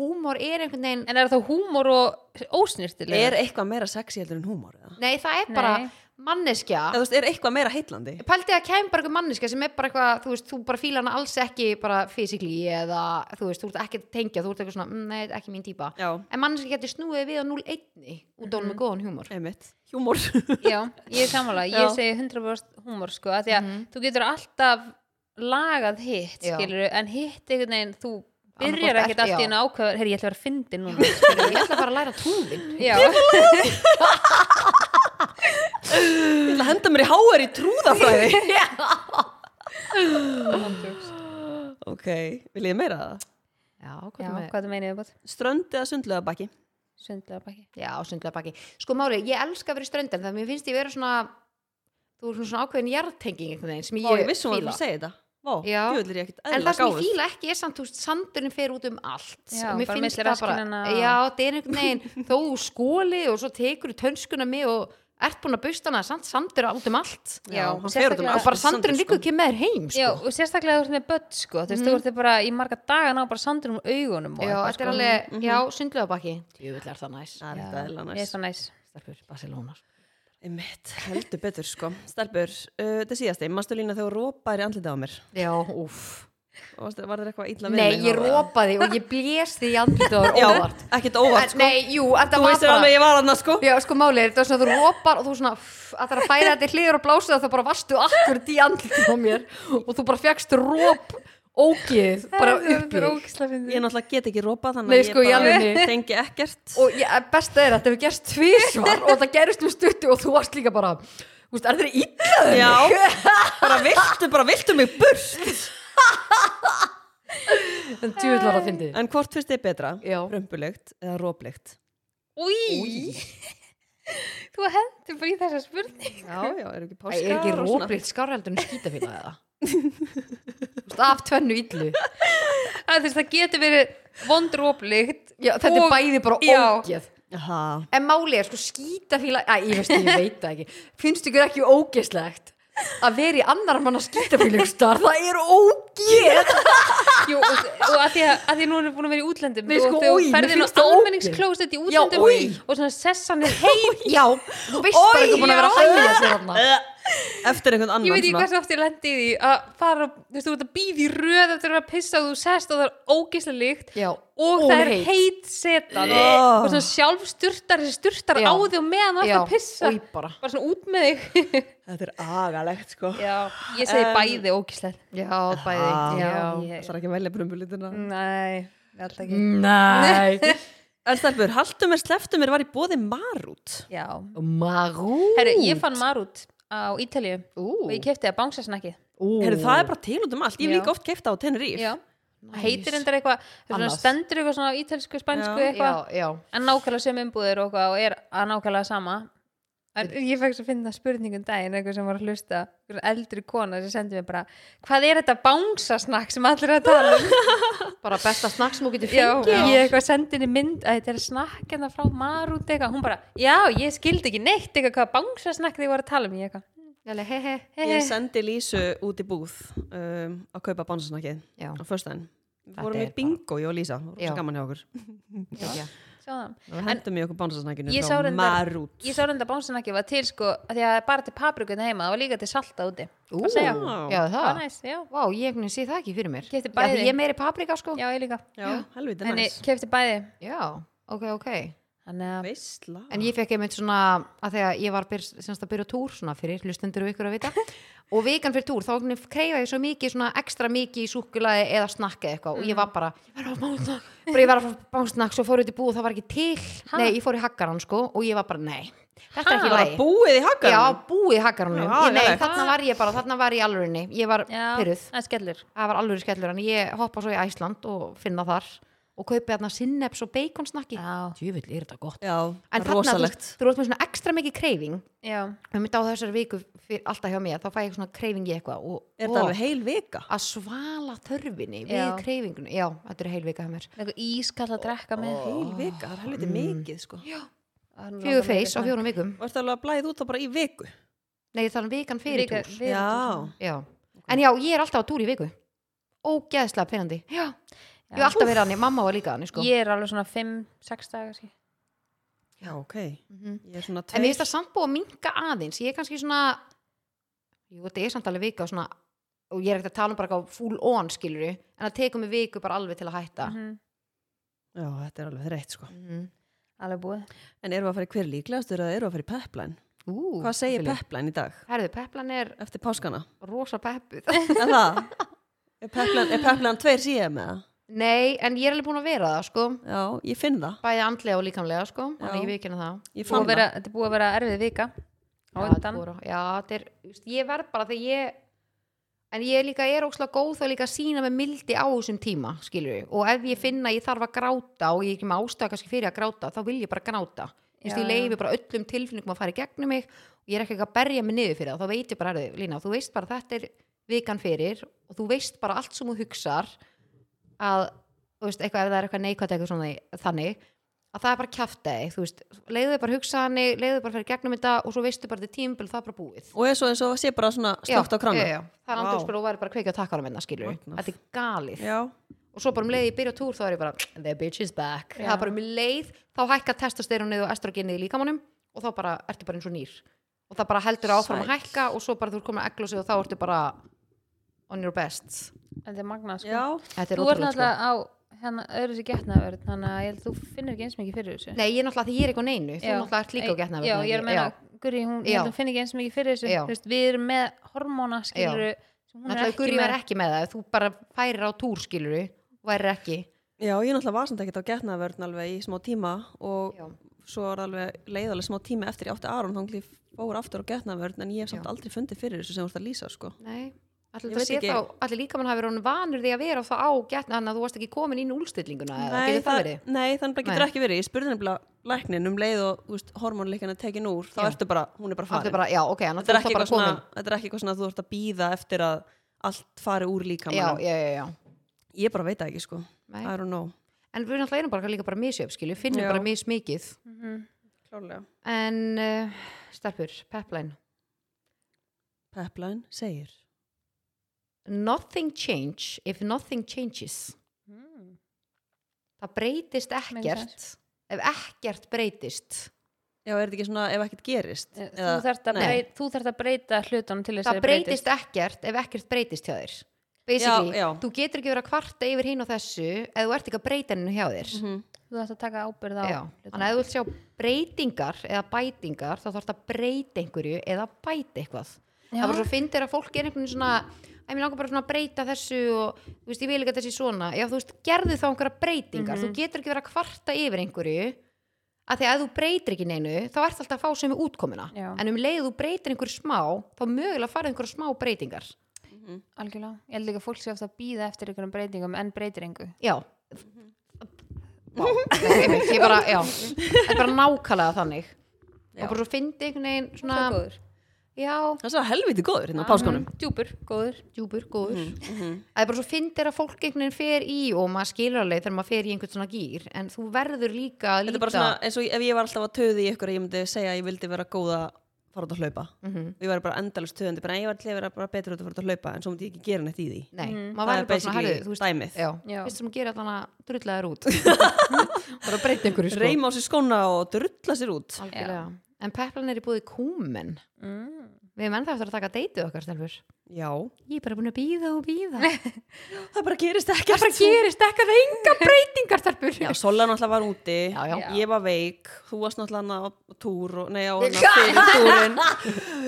húmor er einhvern veginn
en er það húmor og ósnýrtilega
er eitthvað meira sexy heldur en húmor eða?
Nei, það er bara
Nei.
manneskja
eða þú veist, er eitthvað meira heitlandi
Pældi að kemur bara einhver manneskja sem er bara eitthvað, þú veist, þú bara fíla hana alls ekki bara fysikli eða, þú veist, þú ert ekki að tengja, þú ert eitthvað svona, "Mm, nei, þetta er ekki mín típa.
já,
En manneskja getur snúið við á 0-1 út á hún með góðan húmor.
einmitt, húmor <laughs>
Já, ég er sammála,
Já.
ég segi 100% húmor sko, að því að þú getur alltaf lagað hitt,
Mhm. Já.
skilur en hitt einhvern veginn, þú
Annaðhvort
byrjar
ert-
ekkert allt í
já.
einu ákveður herri, ég ætla að vera að fyndi núna
<laughs> Ég ætla að fara að læra trúðin
Já,
ég ætla að henda mér í háar í trúðafræði
<laughs>
já,
ok, vil ég meira það?
Já, hvað er með
hvað þú meinið bótt?
strönd eða sundlega baki
Sundlega baki
Já, sundlega baki Sko Mári, ég elska að vera í ströndin Það mér finnst ég vera svona Þú er svona, svona ákveðin jarðtenging einhvern veginn Sem
Vá,
ég,
ég vissum að
fíla
þú segir þetta Vá,
Já.
djöfull er ég ekkert
En
eðlilega
það sem ég
gáfuð.
fíla ekki er samt, þú veist, sandurinn fer út um allt
Já,
og mér
bara
finnst
milli
það bara,
rassskinnanna.
já, það er einhvern veginn þó þú skoli og svo tekur þú tönskuna mig og ert búin að busta hana samt, sandur út um allt
Já,
hann fer út um
sérstaklega-
allt,
og bara
þessi
sandurinn
sandur,
líka ekki með þér heim
Já,
sko. Mhm.
og sérstaklega þú ert með börn sko, þú veist, þú ert bara í marga daga ná bara sandur um augunum og
já,
eitthvað,
þetta er alveg, já, sundlega baki Jú, Mhm. er það næs
Það er
Já,
ekkert eðlilega
Ég er
næst.
svo næs
Stelpur, Barcelona
Einmitt, heldur betur sko. Stelpur, uh, þetta síðast einn, mannstu lína þegar rópaðir í andlitið á mér.
Já, úff
Og varstu- var það eitthvað illa við
Nei,
mig
ég
þá,
rópaði og ég blés því í andlitið og það
Já,
var óvart
ekkert óvart
En-
sko.
Nei, jú, þetta
Þú
var
veistir
bara
alveg ég var hann sko.
Já, sko málið, er, þetta var svona þú rópar og þú svona pff, að það er að færa þetta í hliður og blása það þá bara vastu akkur í andlitið á mér og þú bara fegst róp ógið bara upp
Það er
úr.
ógislega fyndið.
Ég náttúrulega get ekki rópað þannig
Nei,
að
sko, í
ég bara
alvörunni.
tengi
<laughs>
ekkert.
og ég, besta er að þetta hefur gerst tvísvar og það gerist um stuttu og þú varst líka bara Þú veist, er þetta illa?
Já, bara viltu, bara viltu mig
<laughs>
burt.
En tjúðlar að fyndi
En hvort finnst þið betra?
Já.
Römpulykt eða róplykt?
Új Þú hendur bara í þessa spurning <laughs>
Já, já, er ekki páskar
Er ekki
og svona?
róplikt skárheldur en skítafíla eða? Þú veist, af tvennu illu
að þú veist það getur verið vondróplikt
Já, þetta
Og-
er bæði bara
Já.
ógeð
Aha.
en máli er sko skítafíla að ég veist, ég veit það ekki finnst ykkur ekki ógeslegt að vera í annar manna skítafíla það er ógeð
Jú, og, og að, því að, að því að nú erum við búin að vera í útlöndum
Nei, sko,
og þú
oj, mér
ferðin á
finnst það ógeð.
almenningsklóset í útlöndum
oj.
og svona sessan er heim
já, þú veist bara ekki búin að vera að hægja sér hann
Eftir einhvern annan
ég veit ekki
svona.
hversu oft ég lendi í því að fara, þú veist, þú ert að býði í röð eftir að vera að pissa og þú sest og það er ógeðslega líkt
já,
og það er
óheit.
heit setan
Oh.
og svona sjálf sturtar þessi sturtar
Já.
á því og meðan það er
já,
að pissa
oj bara
bara svona út með þig
Þetta er agalegt sko
<laughs> já, ég segi
Um,
bæði ógeðslega
já, bæði
Ah.
já, ég,
Það er ekki að velja brumbulitina
nei, alltaf ekki
Nei
En stelpur, haldum mér, sleftum mér var í bóði marút
já,
<laughs> Marú
herru, ég fann marút á Ítalíu
Ú,
og ég kefti að bangsasnakki
ú.
Heyrðu, það er bara til út um allt, ég hef
Já.
líka oft keift á Tenerife
já
Næs.
heitir endar eitthvað, það er svona
Annað.
stendur eitthvað svona á ítalsku, spænsku
Já.
eitthvað
Já, já
en nákvæmlega sem umbúðir og, eitthvað og er að nákvæmlega sama en ég fækst að finna spurningum daginn einhver sem var að hlusta, einhver eldri kona sem sendi mér bara, hvað er þetta bánsasnakk sem allir eru að tala um
Bara besta snakk sem þú getur
já,
fengið
<laughs> ég eitthvað sendi henni mynd að þetta er snakk en það frá marút eitthvað, hún bara, já, ég skildi ekki neitt eitthvað hvað bánsasnakk þið voru að tala um ég eitthvað,
Jæli, he he
hei,
Ég sendi Lísu út í búð um, að kaupa bánsasnakið
Já,
á föstudaginn. Við
Þetta
vorum
er
í
bara-
bingo, ég og Lísa, það var
Já.
svo gaman hjá okkur.
já
hei
Við hendum í okkur bánsasnakinu
Ég sá
frá
reyndar-
marút.
ég sá reynda bánsasnakki var til sko, að því að það er bara til paprikuna heima, það var líka til salta úti
Ú,
Að segja.
já
það var
það
næst, já
Vá, ég einhvern veginn sé það ekki fyrir mér
Keypti
Já,
bæði.
því Ég er meiri paprika sko
Já, ég líka.
Já, helviti
Þannig
næs.
kefti bæði.
Já, ok, ok
Þannig að,
Veistla.
En ég fekk einmitt svona að þegar ég var byr, semst að byrja á túr svona fyrir hlustendur og ykkur að vita og vikan fyrir túr þá einhvern veginn kreifa ég svo mikið svona ekstra mikið í súkulaði eða snakka eitthvað og ég var bara, ég var að fá bánsnakk bara ég var að fá bánsnakk, svo fór ég út í búð og það var ekki til
Ha?
nei, ég fór í haggarann sko og ég var bara, nei þetta er ekki lægi
Það var búið í
Já,
hagganum.
búið í haggarannu
Já,
Nei,
vel.
þarna var ég bara, þarna var ég alvörinni Ég var
já,
pyrruð,
það er skellur.
það var alvöru skellur En ég hoppa svo í Æsland og finna þar Og kaupi þarna sinneps og beikonsnakki
Já.
Djúvill, er þetta gott
Já,
En þarna, þú veist,
rosalegt.
þú veist með svona ekstra mikið kreifing
Já.
Við mitt á þessari viku fyrir alltaf hjá mér Þá fæ ég svona kreifing í eitthvað og,
Er
og
þetta alveg heil vika?
að svala þörfinni við
Já.
kreifingunni Já, þetta er heil vika hjá mér
Eitthvað ískall að drekka með.
Heil vika, það er helviti mikið, sko.
Fjögur feis á fjórum vikum
Og ertu alveg að blæða út þá bara í viku?
Nei, það er vikan fyrir
Vika-
túr
Við erum
Já.
Já, en já, ég er alltaf á túr í viku Ógeðslega penandi Já, ég
Já.
hef alltaf verið hann, mamma var líka hann sko.
Ég er alveg svona 5-6 dagar síðan.
Já, ok.
Mhm.
Ég er svona
En mér finnst
tveir.
það samt búið að minka aðeins Ég er kannski svona Jú, þetta er samt alveg vika og svona og ég er ekkert að tala um bara eitthvað full on skilur en það tekur mig viku bara alveg til að hætta
Mhm.
Mhm. mm
Já, þetta er alveg reitt, sko.
Alveg búið.
En eru að fara í hver líklegast eða eru að fara í pepline?
Ú,
Hvað segir
skilur.
pepline í dag?
Herðu, peplan er
Eftir páskana?
rosa peppuð
<laughs>
<laughs>
Er það? Er peplan, er peplan tveir síðan með það?
Nei, en ég er alveg búin að vera það sko
Já, ég finn það.
Bæði andlega og líkamlega sko Þannig
Já.
að ég vikina það
Ég
Búið
fann
að vera, þetta er búið að vera erfið vika. Á
Já, þetta
undan.
voru- já, þetta er, þú veist, ég verð bara þegar ég en ég líka er ókslega góð þá líka að sína með mildi á þessum tíma skilur við, og ef ég finna að ég þarf að gráta og ég er ekki með ástæða kannski fyrir að gráta þá vil ég bara gráta, þú veist,
Já,
ég leifi bara öllum tilfinningum að fara í gegnum mig og ég er ekki að berja mig niður fyrir það, þá veit ég bara "Heyrðu, Lína, þú veist bara að þetta er vikan fyrir og þú veist bara allt sem þú hugsar að, þú veist, eitthvað ef það er eitthvað neikvæmt eitthvað svona þannig að það er bara kjaftaði, þú veist, leiðu bara hugsaðanni, leiðu bara fyrir gegnum þetta og svo veistu bara þetta tímbil það er bara búið
Og eins og eins og það sé bara svona slögt á
já,
krana.
já. það er
Vá.
andurspil og væri bara að kveikja á takkanum minna skilur við,
Magnað.
þetta er galið
Já.
og svo bara um leið ég byrja á túr þá er ég bara the bitch is back,
Já.
það er bara um leið þá hækka testosterónið og estrogenið í líkamannum og þá bara ertu bara eins og nýr og það bara heldur áfram að
Sæll.
hækka og svo bara þú er komin að eglósið og þá ertu bara on your best
Þetta er magnað, sko.
Já.
þetta er
Þú ert
ótrúlega sko.
náttúrulega á hérna, öðru sér getnaverð, þannig að ég held að þú finnir ekki eins mikið fyrir þessu.
nei, ég er náttúrulega því ég er ekki á neinu þú
Já.
náttúrulega ert líka á getnaverð
Já, ég er að meina, Guri, hún, ég
Já.
held að hún finnir ekki eins mikið fyrir þessu.
Já.
Þú veist, við erum með hormóna, skilur, sem hún er
Náttúrulega Guri
ekki
var
með.
ekki með það, þú bara færir á túr skilur og værir ekki
Já, ég náttúrulega var samt ekkert á getnaverðin alveg í smá tíma og
Já.
svo var alveg leiðalega smá tíma eftir ég átti Aron, þá ég fór aftur á getnaverðin en ég hef samt
Já.
aldrei fundið fyrir þessu sem þú ert að lýsa, sko.
Nei, allir
Ég
þetta
veit
sé
ekki.
þá allir líka mann hafi verið honum vanur því að vera þá á getna hann að þú varst ekki komin inn í úlstillinguna eða getur það
það-
verið
nei, þannig bara getur
Nei.
ekki verið. Ég spurði nefnilega læknin um leið og þú veist, hormónleikin er tekin úr, þá
Já.
ertu bara, hún er bara
Aftur
farin.
bara, já, ok, hann
þetta er ekki
bara
eitthvað svona,
komin
þetta er ekki eitthvað svona að þú ert að býða eftir að allt fari úr
Já,
líkamann
já, já, já
ég bara veit það ekki sko,
Nei.
I don't know
En við náttúrulega erum bara líka bara misjöf, skilju, finnum
Já.
bara mismikið
Mhm.
mm. Klálega
en uh, starpur, pepline
Pepline segir
nothing change if nothing changes
mm.
það breytist ekkert
sense.
ef ekkert breytist
Já, er þetta ekki svona ef ekkert gerist?
Þú þarft, að
nei.
breyta, þú þarft að breyta hlutunum til þess að
það
þeir
breytist ekkert ef ekkert breytist hjá þér basically,
Já, já.
þú getur ekki verið að kvarta yfir hinn og þessu ef þú ert ekki að breyta hennu hjá þér
Mhm.
Þú þarft að taka ábyrð á
já, þannig að ef þú vilt sjá breytingar eða bætingar, þá þarf það að breyta einhverju eða bæta eitthvað það var svo fyndir að fólk er einhvern veginn svona að mér langar bara svona að breyta þessu og þú veist, ég vil ekki að þessi svona já, þú veist, gerðu þá einhverja breytingar
Mhm.
þú getur ekki verið að kvarta yfir einhverju að því að ef þú breytir ekki neinu þá ert alltaf að fá sem við útkomuna
Já.
en um leið þú breytir einhverju smá þá mögulega farið einhverju smá breytingar
Algjörlega, ég held líka að fólk sé ofta að býða eftir einhverjum breytingum en breytir engu
já Vá,
Mhm.
nei, einmitt, ég bara, já þetta er bara nákvæmlega þannig
Já.
og bara svo fyndi einhvern veginn svona,
Það er góður,
já,
Það er svo helviti góður hérna á páskunum
djúpur, góður
djúpur, góður
Mhm.
það er bara svo fyndir að fólk einhvern veginn fer í og maður skilur alveg þegar maður fer í einhvern svona gýr en þú verður líka að
Þetta
líta
er bara svona eins og ef ég var alltaf að töði í ykkur að ég myndi segja að ég vildi vera góð að fara út að hlaupa
Mhm.
og ég var bara endalust töðandi bara "Nei, ég var til að vera bara betur út að fara út að hlaupa en svo myndi ég ekki gera neitt í því
nei,
Mhm.
maður verður
Það er
bara svona
basically
herðu, þú veist,
dæmið.
já,
Já.
fyrst sem að gera þannig að drulla þér út
<laughs>
bara breyta einhverju sko
Reima á sér skóna og drulla sér út
Algjörlega. en peplan er í búið kúmen
mm.
við erum ennþá eftir að taka deytið okkar stelfur
Já
ég er bara búin að býða og
<laughs>
býða
Það bara gerist ekkert
bara gerist ekkert það er enga breytingar þarpur
Já, Sola náttúrulega var úti
Já, já.
Ég var veik, þú varst náttúrulega hann á túr og,
<laughs>
Nei, á hann fyrir túrin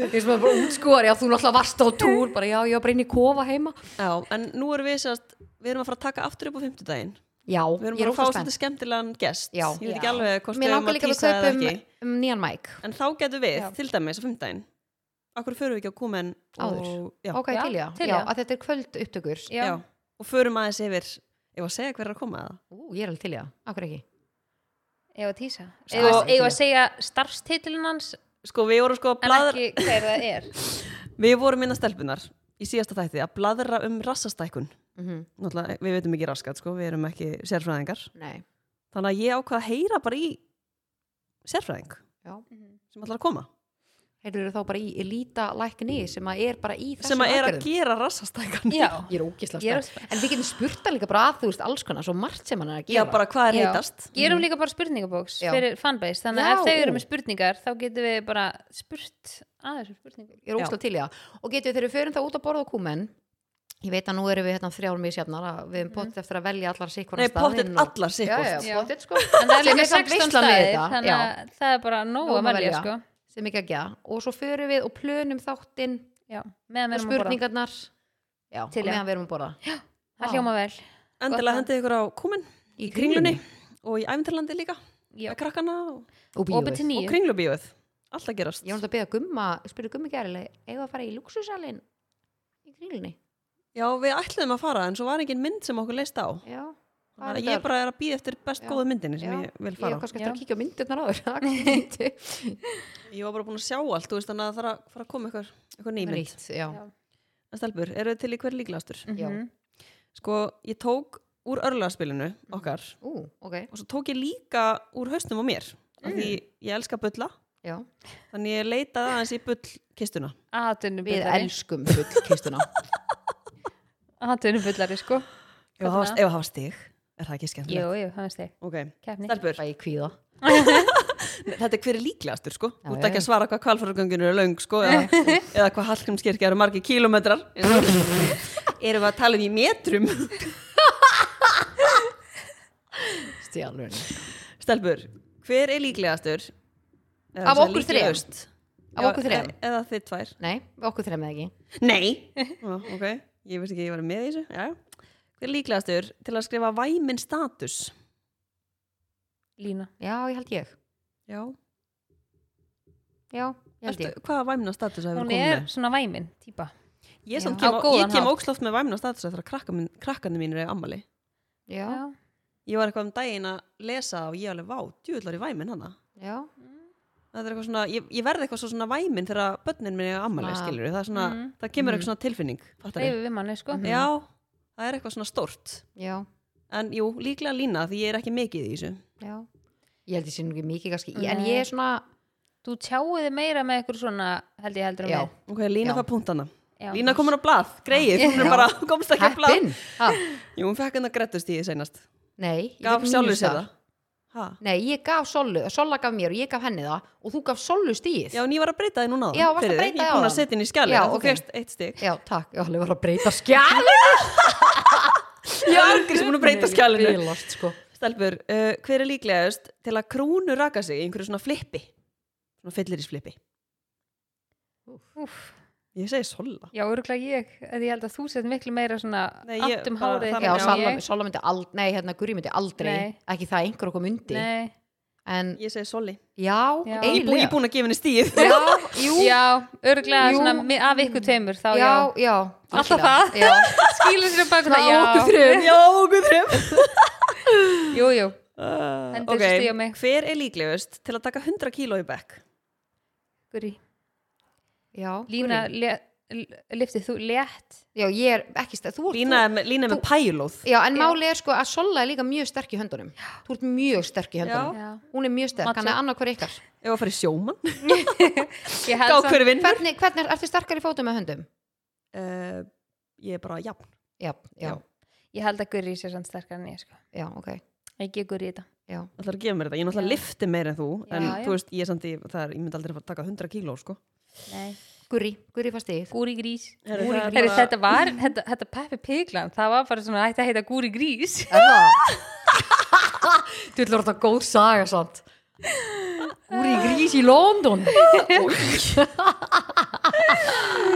ég sem bara útskóðar, já þú náttúrulega varst á túr bara já, ég var bara inn í kofa heima
Já, en nú erum við sérst Við erum að fara að taka aftur upp á fimmtudaginn
já,
Við erum
ég er
bara að fá
óslega
svolítið
spennt
skemmtilegan gest
Já.
Ég veit
Já.
ekki alveg hvort
mér
við erum
langar
að
líka að
tísa
við
eða ekki
kaupum um nýjan mæk
En þá getum við,
Já.
til dæmis, á fimmtudaginn Akkur förum við ekki á kúmen og,
Áður.
já,
ok,
Já,
til já,
til
já,
já.
að þetta er kvöld upptökur
Já.
já. og förum aðeins yfir Ég var að segja hver er að koma að
ú, ég er alveg til já, akkur ekki
Eða að tísa
Sko-
Eða að segja starfstitilin hans
Sko, við vorum sko að
en
bladra
ekki hver það
<laughs>
er
Við vorum inn að stelpunar í síðasta þætti að bladra um rassastækun.
mm -hmm.
Náttúrulega, við veitum ekki raskat, sko, við erum ekki sérfræðingar.
nei,
Þannig að ég ákvað að heyra bara í sérfræðing
já
sem ætlar að koma.
Þeir eru þá bara í elita lækni sem að er bara í þessum
sem að er að
aðgerðum.
gera rassastækun.
Já,
Ég er ógislega
Ég er
spennt. En við getum spurta líka bara að þú veist alls konar, svo margt sem hann er að
<laughs> Já,
gera.
bara hvað er
Já.
heitast.
gerum um líka bara spurningabóks
Já.
fyrir fanbase Þannig
Já,
að ef þau
ú.
eru með spurningar þá getum við bara spurt aðeins um spurningar
Ég er ógislega til í það. Og getum við þegar við förum þá út að borða og kúmen, ég veit að nú erum við hérna þrjár misjafnar að við erum
Mhm.
pottet eftir að velja allar sikkur
Nei, pottet allar
Já,
sikkort.
já,
Já.
pottet sko.
En það er
Sem
líka
er samt
16
veislan við
staðir
þetta,
Þannig að það er bara nóg
Nóg
að
að
velja
velja.
sko.
Sem ekki að gera. Og svo förum við og plönum þáttinn
Já, meðan
og
við erum að borða
spurningarnar. Já, og
Til í það.
meðan við erum að borða.
Það hljóma vel
Endilega
Gott
hendið ykkur á kúmen
Í
í kringlunni og í æfintarlandi líka.
Já.
Með krakkana og,
Og
Opið til
bíóið.
og
nýju
kringlubíuð. Allt að gerast.
Ég var náttúrulega að beða gumma, spyrja gummi gærilega, eigum við að fara í luxusalinn í kringlunni?
Já, við ætluðum að fara en svo var engin mynd sem okkur leist á.
Já. Það er
Þannig að
þetta-
Ég bara er að býða eftir best
Já.
góðu myndinni sem
Já.
ég vil
Ég
fara
er
á.
kannski
Já.
eftir að kíkja á myndirnar áður það er kannski fyndi. <laughs>
<laughs>
Ég var bara búin að sjá allt, þú veist þannig að það er að fara að koma ykkur, ykkur nýmynd.
Nýtt, já.
Já.
En stelpur, eru þið til í hver líklegastur?
Já.
Mhm.
Sko, ég tók úr örlaðspilinu okkar
Ú, ok,
og svo tók ég líka úr hausnum á mér. Mm. Því ég elska bulla,
já
þannig ég leitaði aðeins í bullkistuna.
Atvinnum
Við
bullari
elskum <laughs> fullkistuna
Atvinnum bullari sko
Ef það var- ef það var stig, er það ekki skemmtilegt?
Jú, jú, það veist þig
Ok,
Keppni
stelpur,
Það ég kvíða
þetta er hver er líklegastur sko.
Já,
Þú ert
já,
ekki
já.
að svara hvað kvalfarugöngunir eru löng sko, eða, eða hvað Hallgrímskirkja eru margir kílómetrar. <laughs> Erum við að tala um í metrum?
Stjálfurinn
Stelpur, hver er líklegastur? Eða
Af
sem er
okkur þrem.
líklegust?
Af
Já,
okkur þrem.
e- Eða þið tvær
Nei, við okkur þremið ekki
Nei <laughs> Já, Ok, ég veist ekki að ég var með í þessu Já. Hver er líklegastur til að skrifa væminn status?
Lína
Já, ég held ég
Já
Já, ég held
Ertu,
ég
Hvaða væmna status hefur
Hún
komið
er
með?
svona væmin típa
Ég, samt
Já.
kem,
Á
á-
góðan
ég kem
hátt.
óksloft með væmna status eftir að krakka minn, krakkandi mínir er ammali
Já,
Já.
Ég var eitthvað um daginn að lesa og ég alveg vá, djúðlar í væminn hana
já
Það er eitthvað svona, ég, ég verði eitthvað svo svona væminn þegar börnin minn er ammali,
Svona-
skilur Það, er svona,
Mhm.
það kemur eitthvað svona tilfinning fattarðu?
Reyfi við manni sko
Mhm.
Já, það er eitthvað svona stórt
Já,
En jú, líklega lína því ég er ekki mikið í þessu
já ég held ég sé nú ekki mikið kannski Ég- en
Nei.
ég er svona
Þú tjáuði meira með ykkur svona held ég heldur um
já,
Ok, Lína
Já.
fær punktana.
Já.
Lína komin á blað, greið, hún er
Já.
bara, <laughs> hún komst ekki á blað.
heppin Ha,
Jú, hún fekk hennar grettust í seinast.
nei, ég
Gaf
fékk
sjálfur
níu
sér
star.
það. Ha?
nei, ég gaf Sollu, Solla gaf mér og ég gaf henni það og þú gaf Sollu stíð
Já, en ég var að breyta þið núna. áðan
Já, varstu
fyrir
að
þig.
breyta
Ég
því
er búin að
áðan.
setja inn í skjali.
Já,
þú
ok.
fékkst
<laughs>
eitt stig.
já takk, ég alveg var að breyta skjali
Ég er algrís búin að breyta skjalinu.
bilast, sko.
Stelbur, uh, hver er líklegast til að krúnu raka sig í einhverju svona flippi? Svona fyllirisflippi.
Úf,
Ég segi solla.
já, örgulega ég, eða ég held að þú sett miklu meira svona
Nei, ég
átt um
bara-
hárið
það
já,
Já,
Solla, Solla myndi aldrei, nei, hérna Guri myndi aldrei
Nei.
ekki það einhver okkur myndi
Nei,
en
Ég segi solli.
já,
Já.
Ég er bú, ég er
eiginlega
búin að gefa henni stíð.
já, jú,
já, örgulega
Jú.
svona mi- af ykkur tveimur þá já,
já, já
Alltaf
virkilega.
<laughs> það.
já.
skýlur sér
<laughs>
bak
Já, okkur
<laughs>
þrjum. Já, okkur þrjum.
Jú, jú,
Uh,
Hendur þessu stigi á mig.
hver er líklegast til að taka 100 kíló í bekk?
Guri
já,
Lína, le- l- lyftið þú létt
já, ég er ekki stað þú ert,
Lína er með, lína er með pælóð.
þú, já, en
Já.
máli er sko að Solla er líka mjög sterk í höndunum þú ert mjög sterk í höndunum
Já.
hún er mjög sterk,
Matsó.
hann er annað hver ykkar
Ef að fara í sjóman.
Ég held samt-
Gákur vinnur.
hvernig, hvernig ertu sterkar í fótum með höndum?
Uh, ég er bara jafn.
já, já,
Já.
Ég held að Guri sé sann sterkar en ég sko
já, ok
Ég gef Guri í þetta
já,
Það er að gefa mér þetta. Ég náttúrulega
Já.
lifti meira en þú.
Já,
en
já.
þú veist, ég, er samt, í- það er, ég myndi aldrei fara að taka 100 kíló, sko.
Nei.
Guri, Guri fast í
Gúri grís
Herru,
Gúri
það er
grís
bara-
Þetta var, þetta, þetta Peppi Piglan Það var bara svona, ætti að heita Gúri grís
Þú ætlar þetta góð saga samt Úr í grís í <laughs> London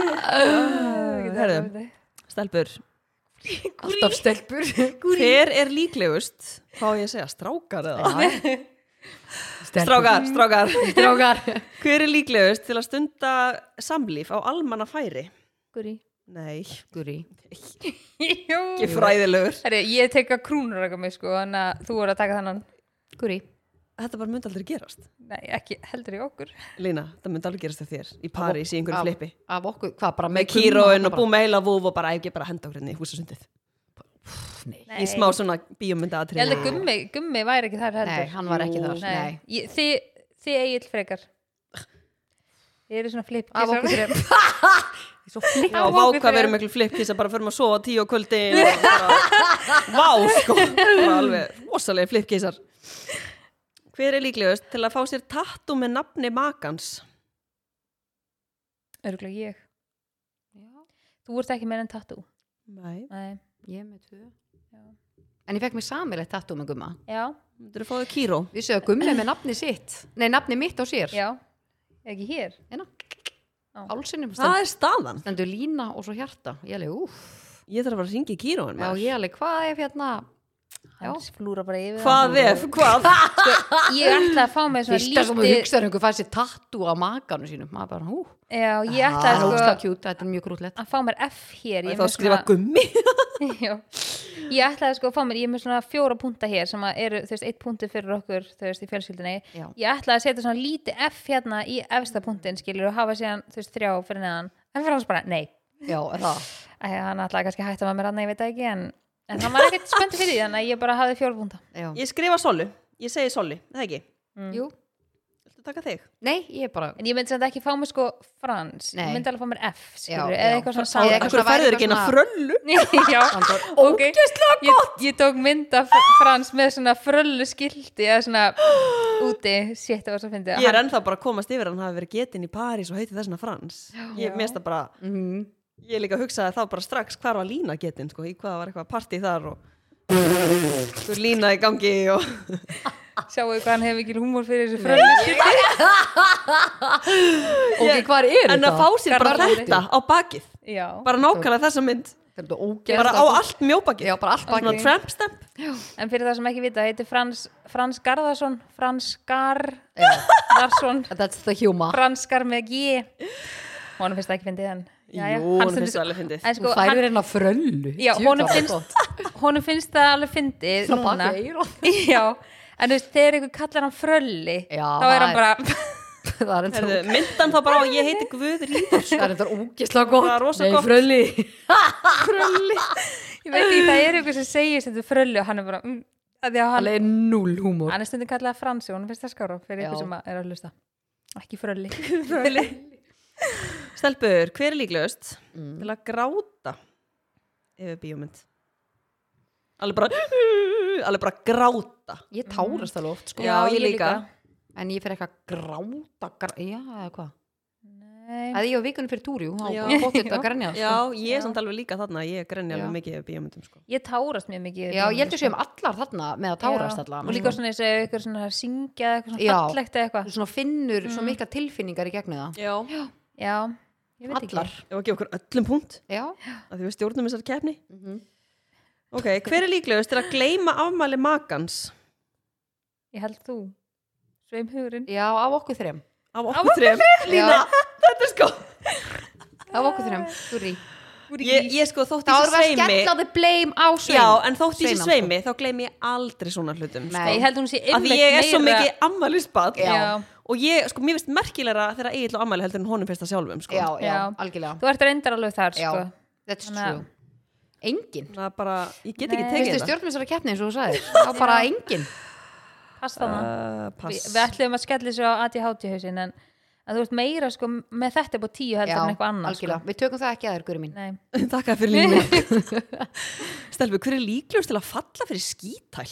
Eh, Herðu, stelpur
Alltaf stelpur
Hver er líklegust? Hvað á ég að segja? Strákar eða?
Strákar
Strákar, strákar
Strákar
Hver er líklegust til að stunda samlíf á almanna færi?
Guri
Nei,
Guri
<laughs> Jú
ekki fræðilegur
Herri, ég tek að krúnur eitthvað mig sko en að þú voru að taka þannan
Guri
Þetta bara myndi aldrei gerast
Nei, ekki heldur í okkur
Lína, þetta myndi aldrei gerast hjá þér Í París í einhverju flippi
Af okkur, hvað bara
Með
gumma
kýróin og
bara-
búið með heila vúf og bara ekki bara henda okkur henni í húsasundið
Nei,
Nei.
Í smá svona bíómynda
Ég held að
aðtrið
gummi, gummi væri ekki þar heldur
Nei, hann var ekki þar Nei
Ég, Þið, þið eigil frekar Þið eru svona flip
Af okkur þrejum
<laughs>
Svo flink
Já,
Á,
vá
við
hvað
þurfum-
verðum miklu flipp Kissa bara förum að sofa á tíu á kvöldi
<laughs>
Vá sko bara alveg rosalega flipp kissar Hver er líklegust til að fá sér tattu með nafni makans?
Örgulega ég Þú ert ekki meira en tattoo
Nei
Nei.
Ég með tvö En ég fekk mér samilegt tattu með gumma
Já,
Þú eru að fá þér kýró
Við séu að gummi með nafni sitt Nei, nafni mitt á sér
já Ekki hér
Hérna
Á.
Hálsinum
Það er staðan
stendur lína og svo hjarta ég alveg, úff,
Ég þarf að fara að ringa í kýróin
já ég alveg, hvað ef hérna Já.
Hann flúra bara yfir
Hvað ef, hvað?
það. Ég ætla að fá mig
fyrsta
svona
sem við
lítið
hugsaðum einhver fæði sér tattu á makanu sínum maður bara, hú,
Já, ég ætla
það er
að,
ógsta
sko,
kjút þetta er mjög grútlegt,
að fá mér F
Ég
hér Ég
þá
er með
skrifa gummi <laughs>
svona- <laughs> Já. Ég ætla að sko að fá mér Ég er með svona fjóra punta hér sem að eru, þú veist, eitt punti fyrir okkur, þú veist, í fjölskyldinni
Já.
Ég ætla að setja svona lítið F hérna í efsta puntin, skilur, og hafa síðan, þú veist, þrjá fyrir neðan En fyrir hans bara, nei,
já, er það
Æ, hann ætlaði kannski að hætta með mér annað, ég veit það ekki en, en hann var
<laughs>
ekkert spenntið fyrir því þannig að ég bara hafði fjólbúnda
já.
Ég skrifa solu, ég segi solu, það ekki
jú,
Viltu taka þig?
nei, ég er bara
en ég myndi sem ekki fá mér sko frans
Nei.
ég myndi alveg fá mér F skilur,
Já,
eða
já.
eitthvað svona
Eða
saman
eitthvað
Akkur
svona væri
færður ekki eina
eitthvað
fröllu?
já, ok ég, ég tók mynda frans með svona fröllu skildi eða svona úti, sétt það var svo fyndið
Ég er ennþá bara að komast yfir að hann hafi verið getinn í París og heiti þessna Frans Ég mest að bara
mm,
Ég líka hugsaði þá bara strax hvar var Lína getinn sko, í hvað var eitthvað partí þar og þú er Lína í gangi og
hann, sjáu hvað hann hefur ekki húmór fyrir þessu fröllu skildi
ok, hvað er þetta?
en að fá sér bara
Garðar-
þetta á bakið
já,
bara nákvæmlega þessa mynd
þetta er ógeðslega
bara á allt mjóbakið
já, bara allt
svona
bakið
tramp stamp
en fyrir það sem ekki vita heiti frans, frans Garðarsson frans
Já,
Garðarsson
that's the humor
franskar með G og hann finnst það ekki fyndið en jæja,
Jú, hann
stundum-
finnst það alveg fyndið
en sko,
hún færir
hann,
hérna fröllu
já,
Djú,
honum
það var gott.
finnst honum finnst það alveg fyndið
Svona
núna.
bakið eyrað.
<laughs> já, en þú veist, þegar ykkur kallar hann frölli
Já,
þá er hann
það
bara
<laughs> það er enda
Herðu, myndan þá bara á ég heiti Guður Líður
það er enda ógeðslega
Það er
gott
rosa
nei,
gott.
frölli
ég veit ekki, það er ykkur sem segir þetta frölli og hann er bara mm, að því að hann,
alveg null húmor
hann er stundum kallað Fransi og hann finnst það skára fyrir
Já.
ykkur sem að- er að hlusta ekki frölli frölli
Stelpur, hver er líklegust
mm.
til að gráta yfir bíómynd? Alveg <laughs> bara, alveg bara gráta.
ég tárast alveg oft sko
Já, ég líka.
en ég fer eitthvað að gráta grá, já, eða hvað
Nei.
eða ég á vikunum fyrir túrjú
Já.
og bóttið að
Já.
grænja sko.
Já, ég er samt alveg líka þarna, ég grenni
Já.
alveg mikið yfir bíómyndum sko.
ég tárast mjög mikið
já, ég heldur séum allar þarna með að tárast allar
og líka svona þess að ykkur svona að syngja eða eitthvað svona
Já.
fallegt eða eitthvað
svona finnur
Mm.
svo mikla tilfinningar í gegnum það
Já. Ef
já, ég veit
allar,
að gefa okkur öllum punkt,
já
að því við stjórnum þessar keppni.
Mhm.
Ok, hver er líklegust til að gleyma afmæli makans
ekki ég held þú, sveim hugurinn
já, af okkur þrem
á okkur þrem? Lína, þetta er sko...
af okkur þrem, túrjú
Ég, ég sko þótt
þá
ég
erum við
sé
að
sveimi
skella the blame á sveim
Já, en þótt ég sé
Sveinan, sko.
sveimi, þá gleym ég aldrei svona hlutum
Nei.
sko.
ég held hún sé
Af því ég er svo mikið ammælisbad
Já.
Og ég, sko, mér finnst merkilegra þegar Egil og ammæli heldur en honum finnst það sjálfum sko.
já, já,
Já.
algjörlega
þú ert reyndar alveg þar
já,
sko.
that's
Þannig að-
true engin,
Það er bara, ég get ekki
Nei.
tekið
veistu
þetta
stjórnmjössara keppni eins og þú
<laughs>
sagðir þá bara engin
pass þarna
uh,
Vi,
Pass
við ætlum að skella þessu á ADHD hausin en en þú ert meira sko með þetta upp á tíu heldur en eitthvað annað sko.
algjörlega, við tökum það ekki aður, guri mín
Nei.
<laughs> Takk fyrir línu Stelbu, hver er líklegust til að falla fyrir skítæl?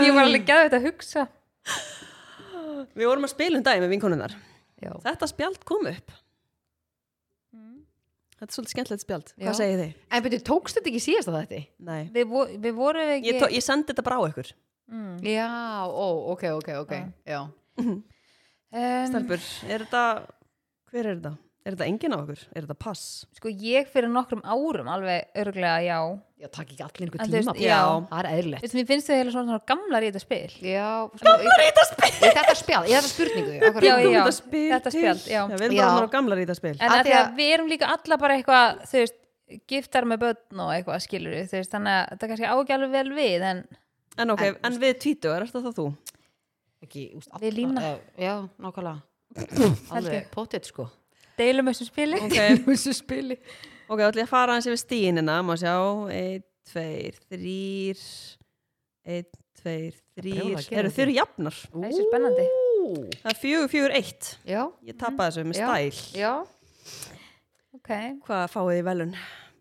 ég var alveg gæðið að hugsa
Við vorum að spila um daginn með vinkonunnar
Já.
Þetta spjald kom upp Þetta er svolítið skemmtilegt spjald
Já.
Hvað segið þið?
en betur, tókst þetta ekki síðast að þetta?
Nei
við, vo, við vorum ekki
Ég, tó, ég sendi þetta bara á ykkur
mm.
já, ó, ok, ok, ok já,
um,
Stelbur, er þetta Hver er þetta? Er þetta enginn á okkur? Er þetta pass?
sko ég fyrir nokkrum árum alveg örglega já
já takk ekki allir einhver
En þú
tíma
veist,
bara.
já.
það er eðlilegt
Veistu, mér finnst þau heila svona, svona gamlar í þetta spil
já, sko, í,
Þetta spil!
í þetta spjall, í þetta spurningu akkur,
Já, já.
Þetta spil,
Þetta
til.
spjald, já.
Við
Já.
erum bara orðnar of gamlar í þetta spil
en
Af
að
því
því
að-
að við erum líka alla bara eitthvað þú veist, giftar með börn og eitthvað skilur við, þú veist, þannig að þetta kannski á ekki alveg vel við en
En ok, en, við tvítugar, er þetta þá þú?
ekki, úst,
Við Lína.
eh, já, nákvæmlega alveg
ég.
pottet sko
deilum þessu spili
Ok,
þessu spili
ok, þá ætlum ég að fara aðeins yfir stíinina Má sjá, einn, tveir, þrýr Einn, tveir,
brjálæði að gera
þrýr Eru
þetta.
þeir eru jafnar?
Það er svo spennandi. Mhm.
Það er fjögur, fjögur, eitt
já,
Ég tappa þessu með
já,
stæl
já
ok,
Hvað fáið þið í velun?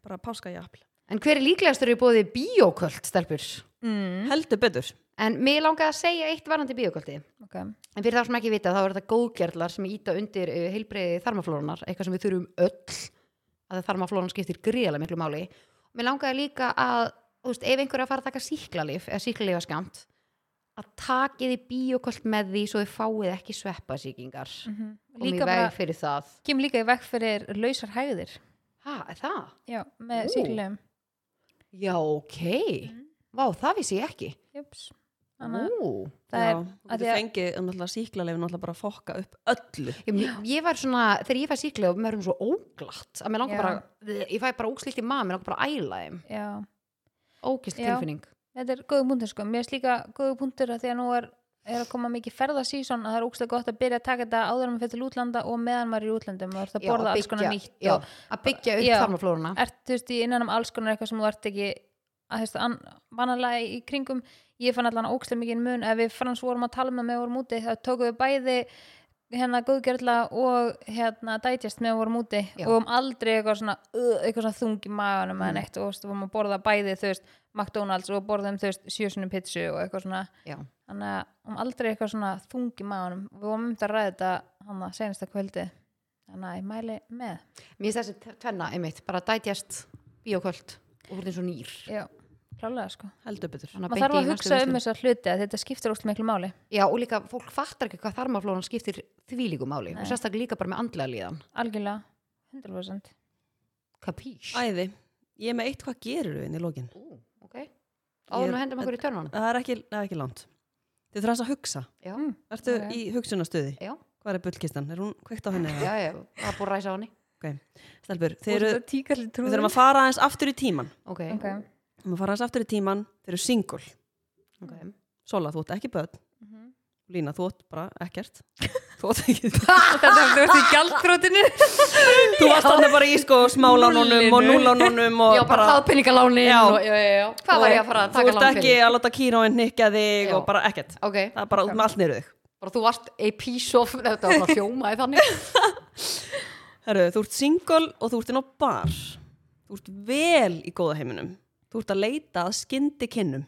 Bara páska jafn
en hver er líklegastur í bóði bíóköld, stelpur
mm.
Heldur betur
en mig langaði að segja eitt varandi bíóköldi
okay.
En fyrir það sem ekki vita þá eru þetta góðgerðlar sem íta undir uh, heilbreiði þarmaflórunar, eitthvað sem við þurfum öll að þarmaflóran skiptir gríðarlega miklu máli. Mér langaði líka að, þú veist, ef einhver er að fara að taka síklarlif eða síklarlifa skamt, að takið í bíokolt með því svo þið fáið ekki sveppasíkingar. Mm
Mm
-hmm. Líka
líka
veg
bara,
fyrir það.
kem líka í vekk fyrir lausar hægðir
Ha, er það?
já, með
Ú.
síklulegum
Já, ok. Mm. Vá, það vissi ég ekki.
Jups. Þannig að
Ú.
það er
Já, þú
að
getur
því að-
fengið um náttúrulega síklarleif náttúrulega bara að fokka upp öllu
Ég, ég var svona, þegar ég fæ síklarlif, mér erum svo óglatt að mér langar
Já.
bara, ég fæ bara ógslilt í maður, mér langar bara að æla þeim.
já,
Ógist
Já.
tilfinning.
þetta er góðu punktur sko mér er slíka góðu punktur að því að nú er, er að koma mikið ferðasísón að það er ókslega gott að byrja að taka þetta áður en maður fyrir til útlanda og meðan maður er í útlandum og það
Já,
borða
að
alls konar
byggja-
nýtt
já,
og
að byggja upp
Já.
þarmaflóruna
ert þú veist í innan um alls konar eitthvað sem þú ert ekki að þú veist an, vanalega í kringum ég fann allan ókslega mikið mun ef við frans vorum að tala með með vorum úti þá tókum við bæði hérna góðgerðla og hérna digest með vorum úti
Já.
og um aldrei eitthvað svona, uh, eitthvað svona þung í maganum eða neitt og þú veist, vorum að borða bæði þú veist McDonalds og borðum þú veist sjösunum pizzu og eitthvað svona
já,
þannig að um aldrei eitthvað svona þung í maganum við vorum um þetta að ræða þetta hann að senasta kvöldi þannig að ég mæli með
mér finnst þessi tvenna einmitt, bara digest, bíoköld og hún er svo nýr
Já, klálega sko
heldur betur
Þannig
maður þarf
beint
að
í næstu
hugsa um
verslun.
þessar hluti að þetta skiptir óslega miklu máli
já, og líka fólk fattar ekki hvað þarmaflóran skiptir þvílíku máli og sérstaklega líka bara með andlega líðan
algjörlega, 100%
kapís
Æði, ég er með eitt hvað gerir þau inn í lokin
Ú, ok, áður
Ég-
nú hendum okkur í törnunum
Það er ekki, það er ekki langt Þið þurfa að hugsa
já,
Ertu
Ok.
í hugsunastöði?
já,
Hvað er bullkistan? Er hún kveikt á henni?
já, já, það er búið að ræsa á henni
Okay. Stelbur, þið eru,
tíkalli
við
<laughs>
þurfum að fara aðeins aftur í tíman
ok,
ok,
Við þurfum að fara aðeins aftur í tíman Þið eru single
ok,
Sola, þú ert ekki börn
Mhm.
Lína, þú átt bara
<laughs>
ekkert Þú átt ekki
Þetta er þú ert í gjaldrótinu
Þú varst þarna bara í sko smálánunum og
Núllinu.
núlánunum og
Já, bara hraðpenningalánin
Já.
og, já, já, já. Hvað var ég að fara að taka
Þú ert
lán
ekki
fyrir?
að láta kíróin nikja þig
Já.
og bara ekkert
Ok,
Það er bara út með allt niður þig
bara þú varst a piece of, <laughs> þetta var bara hljómaði þannig
Herru, þú ert single og þú ert inn á bar Þú ert vel í góða heiminum Þú ert að leita að skyndi kinnum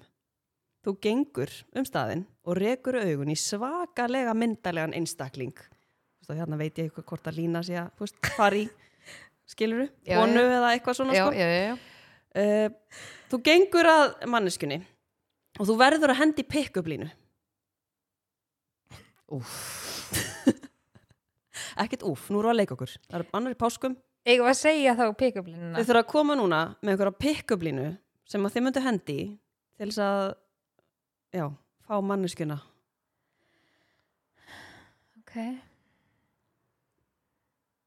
Þú gengur um staðinn og rekur augun í svakalega myndalegan einstakling Þú veist að hérna veit ég eitthvað hvort að lína sé að, þú veist, fari skiluru,
Já,
vonu eða eitthvað svona
Já,
sko.
já, já, já
Eh, þú gengur að manneskunni og þú verður að hendi pick-up línu <laughs> ekkert úf, nú erum við að leika okkur það er annar í páskum,
Ég var að segja þá
þau
pick-up-linuna
þurfa að koma núna með einhverja pick-up línu sem að þið myndu hendi í til þess að já, fá manneskuna
okay.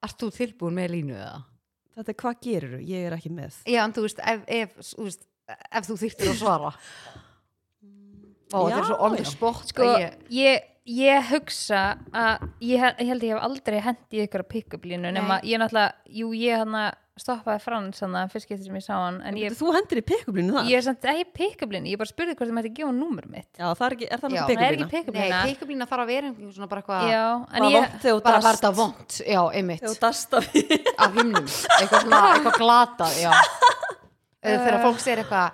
Ert þú tilbúin með línu eða?
þetta er hvað gerirðu, ég er ekki með
Já, en þú veist, ef, ef, þú veist, ef þú þyrftir að svara Vá, þetta er
Já,
svo on the
já.
spot
Sko,
að ég,
ég, ég hugsa að ég, he- ég held að ég hef aldrei hendi í ykkur á pick-up-línu nema
Nei.
ég náttúrulega, jú, ég hann stoppaði frans hann að fyrst getur sem ég sá hann en ég,
þú hendir í pick-up línu það
ég er samt ekki pick-up-línu, ég bara spurði hvort það mætti gefa númur mitt
já, það er ekki, er það
Já,
ekki
það
pick-up
er ekki
Nei,
lína
pick-up-lína
teikublína þarf að vera einhvern svona Ah. bara eitthvað
Já, en
það er
ég,
vont þegar þú
bara var
dast-
þetta vond, já, einmitt
þegar þú dast
<laughs>
af
af himnum, eitthvað svona, eitthvað glatað já, eða þegar fólk segir eitthvað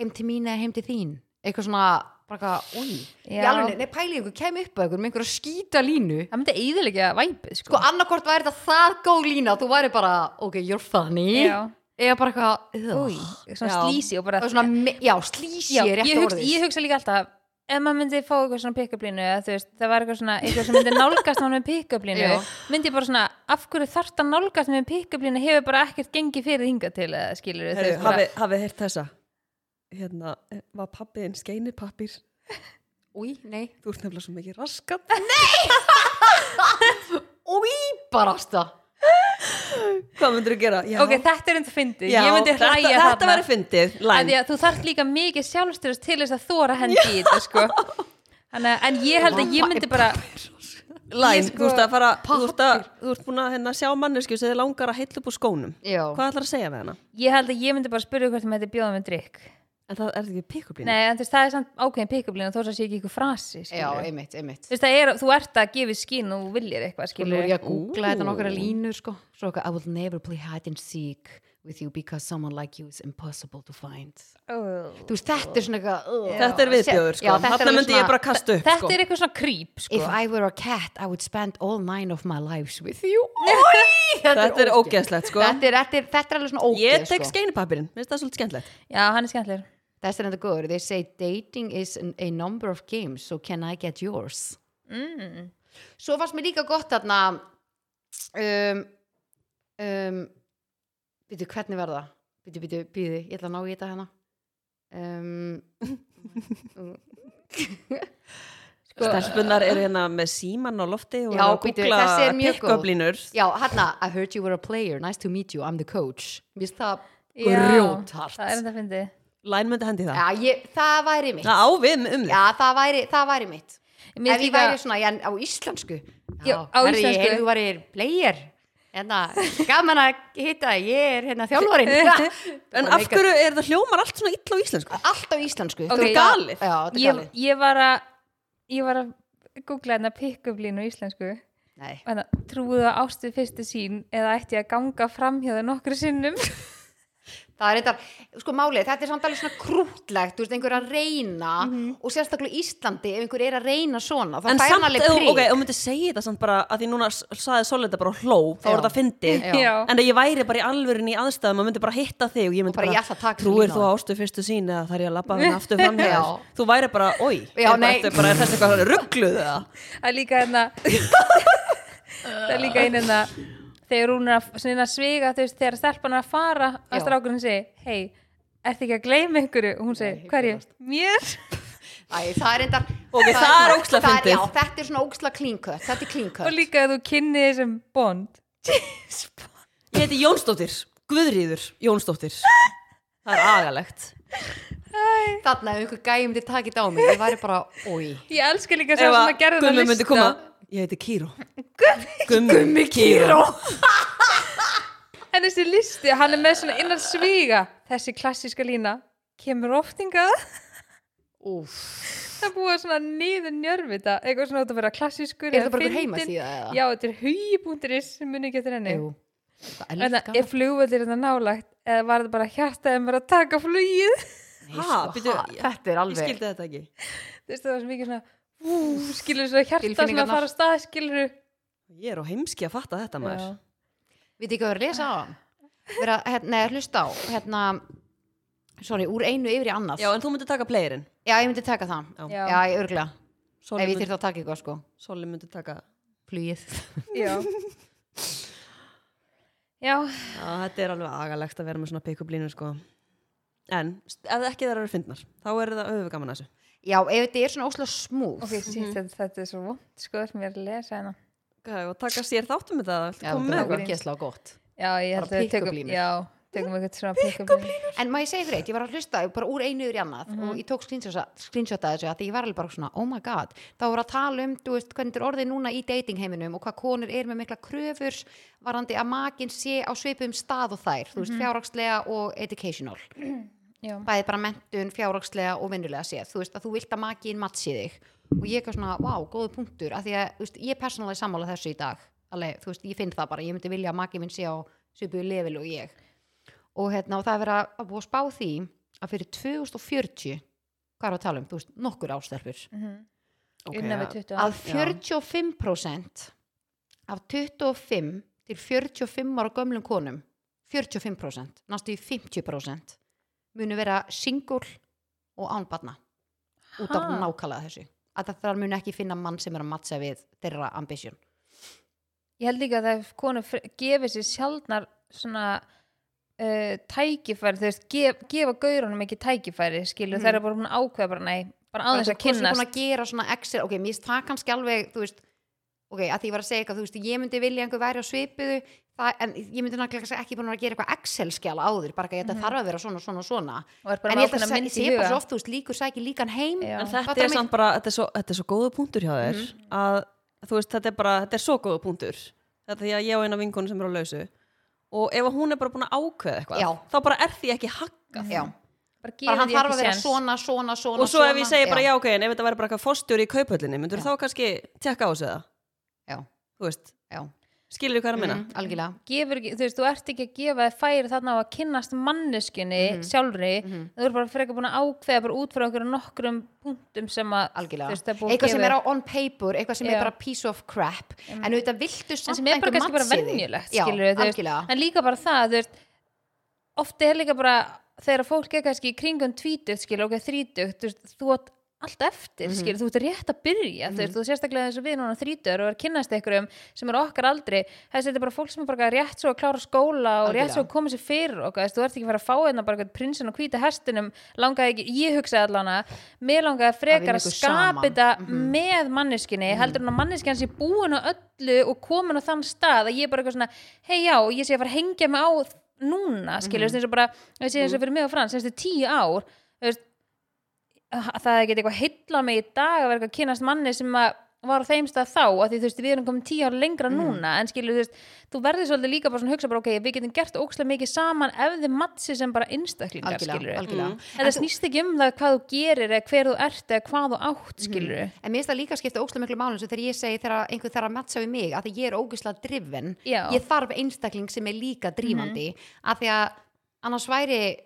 heim til mín eða heim til þín eitthvað svona, bara eitthvað, új
Já.
já, alveg, nei, pæli ykkur, kem upp að ykkur með einhverja skýta línu
það myndi eðilegja væpið
sko,
sko.
annarkort væri þetta það góð lína þú væri bara, ok, you're funny
Já.
eða bara eitthvað, új
svona
Já.
slísi og bara
og svona, me- já, slísi
Já,
er rétt
ég, hugsa,
orðið
ég hugsa líka alltaf ef maður myndi fá eitthvað svona pick-up-línu eða þú veist, það var eitthvað svona, eitthvað sem myndi nálgast hann með pick-up-línu,
Já.
myndi ég bara svona af hverju þarft að nálgast með pick-up-línu hefur bara ekkert gengið fyrir hingað til eða skilur við,
Heru, hafið hafi heyrt þessa hérna, eh, var pappiðin skeinirpappir
új, nei,
þú ert nefnilega svo mikið raskat
új, barasta
hvað myndur þú gera? Já,
ok, þetta er enda fyndið,
já,
ég myndi
þetta,
hlæja
þetta verður fyndið
Af því
læn,
að þú þarft líka mikið sjálfstyrst til þess að þóra hendi í þetta sko Hanna, en ég held að ég myndi bara
læn.
ég sko-
þú ert að fara þú ert, að, þú ert búin að hérna, sjá mannesku sem þið langar að heilla upp úr skónum
já,
hvað ætlar að segja með hana?
ég held að ég myndi bara spyrja hvort það mætti bjóða með drikk
en það er ekki pikkublín
nei, en þú veist, það er samt ákveðin pick-up-línu þó svo sé ekki ykkur frasi
já,
skilurðu.
einmitt, einmitt
þú veist það er, þú ert að gefa í skín og þú viljir eitthvað
og nú
skilur
er ég að googla þetta
Ú.
nokkara línur sko svo eitthvað, I will never play hide and seek with you because someone like you is impossible to find
oh.
þú veist, þetta er svona eitthvað uh,
þetta er viðbjóður
já,
sko.
þetta er
þarna
alveg
myndi ég
svona-
bara kasta upp
þetta
sko.
er eitthvað svona krýp sko.
if I were a cat I would spend all nine of my lives with you
þetta er ógeðslegt sko.
þetta, er, þetta, er, þetta er alveg svona ógeð
ég tek
sko.
skeinirpappirinn, minnst það svolítið skemmtilegt
já, hann er skemmtilegur
þetta er enda góður, they say dating is an, a number of games so can I get yours
mm.
svo fannst mér líka gott þarna um um býtu, hvernig var það? býtu, býtu, býtu, ég ætla að ná í þetta hana um
Sko-
Stelpunar eru hérna með síman á lofti og
Já,
eru að
bíddu,
googla
þessi er mjög góð.
pick-up-línur.
já, hérna, I heard you were a player nice to meet you, I'm the coach mér finnst það
Já,
grjóthart
það er þetta að fyndi
Læn myndi hendi í það.
já, ég, það væri mitt
Það á við um um
já,
þig.
það væri, það væri mitt
Mér
ef ég
líka-
væri svona, já, en á íslensku
Já, á
herri, ég
íslensku.
heyrði þú væri player hérna, gaman að hitta þig, ég er hérna þjálfarin
En af hverju er það hljómar allt svona illa á íslensku?
allt á íslensku Þú-
Ok, galið.
já, þetta er
ég,
galið
ég var að ég var að googla hérna pick-up-línu í íslensku
Nei.
Hérna, trúðu á ástu við fyrstu sín eða ætti ég að ganga framhjóðu nokkru sinnum
það er eitthvað, sko málið, þetta er samt alveg svona krútlegt, þú veist, einhver að reyna og sérstaklega í Íslandi, ef einhver er að reyna svona, þá
En
fær hann
samt,
alveg
ef-
prík
ok, þú myndi segja þetta samt bara að því núna s- sagði Solita bara á hló, þá
Já.
er það fyndið.
Já.
<laughs> Já.
En að ég væri bara í alvörin í aðstæðum og myndi bara hitta þig og ég myndi
bara, ég ætla að taka
trúir
lína
þú
á
ástu fyrstu sín eða þar ég að labba þenni aftur
<laughs>
fram
Já.
hér. Þú væri bara, oi,
Já,
er bara,
nei.
ertu bara, er þessi eitthvað ruggluð eða?
Það er líka
<laughs>
hérna Það er líka einu hérna Þegar hún er að svona inn að sviga þú veist, Þegar stelpan er að fara
Já.
að strákurinn segi Hei, ertu ekki að gleyma einhverju? Og hún
Nei,
segi, hverju? Mér?
<laughs> Æ, það er eitthvað
Ok, það er ógeðslega fyndið.
já, þetta er svona óksla klínkött, þetta er
Og
klínkött
líka að þú kynni þessum bond James Bond
Ég heiti Jónsdóttir, Guðríður Jónsdóttir. Það er agalegt.
þarna ef einhver gæði myndi takið á mig ég væri bara, oi
Ég elska líka svo
Ef
sem
að
að gerði það
Gummi
lista
myndi koma Ég heiti Kíró Gummi, Gummi Kíró
En þessi listi, hann er með svona innan svíga Þessi klassíska lína Kemur oftinga
Úf.
Það er búið að svona niður njörfita Eitthvað svona átt að vera klassískur
er
eða
það bara einhver
fyndinn.
heima síða eða?
Já, þetta er hugi.is sem muni ekki eftir henni
Jú. það
Hérna,
En
elskar
það Hérna, er flugvöldir þetta nálægt Eða var þetta bara hjartaðið mér að taka flugið <laughs>
Nei,
Ha,
sko,
byrju,
ha,
ég-
þetta er
Ég
alveg
skildi þetta ekki
Þú veist, það var svo mikið svona Ú, skilur svo hjarta svona
Tilfinningarnar.
að fara að stað skilur
Ég er á heimski að fatta þetta maður
við ekki að resa á hann vera, hérna, nei, hlusta á hérna, sorry, úr einu yfir í annað
Já, en þú myndi taka playerinn
Já, ég myndi taka það
Já.
Já,
já,
ég örgla Ef
Soli
ég
myndi,
þyrfti að taka eitthvað sko
Soli myndi taka
Flugið
já.
Já,
já,
þetta er alveg agalegt að vera með svona pick-up línu sko En, st- ef ekki þær eru fyndnar þá er það öfugaman að þessu
Já, ef þetta er svona óslega smúð
ok, sítt, þetta, þetta er svo vond sko, það er mér að lesa hérna
Hvað, og taka sér um þáttum með það
Já,
Já,
þetta
með
er
okkur
ekki slá gott
Já, ég
Bara
held að við
pick-up
tökum,
línur.
já, tökum eitthvað svona pick-up línur
En maður ég segi fyrir eitt, ég var að hlusta bara úr einu yfir í annað og ég tók screenshota- screenshot að þessu að því ég var alveg bara svona, oh my god þá voru að tala um, þú veist, hvernig þetta er orðið núna í dating heiminum og hvað konur er með mikla kröfur varandi að makin sé á sveipum stað og þær, þú veist, fjárhagslega og educational,
Já,
bæði bara mentun, fjárhagslega og vinnulega séð, þú veist, að þú vilt að makin matsi þig og ég er eitthvað svona, wow, góðu punktur að því að, þú veist, ég er persónulega sammála þessu í dag alveg, þú veist, ég finn það bara, ég myndi vilja að makin minn sé á svipuðu level og ég og hérna og það er verið að- að búa að spá því að fyrir 2040 hvað er að tala um, þú veist, nokkur ástelpur
Mhm. innan við 20
að
ára.
45% af 25 til 45 ára gömlum konum 45%, næstu í 50% munu vera single og ánbarna út af
Ha?
nákvæmlega þessu að það þar munu ekki finna mann sem er að matsa við þeirra ambisjón
Ég held líka að það konur fre- gefi sér sjaldnar svona uh, tækifæri, þú veist, gef, gefa gaurunum ekki tækifæri, skilur,
Mhm.
þeir eru bara búin að ákveða bara, nei, bara
Bara
aðeins
þú- þú
að
ert búin
kynnast.
að gera svona exit, ok, mér finnst það kannski alveg þú veist, ok, að því ég var að segja eitthvað þú veist, ég myndi vilja einhver væri á svipuðu það, en ég myndi náttúrulega ekki búin að vera að gera eitthvað Excel-skjala áður, bara ekki að þetta þarf að vera svona, svona, svona,
Mhm. Og er bara
en
með
ég held
ákveðna
að
mynd
sé
í
bara svo
huga.
oft, þú veist, líkur sækir líkan heim
Já.
En
Fattar
þetta er
mig? Mhm.
samt bara, þetta er svo, þetta er svo góðu punktur hjá þér að þú veist, þetta er bara, þetta er svo góðu punktur þetta er því að ég á eina vinkonu sem er á lausu og ef að hún er bara búin að ákveða eitthvað
Já.
þá bara er því ekki haggað
Já.
Bara
bara
gefa
hann
því
þarf
Mm. ekki
að vera
séns.
svona, svona, svona
og svo ef ég
svona.
segi bara
já,
já, ok, en ef þetta væri bara eitthvað fórstjóri í kauphöllinni, myndur þá kannski tekka á sig það,
já,
þú veist
já,
skilur þú hvað er að minna?
mm, algjörlega
gefur ekki, þú veist, þú ert ekki að gefa þér færi þarna á að kynnast manneskunni
Mhm.
sjálfri, þú eru bara frekar búin að ákveða bara út frá okkur nokkrum punktum sem að,
algjörlega,
þú veist, það er búið að
eitthvað sem
gefa
er á on paper eitthvað sem
Já. Mhm.
er bara piece of crap en auðvitað viltu samt
en sem er bara
einhver
kannski bara
matsi þig.
venjulegt,
já,
skilur þú veist,
algjörlega
en líka bara það, þú veist, ofta er líka bara, þegar fólk er kannski í kringum tvítugt, skilur, ok, þrítugt, þú veist, þú átt allt eftir,
Mhm.
mm þú ert rétt að byrja, þú veist, þú sérstaklega eins og við núna þrítur og er að kynnast einhverjum sem er okkar aldri, þessi þetta er bara fólk sem er bara rétt svo að klára skóla og rétt
Algjörlega.
svo að koma sér fyrir okkar, þú veist, þú ert ekki að fara að fá einna bara eitthvað prinsin og hvíta hestinum, langaði ekki, ég hugsaði allana, mér langaði frekar
vinna
að
ykkur saman.
skapa
Mhm.
þetta með manneskinni, heldur hann að manneskjan sé búin á öllu og komin á þann stað að ég er bara eitthvað svona, hei já, ég sé að fara að hengja mig á þ- núna,
Mhm.
skilur, mm -hmm. bara, ég sé þess að fyrir mig og frans, þessi tíu ár, þú veist, að það geti eitthvað heilla mig í dag að vera eitthvað að kynast manni sem að var á þeim stað þá að því þú veist við erum komin tíu ára lengra
Mhm.
núna en skilur þú veist, þú verður svolítið líka bara svona að hugsa bara ok, við getum gert ókslega mikið saman ef þið matsi sem bara einstaklingar skilur
algjörlega, algjörlega.
en það snýst ekki um það hvað þú gerir eða hver þú ert eða hvað þú
Mhm.
átt skilur
en mér finnst það líka að skipta óslega miklu málum sem þegar ég segi þegar einhver þarf að matcha við mig að því ég er ógislega drifin
Já.
ég þarf einstakling sem er líka drífandi mm að því að annars væri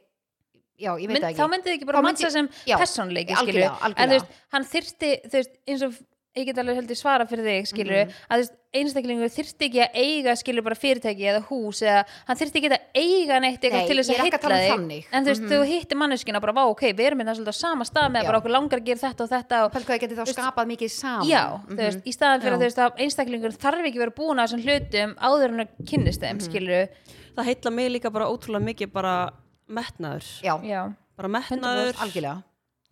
já, ég veit
Mynd,
það ekki
þá myndið ekki bara
Þá myndi-
matsa sem
já,
persónleiki skilur
algjörlega,
en þú
algjörlega.
veist, hann þyrfti þú veist, eins og ég get alveg heldur svara fyrir þig skilur,
Mhm.
að þú veist, einstaklingur þyrfti ekki að eiga skilur bara fyrirtæki eða hús eða hann þyrfti ekki að eiga neitt eitthvað
Nei,
til þess
ég
að
er ekki að tala
hitla
um þannig.
þig en þú veist, þú hittir manneskina bara, vá, ok, við erum þetta svolítið á sama stað með
Já.
bara okkur langar að gera þetta og þetta og,
Pælt hvað það geti þá skapað mikið saman Mhm.
já, þú veist, í staðan fyrir
Já.
að, þú veist, að einstaklingur þarf ekki að vera búin að þessum hlutum áður en að kynnist þeim,
Mhm.
skilur
það heitla mig líka bara ótrúlega mikið bara metnaður,
já,
já,
bara metnaður
algjörlega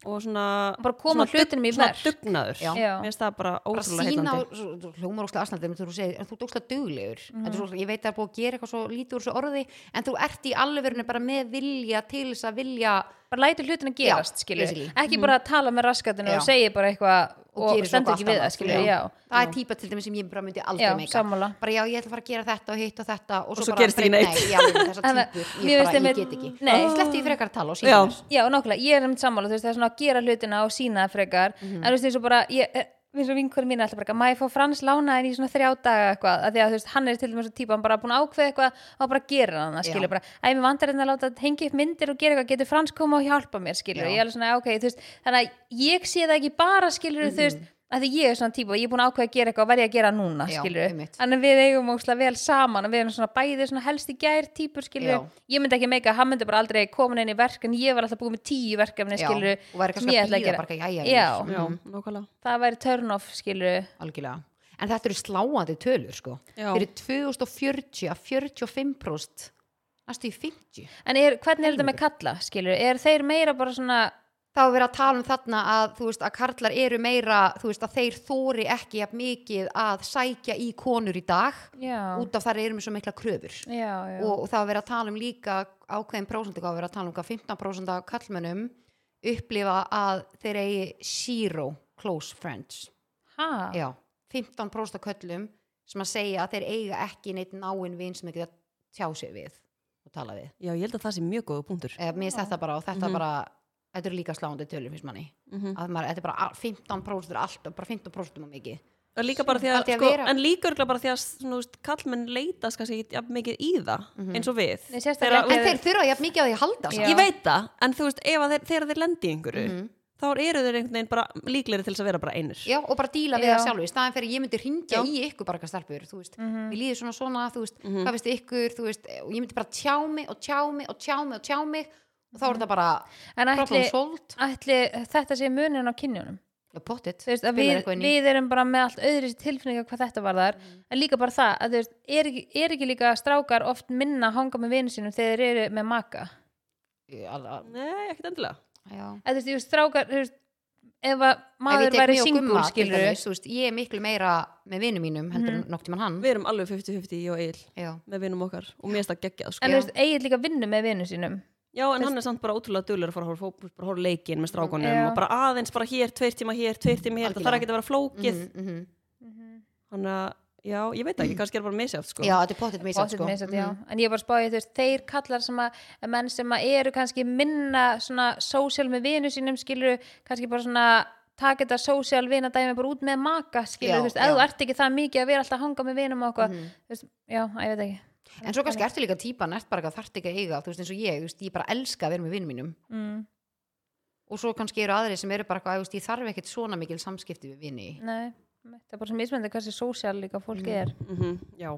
og svona
bara koma
svona
hlutinum í
dugn-
verk
svona dugnaður,
Já.
Já.
mér finnst það bara
bara
ótrúlega
sína
heitandi
á- svo- svo hljómar óslega aðsnaldið en þú segir, en þú dóksla duglegur mm -hmm. svo, ég veit að það er búið að gera eitthvað svo lítið úr svo orði en þú ert í alvörinu bara með vilja til þess að vilja
bara læti hlutin að gerast,
Já,
skilur
basically. Mm.
ekki bara að tala með raskatinu
Já.
og segja bara eitthvað
og,
og,
gerir svo
stendur
eitthvað
ekki við
allt annað.
það, skilur, já
það er típa til dæmi sem ég bara myndi aldrei
Já,
meika
sammála.
bara já, ég ætla að fara að gera þetta og hitt og þetta og svo,
svo
bara
gerist ekki
bara-
neitt.
nei, já, ég, þessa
En það-
típur,
<laughs> mér
ég, bara,
finnst
ég
einmitt-
get ekki
Nei.
sleppti ég frekar að tala og
Já.
síðan
Já, nákvæmlega, ég er um sammála, þú veist, það er svona að gera hlutina og sína það frekar,
Mhm.
en þú veist, eins og bara ég, eh, eins og vinkurinn mín er alltaf bara, eitthvað, má ég fá Frans lánaðin í svona þrjá daga eitthvað, að því að þú veist, hann er til dæmis svo típa, hann bara búin að ákveða eitthvað og bara gera hann,
Já.
skilur, bara, að ég mér vandar hérna að láta hengja upp myndir og gera eitthvað, getur Frans koma og hjálpa mér, skilur,
Já.
ég er alveg svona, ok, þú veist, þannig að ég sé það ekki bara, skilur, þú veist, að því ég er svona típa, ég er búin að ákveða að gera eitthvað og verði að gera núna,
Mhm. Já,
skilur,
einmitt.
þannig að við eigum óslega vel saman og við erum svona bæði svona helst í gær típur, skilur,
Já.
ég myndi ekki meika að hann myndi bara aldrei komin inn í verk en ég var alltaf búin með tíu verkefni
Já,
skilur,
og væri kannski að bíða bara, jæja, vinur.
já,
Mhm.
já, nákvæmlega
það væri turn off skilur
algjörlega en þetta eru sláandi tölur sko
Já.
fyrir 2040 að 45% næstu í 50
en er, hvernig er þetta með kalla skilur, er þeir meira bara svona
þá er verið að tala um þarna að þú veist að karlar eru meira þú veist að þeir þóri ekki jafn mikið að sækja í konur í dag
já,
út af þar eru með svo mikla kröfur
já, já,
og, og það að vera að tala um líka ákveðin prósentu, hvað að vera að tala um hvað 15% af kallmönnum upplifa að þeir eigi zero close friends
ha,
Já, 15% af köllum sem að segja að þeir eiga ekki neitt náinn vin sem þeir geta tjá sér við og tala við
já, ég held að það sé mjög góða punktur
Eh, Mér finnst
Já.
þetta bara og þetta
Mhm.
bara þetta eru líka sláandi tölur finnst manni
Mhm.
að maður, þetta er bara al- 15% er allt bara 15% er mikið
En líka bara því
Haldi að
að, sko,
vera-
en líka örugglega bara því að svona, þú veist, kallmenn leitast kannski ekki jafn mikið í það
Mhm.
eins og við
Nei, sérstaklega
Þeirra-
ekki-
En þeir þurfa jafn mikið á því að halda
Já.
samt.
ég veit það, en þú veist, ef að þeir, þegar þeir lendi í einhverju, þá eru þeir einhvern veginn bara líklegri til þess að vera bara einir
Mhm. Já, og bara díla við
Já.
það sjálfu í staðan fyrir ég myndi hringja í ykkur bara eitthvað stelpur þú veist, mm
Mhm.
mér líður svona svona, þú veist hvað veist ykkur, þú veist, og ég myndi bara tjá mig og tjá mig og tjá mig og tjá mig og þá er þetta bara
Mhm. en ætli,
problem solved
ætli þetta sé munin á kynjunum
Já, pottit,
Þú veist, að
Spilar
við,
eitthvað inn í. Mm.
við erum bara með allt öðru tilfinninga hvað þetta var þar en líka bara það, að þú veist, er ekki, er ekki líka strákar oft minna að hanga með vinnu sínum þegar þeir eru með maka
Ég- al-
Nei, ekkert endilega
Já.
eða þú veist, ég veist, strákar þú veist, ef að
Ef ég
maður
tek
væri
mig og
singul
Gumma, til
skilur
dæmis, þú veist, ég er miklu meira með vinum mínum heldur
Mhm.
mm. nokt tímann hann
Við erum alveg 50-50 ég og Egil
já,
með vinum okkar og mér er þetta geggjað sko.
en þú veist, eigið líka vinnu með vinnu sínum
Já, en hann er samt bara ótrúlega dölur að fara að horfa, fótbolt, bara horfa á leikinn með strákonum
Já.
og bara aðeins bara hér, tveir tíma hér, tveir tíma hér, það
Algjörlega.
þarf ekki að vera flókið
mm -hmm.
Þannig að, já, ég veit ekki, kannski er bara misjátt sko.
já þetta er pottit misjafnt,
Pottet
sko.
misjafnt, já. en ég er bara spáði, þú veist, þeir kallar sem að menn sem að eru kannski minna svona sósjál með vinnu sínum skilur, kannski bara svona taka þetta sósjál vinadæmi bara út með maka skilur,
Já,
þú veist,
já.
ef þú ert ekki það mikið að vera alltaf að hanga með vinum og eitthvað þú veist, já, að ég veit ekki
Mhm. en svo kannski ertu líka típan ert bara eitthvað þarft ekki að eiga þú veist eins og ég, þú veist, ég bara elska að vera með vinum mínum
mm,
og svo kannski eru aðri sem eru bara eitthvað, þú veist, ég þarf ekkert svona mikil samskipti við vini
nei, það er bara sem mismyndi hversu sósjál líka fólki er
Mhm, Já,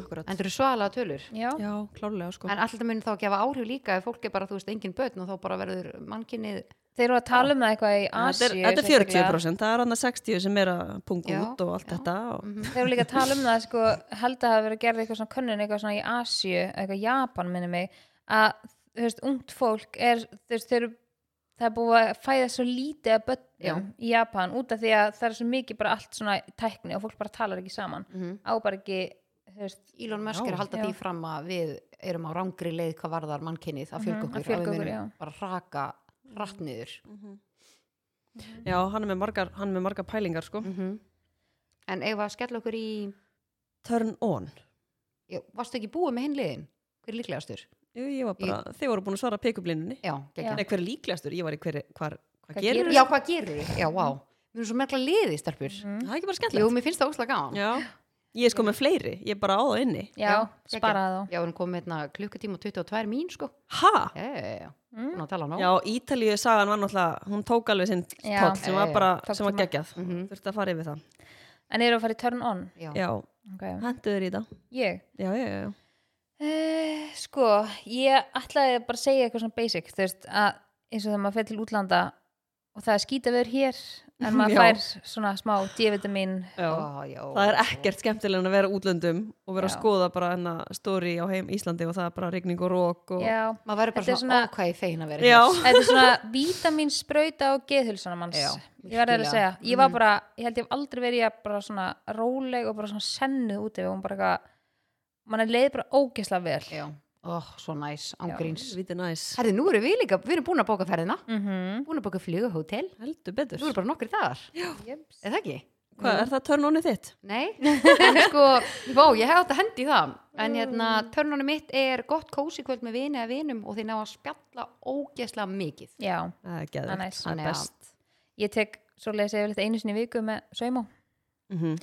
akkurat
en þú eru svalega tölur
já,
Já, klárlega sko.
en alltaf mun þá að gefa áhrif líka ef fólk er bara, þú veist, engin börn og þá bara verður mannkinnið
þeir eru að tala um það eitthvað í
Þetta
Asíu
er, þetta er
sérstaklega.
40%, það er annað 60% sem er að punga
Já,
út og allt
já.
þetta og,
Mhm.
Þeir eru líka að tala um það, sko, held að hafa verið að gera eitthvað svona könnun, eitthvað svona í Asíu, eitthvað Japan, minni mig, að, þú veist, ungt fólk er, þú veist, þeir eru, það er búið að fæða svo lítið að bönnum í Japan út af því að það er svo mikið bara allt svona tækni og fólk bara talar ekki saman.
Mhm.
Á bara ekki, þú veist,
Elon Musk er að halda
Já.
því fram að við erum á rangri leið hvað varðar mannkinnið að fjölga
Mhm, að
okkur, að
fjölga
við
okkur,
munum bara raka rætt niður Mhm.
Já, hann er með margar, hann er með margar pælingar sko.
En eigum við að skella okkur í
Turn on
já, Varstu ekki búið með hinn liðin? Hver er líklegastur?
Jú, ég var bara, þið voru búin að svara peikublínunni
Já, geggjað.
Nei, hver er líklegastur? Ég var í hver, hvar, hvað
Hvað
gerir
gerirðu?
já hvað gerur þið? Já, vá Við erum svo merkla liði, stelpur
Mhm.
Það er ekki bara
Jú,
skemmtilegt
mér finnst það óslega gaman
Já, ég er sko með fleiri, ég er bara á það inni
já,
geggjað.
sparaði þá.
Já, við erum komið hérna klukkutíma og 22 mín, sko
Ha?
Já, já, já, já Búin að tala ná
Mm. Já, Ítalíu sagan var náttúrulega, hún tók alveg sinn
Já.
tóll sem var bara,
Tók
sem var
tíma.
geggjað Þurfti að fara yfir það
En eru að fara í turn on?
Já,
Já,
Ok.
hentu þér í það
Ég?
Já, já, já, já.
Uh, sko, ég ætlaði að bara segja eitthvað svona basic, þú veist, að eins og þegar maður fer til útlanda og og það er skítaveður hér
<laughs>
en maður
Já.
fær svona smá D-vitamin
Já.
Ó, já.
það er ekkert skemmtilega en að vera útlöndum og vera að
Já.
skoða bara hennar stóri á heim Íslandi og það er bara rigning og rók og...
já,
maður verður
Þetta
bara
er
svona
svona-
ákvæði fegin að vera
Já.
hér.
þetta er svona <laughs> vítamin sprauta og geðhulsana manns
Já,
ég var
virkilega.
að
Mm.
segja, ég var bara ég held ég hef aldrei verið ég bara svona róleg og bara svona sennuð úti og hún bara eitthvað mann er leið bara ógeðslega vel
já, ó, svo næs, ángríns
Viti næs,
herði, nú erum við líka, við erum búin að bóka ferðina
mm -hmm.
búin að bóka flugahótel,
heldur
nú
betur
erum bara nokkri dagar er það ekki?
Hvað, er það törnónið þitt? <laughs>
Nei, en sko, vó, ég hef átt að hendi í það
Mm.
En hérna, törnunum mitt er gott kósi kvöld með vini að vinum og þeir ná að spjalla ógeðslega mikið
Það
já,
er
það er
geðvægt, það
næs
er
Þannig að-
best
ég tek svo leiðis yfirleitt einu sinni í viku með saumó
mm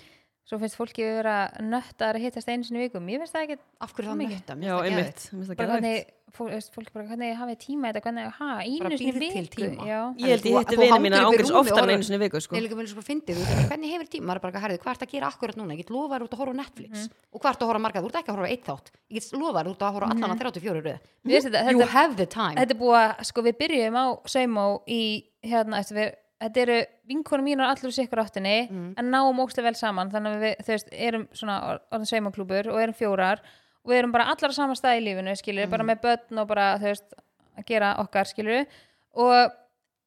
svo finnst fólki að vera nöttar að hittast einu sinni í viku mér finnst það ekki
Af hverju það
Mikið.
nötta?
Já, einmitt, mér finnst það
bara
geðvægt
hvernig fólk, veist, fólk bara hvernig hafið tíma í þetta hvernig, ha,
Bara
einu sinni í
býrð til
viku
tíma.
já,
Ég held ég
Þú-
hitti
þú
vinið
hangir
mína
upp í rúmi
ángriðs
og
oftar en
horfir-
einu sinni í viku sko.
Ég líka með svo fyndir, hvernig hefur tíma? Maður er bara að herði, hvað ertu að gera akkurat núna? Ég get lofað að þú ert að horfa á Netflix
Mhm.
og hvað ertu að horfa margað, þú ert ekki að horfa á eitt þátt Ég get lofað að þú ert að horfa á allan að 34 röð
Mhm. Mér finnst þetta-
You
þetta-
have the time
þetta er búið að, sko, við byrjum á saumó í, hérna, eftir við þetta eru vinkonum mínar allir úr sikkur áttinni
Mm.
en náum ókslega vel saman þannig að við, þú veist, erum svona or- orðin saumaklúbur og erum fjórar og við erum bara allar á sama stað í lífinu, skilur
Mm.
bara með börn og bara, þú veist, að gera okkar, skilur og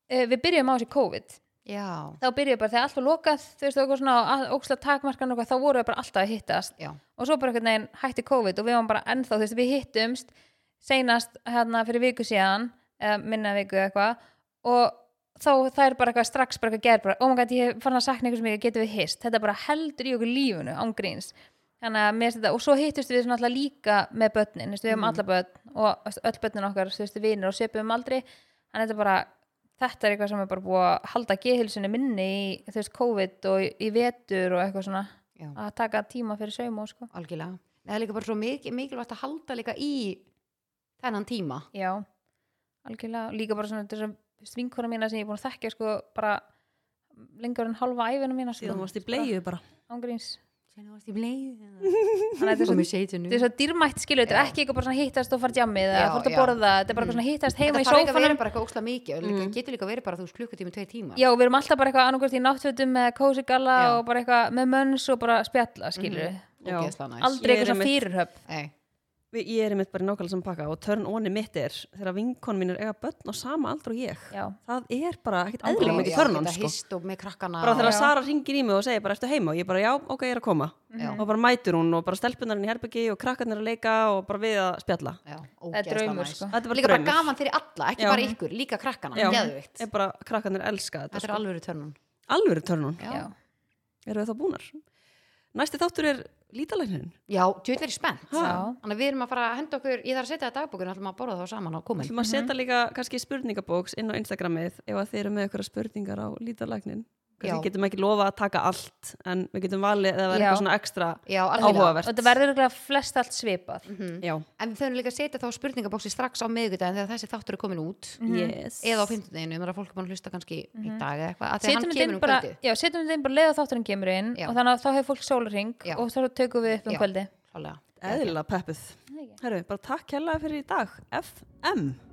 e, við byrjum á þessi COVID
Já,
þá byrjum bara þegar allt var lokað, þú veist, og eitthvað svona ókslega takmarkan og eitthvað, þá voru við bara alltaf að hittast
já,
og svo bara einhvern veginn hætti COVID og við varum bara ennþá, þú veist, við hittumst seinast hérna fyrir viku síðan eða minna viku eða eitthvað og þá það er bara eitthvað strax bara eitthvað gerð bara, oh my god, ég fann að sakna ykkur sem ég getur við hist þetta bara heldur í okkur lífunu ángríns þannig að mér finnst þetta, og svo hittust við svona alltaf líka með börnin, þú veist, við hefum mm. alla börn og þú veist, öll börnin okkar, þú veist, vinir og söpum aldrei, en þetta er bara þetta er eitthvað sem er bara búið að halda geðhilsunni minni í, þú veist, COVID og í, í vetur og eitthvað svona
já,
að taka tíma fyrir saum sko
algjörlega Nei, Það er líka bara svo mikil, mikilvægt að halda líka í þennan tíma
Já, algjörlega líka bara svona þessar svinkona mína sem ég er búin að þekkja sko bara lengur en halva æfina mína sko
Síðan varst í bleiðu bara
ángríns
Sérna varst í bleið
þannig að þetta er
Komið
svo-
seitinu
þetta er svo dýrmætt skilu þetta er ekki eitthvað bara svona hittast og fara djammið eða
Já,
fórt að
já. Mm.
borða þetta er bara eitthvað svona hittast heima
Þetta
í
þarf ekki að vera
sófanum Mhm.
bara eitthvað ókslega mikið og líka, getur líka verið bara þú veist klukkutími, tveir tíma
Já, við erum alltaf bara eitthvað annarkvært í náttfötum með kósi galla
Já. Mhm.
og bara eitthvað með mönns og bara spjalla skilur
Já.
Aldrei
Ég er
aldrei eitthvað svona
einmitt-
fyrirhöfn
Við- Ég er einmitt bara í nákvæmlega saman pakka og törn onni mitt er þegar vinkon mín er eiga börn á sama aldru og ég
Já,
Það er bara ekkert
Ángriðs.
eðlilega mikið törn on sko
Hist og með krakkana
Bara þegar
Já.
Sara ringir í mig og segir bara ertu heima og ég bara já, ok, ég er að koma
Já.
og bara mætur hún og bara stelpunarinn í herbyggi og krakkarnir að leika og bara við að spjalla
Já,
það er
ógeðslega
draumur
næs.
sko
Þetta er bara
Líka bara
draumur.
gaman fyrir alla, ekki
Já.
bara ykkur, líka krakkana
Já,
Geðvikt,
er bara krakkarnir elska þetta
þetta er
sko.
alvöru törnun
Alvöru törnun,
Já,
erum við þá búnar Næsti þáttur er lítalæknin
Já, djúið verið spennt
já,
Þannig að við erum að fara að henda okkur, ég þarf að setja það dagbúkun ætlum að borða þá saman á komin
ætlum að setja líka kannski spurningabóks inn á Instagramið ef að þeir eru með ykkur spurningar á lítalæknin kannski
Já.
getum ekki lofa að taka allt en við getum valið eða það er
Já.
eitthvað svona ekstra
Já, algjörlega
og
áhugavert
þetta verður örugglega flest allt svipað
Mhm.
Já,
En við þurfum líka að setja þá spurningabóksi strax á miðvikudaginn þegar þessi þáttur er komin út
yes
eða á fimmtudeginu, þannig að fólk er búin að hlusta kannski í dag eða eitthvað, að því að
setjum
hann
þetta
kemur
inn
um
bara,
kvöldið
já, setjum þetta inn bara leið að þátturinn kemur inn
Já.
og þannig að þá hefur fólk sólring
Já.
og þá tökum við upp um
Já.
kvöldi
Klálega.
Eðlilega peppuð Herru, bara takk hérlega fyrir í dag FM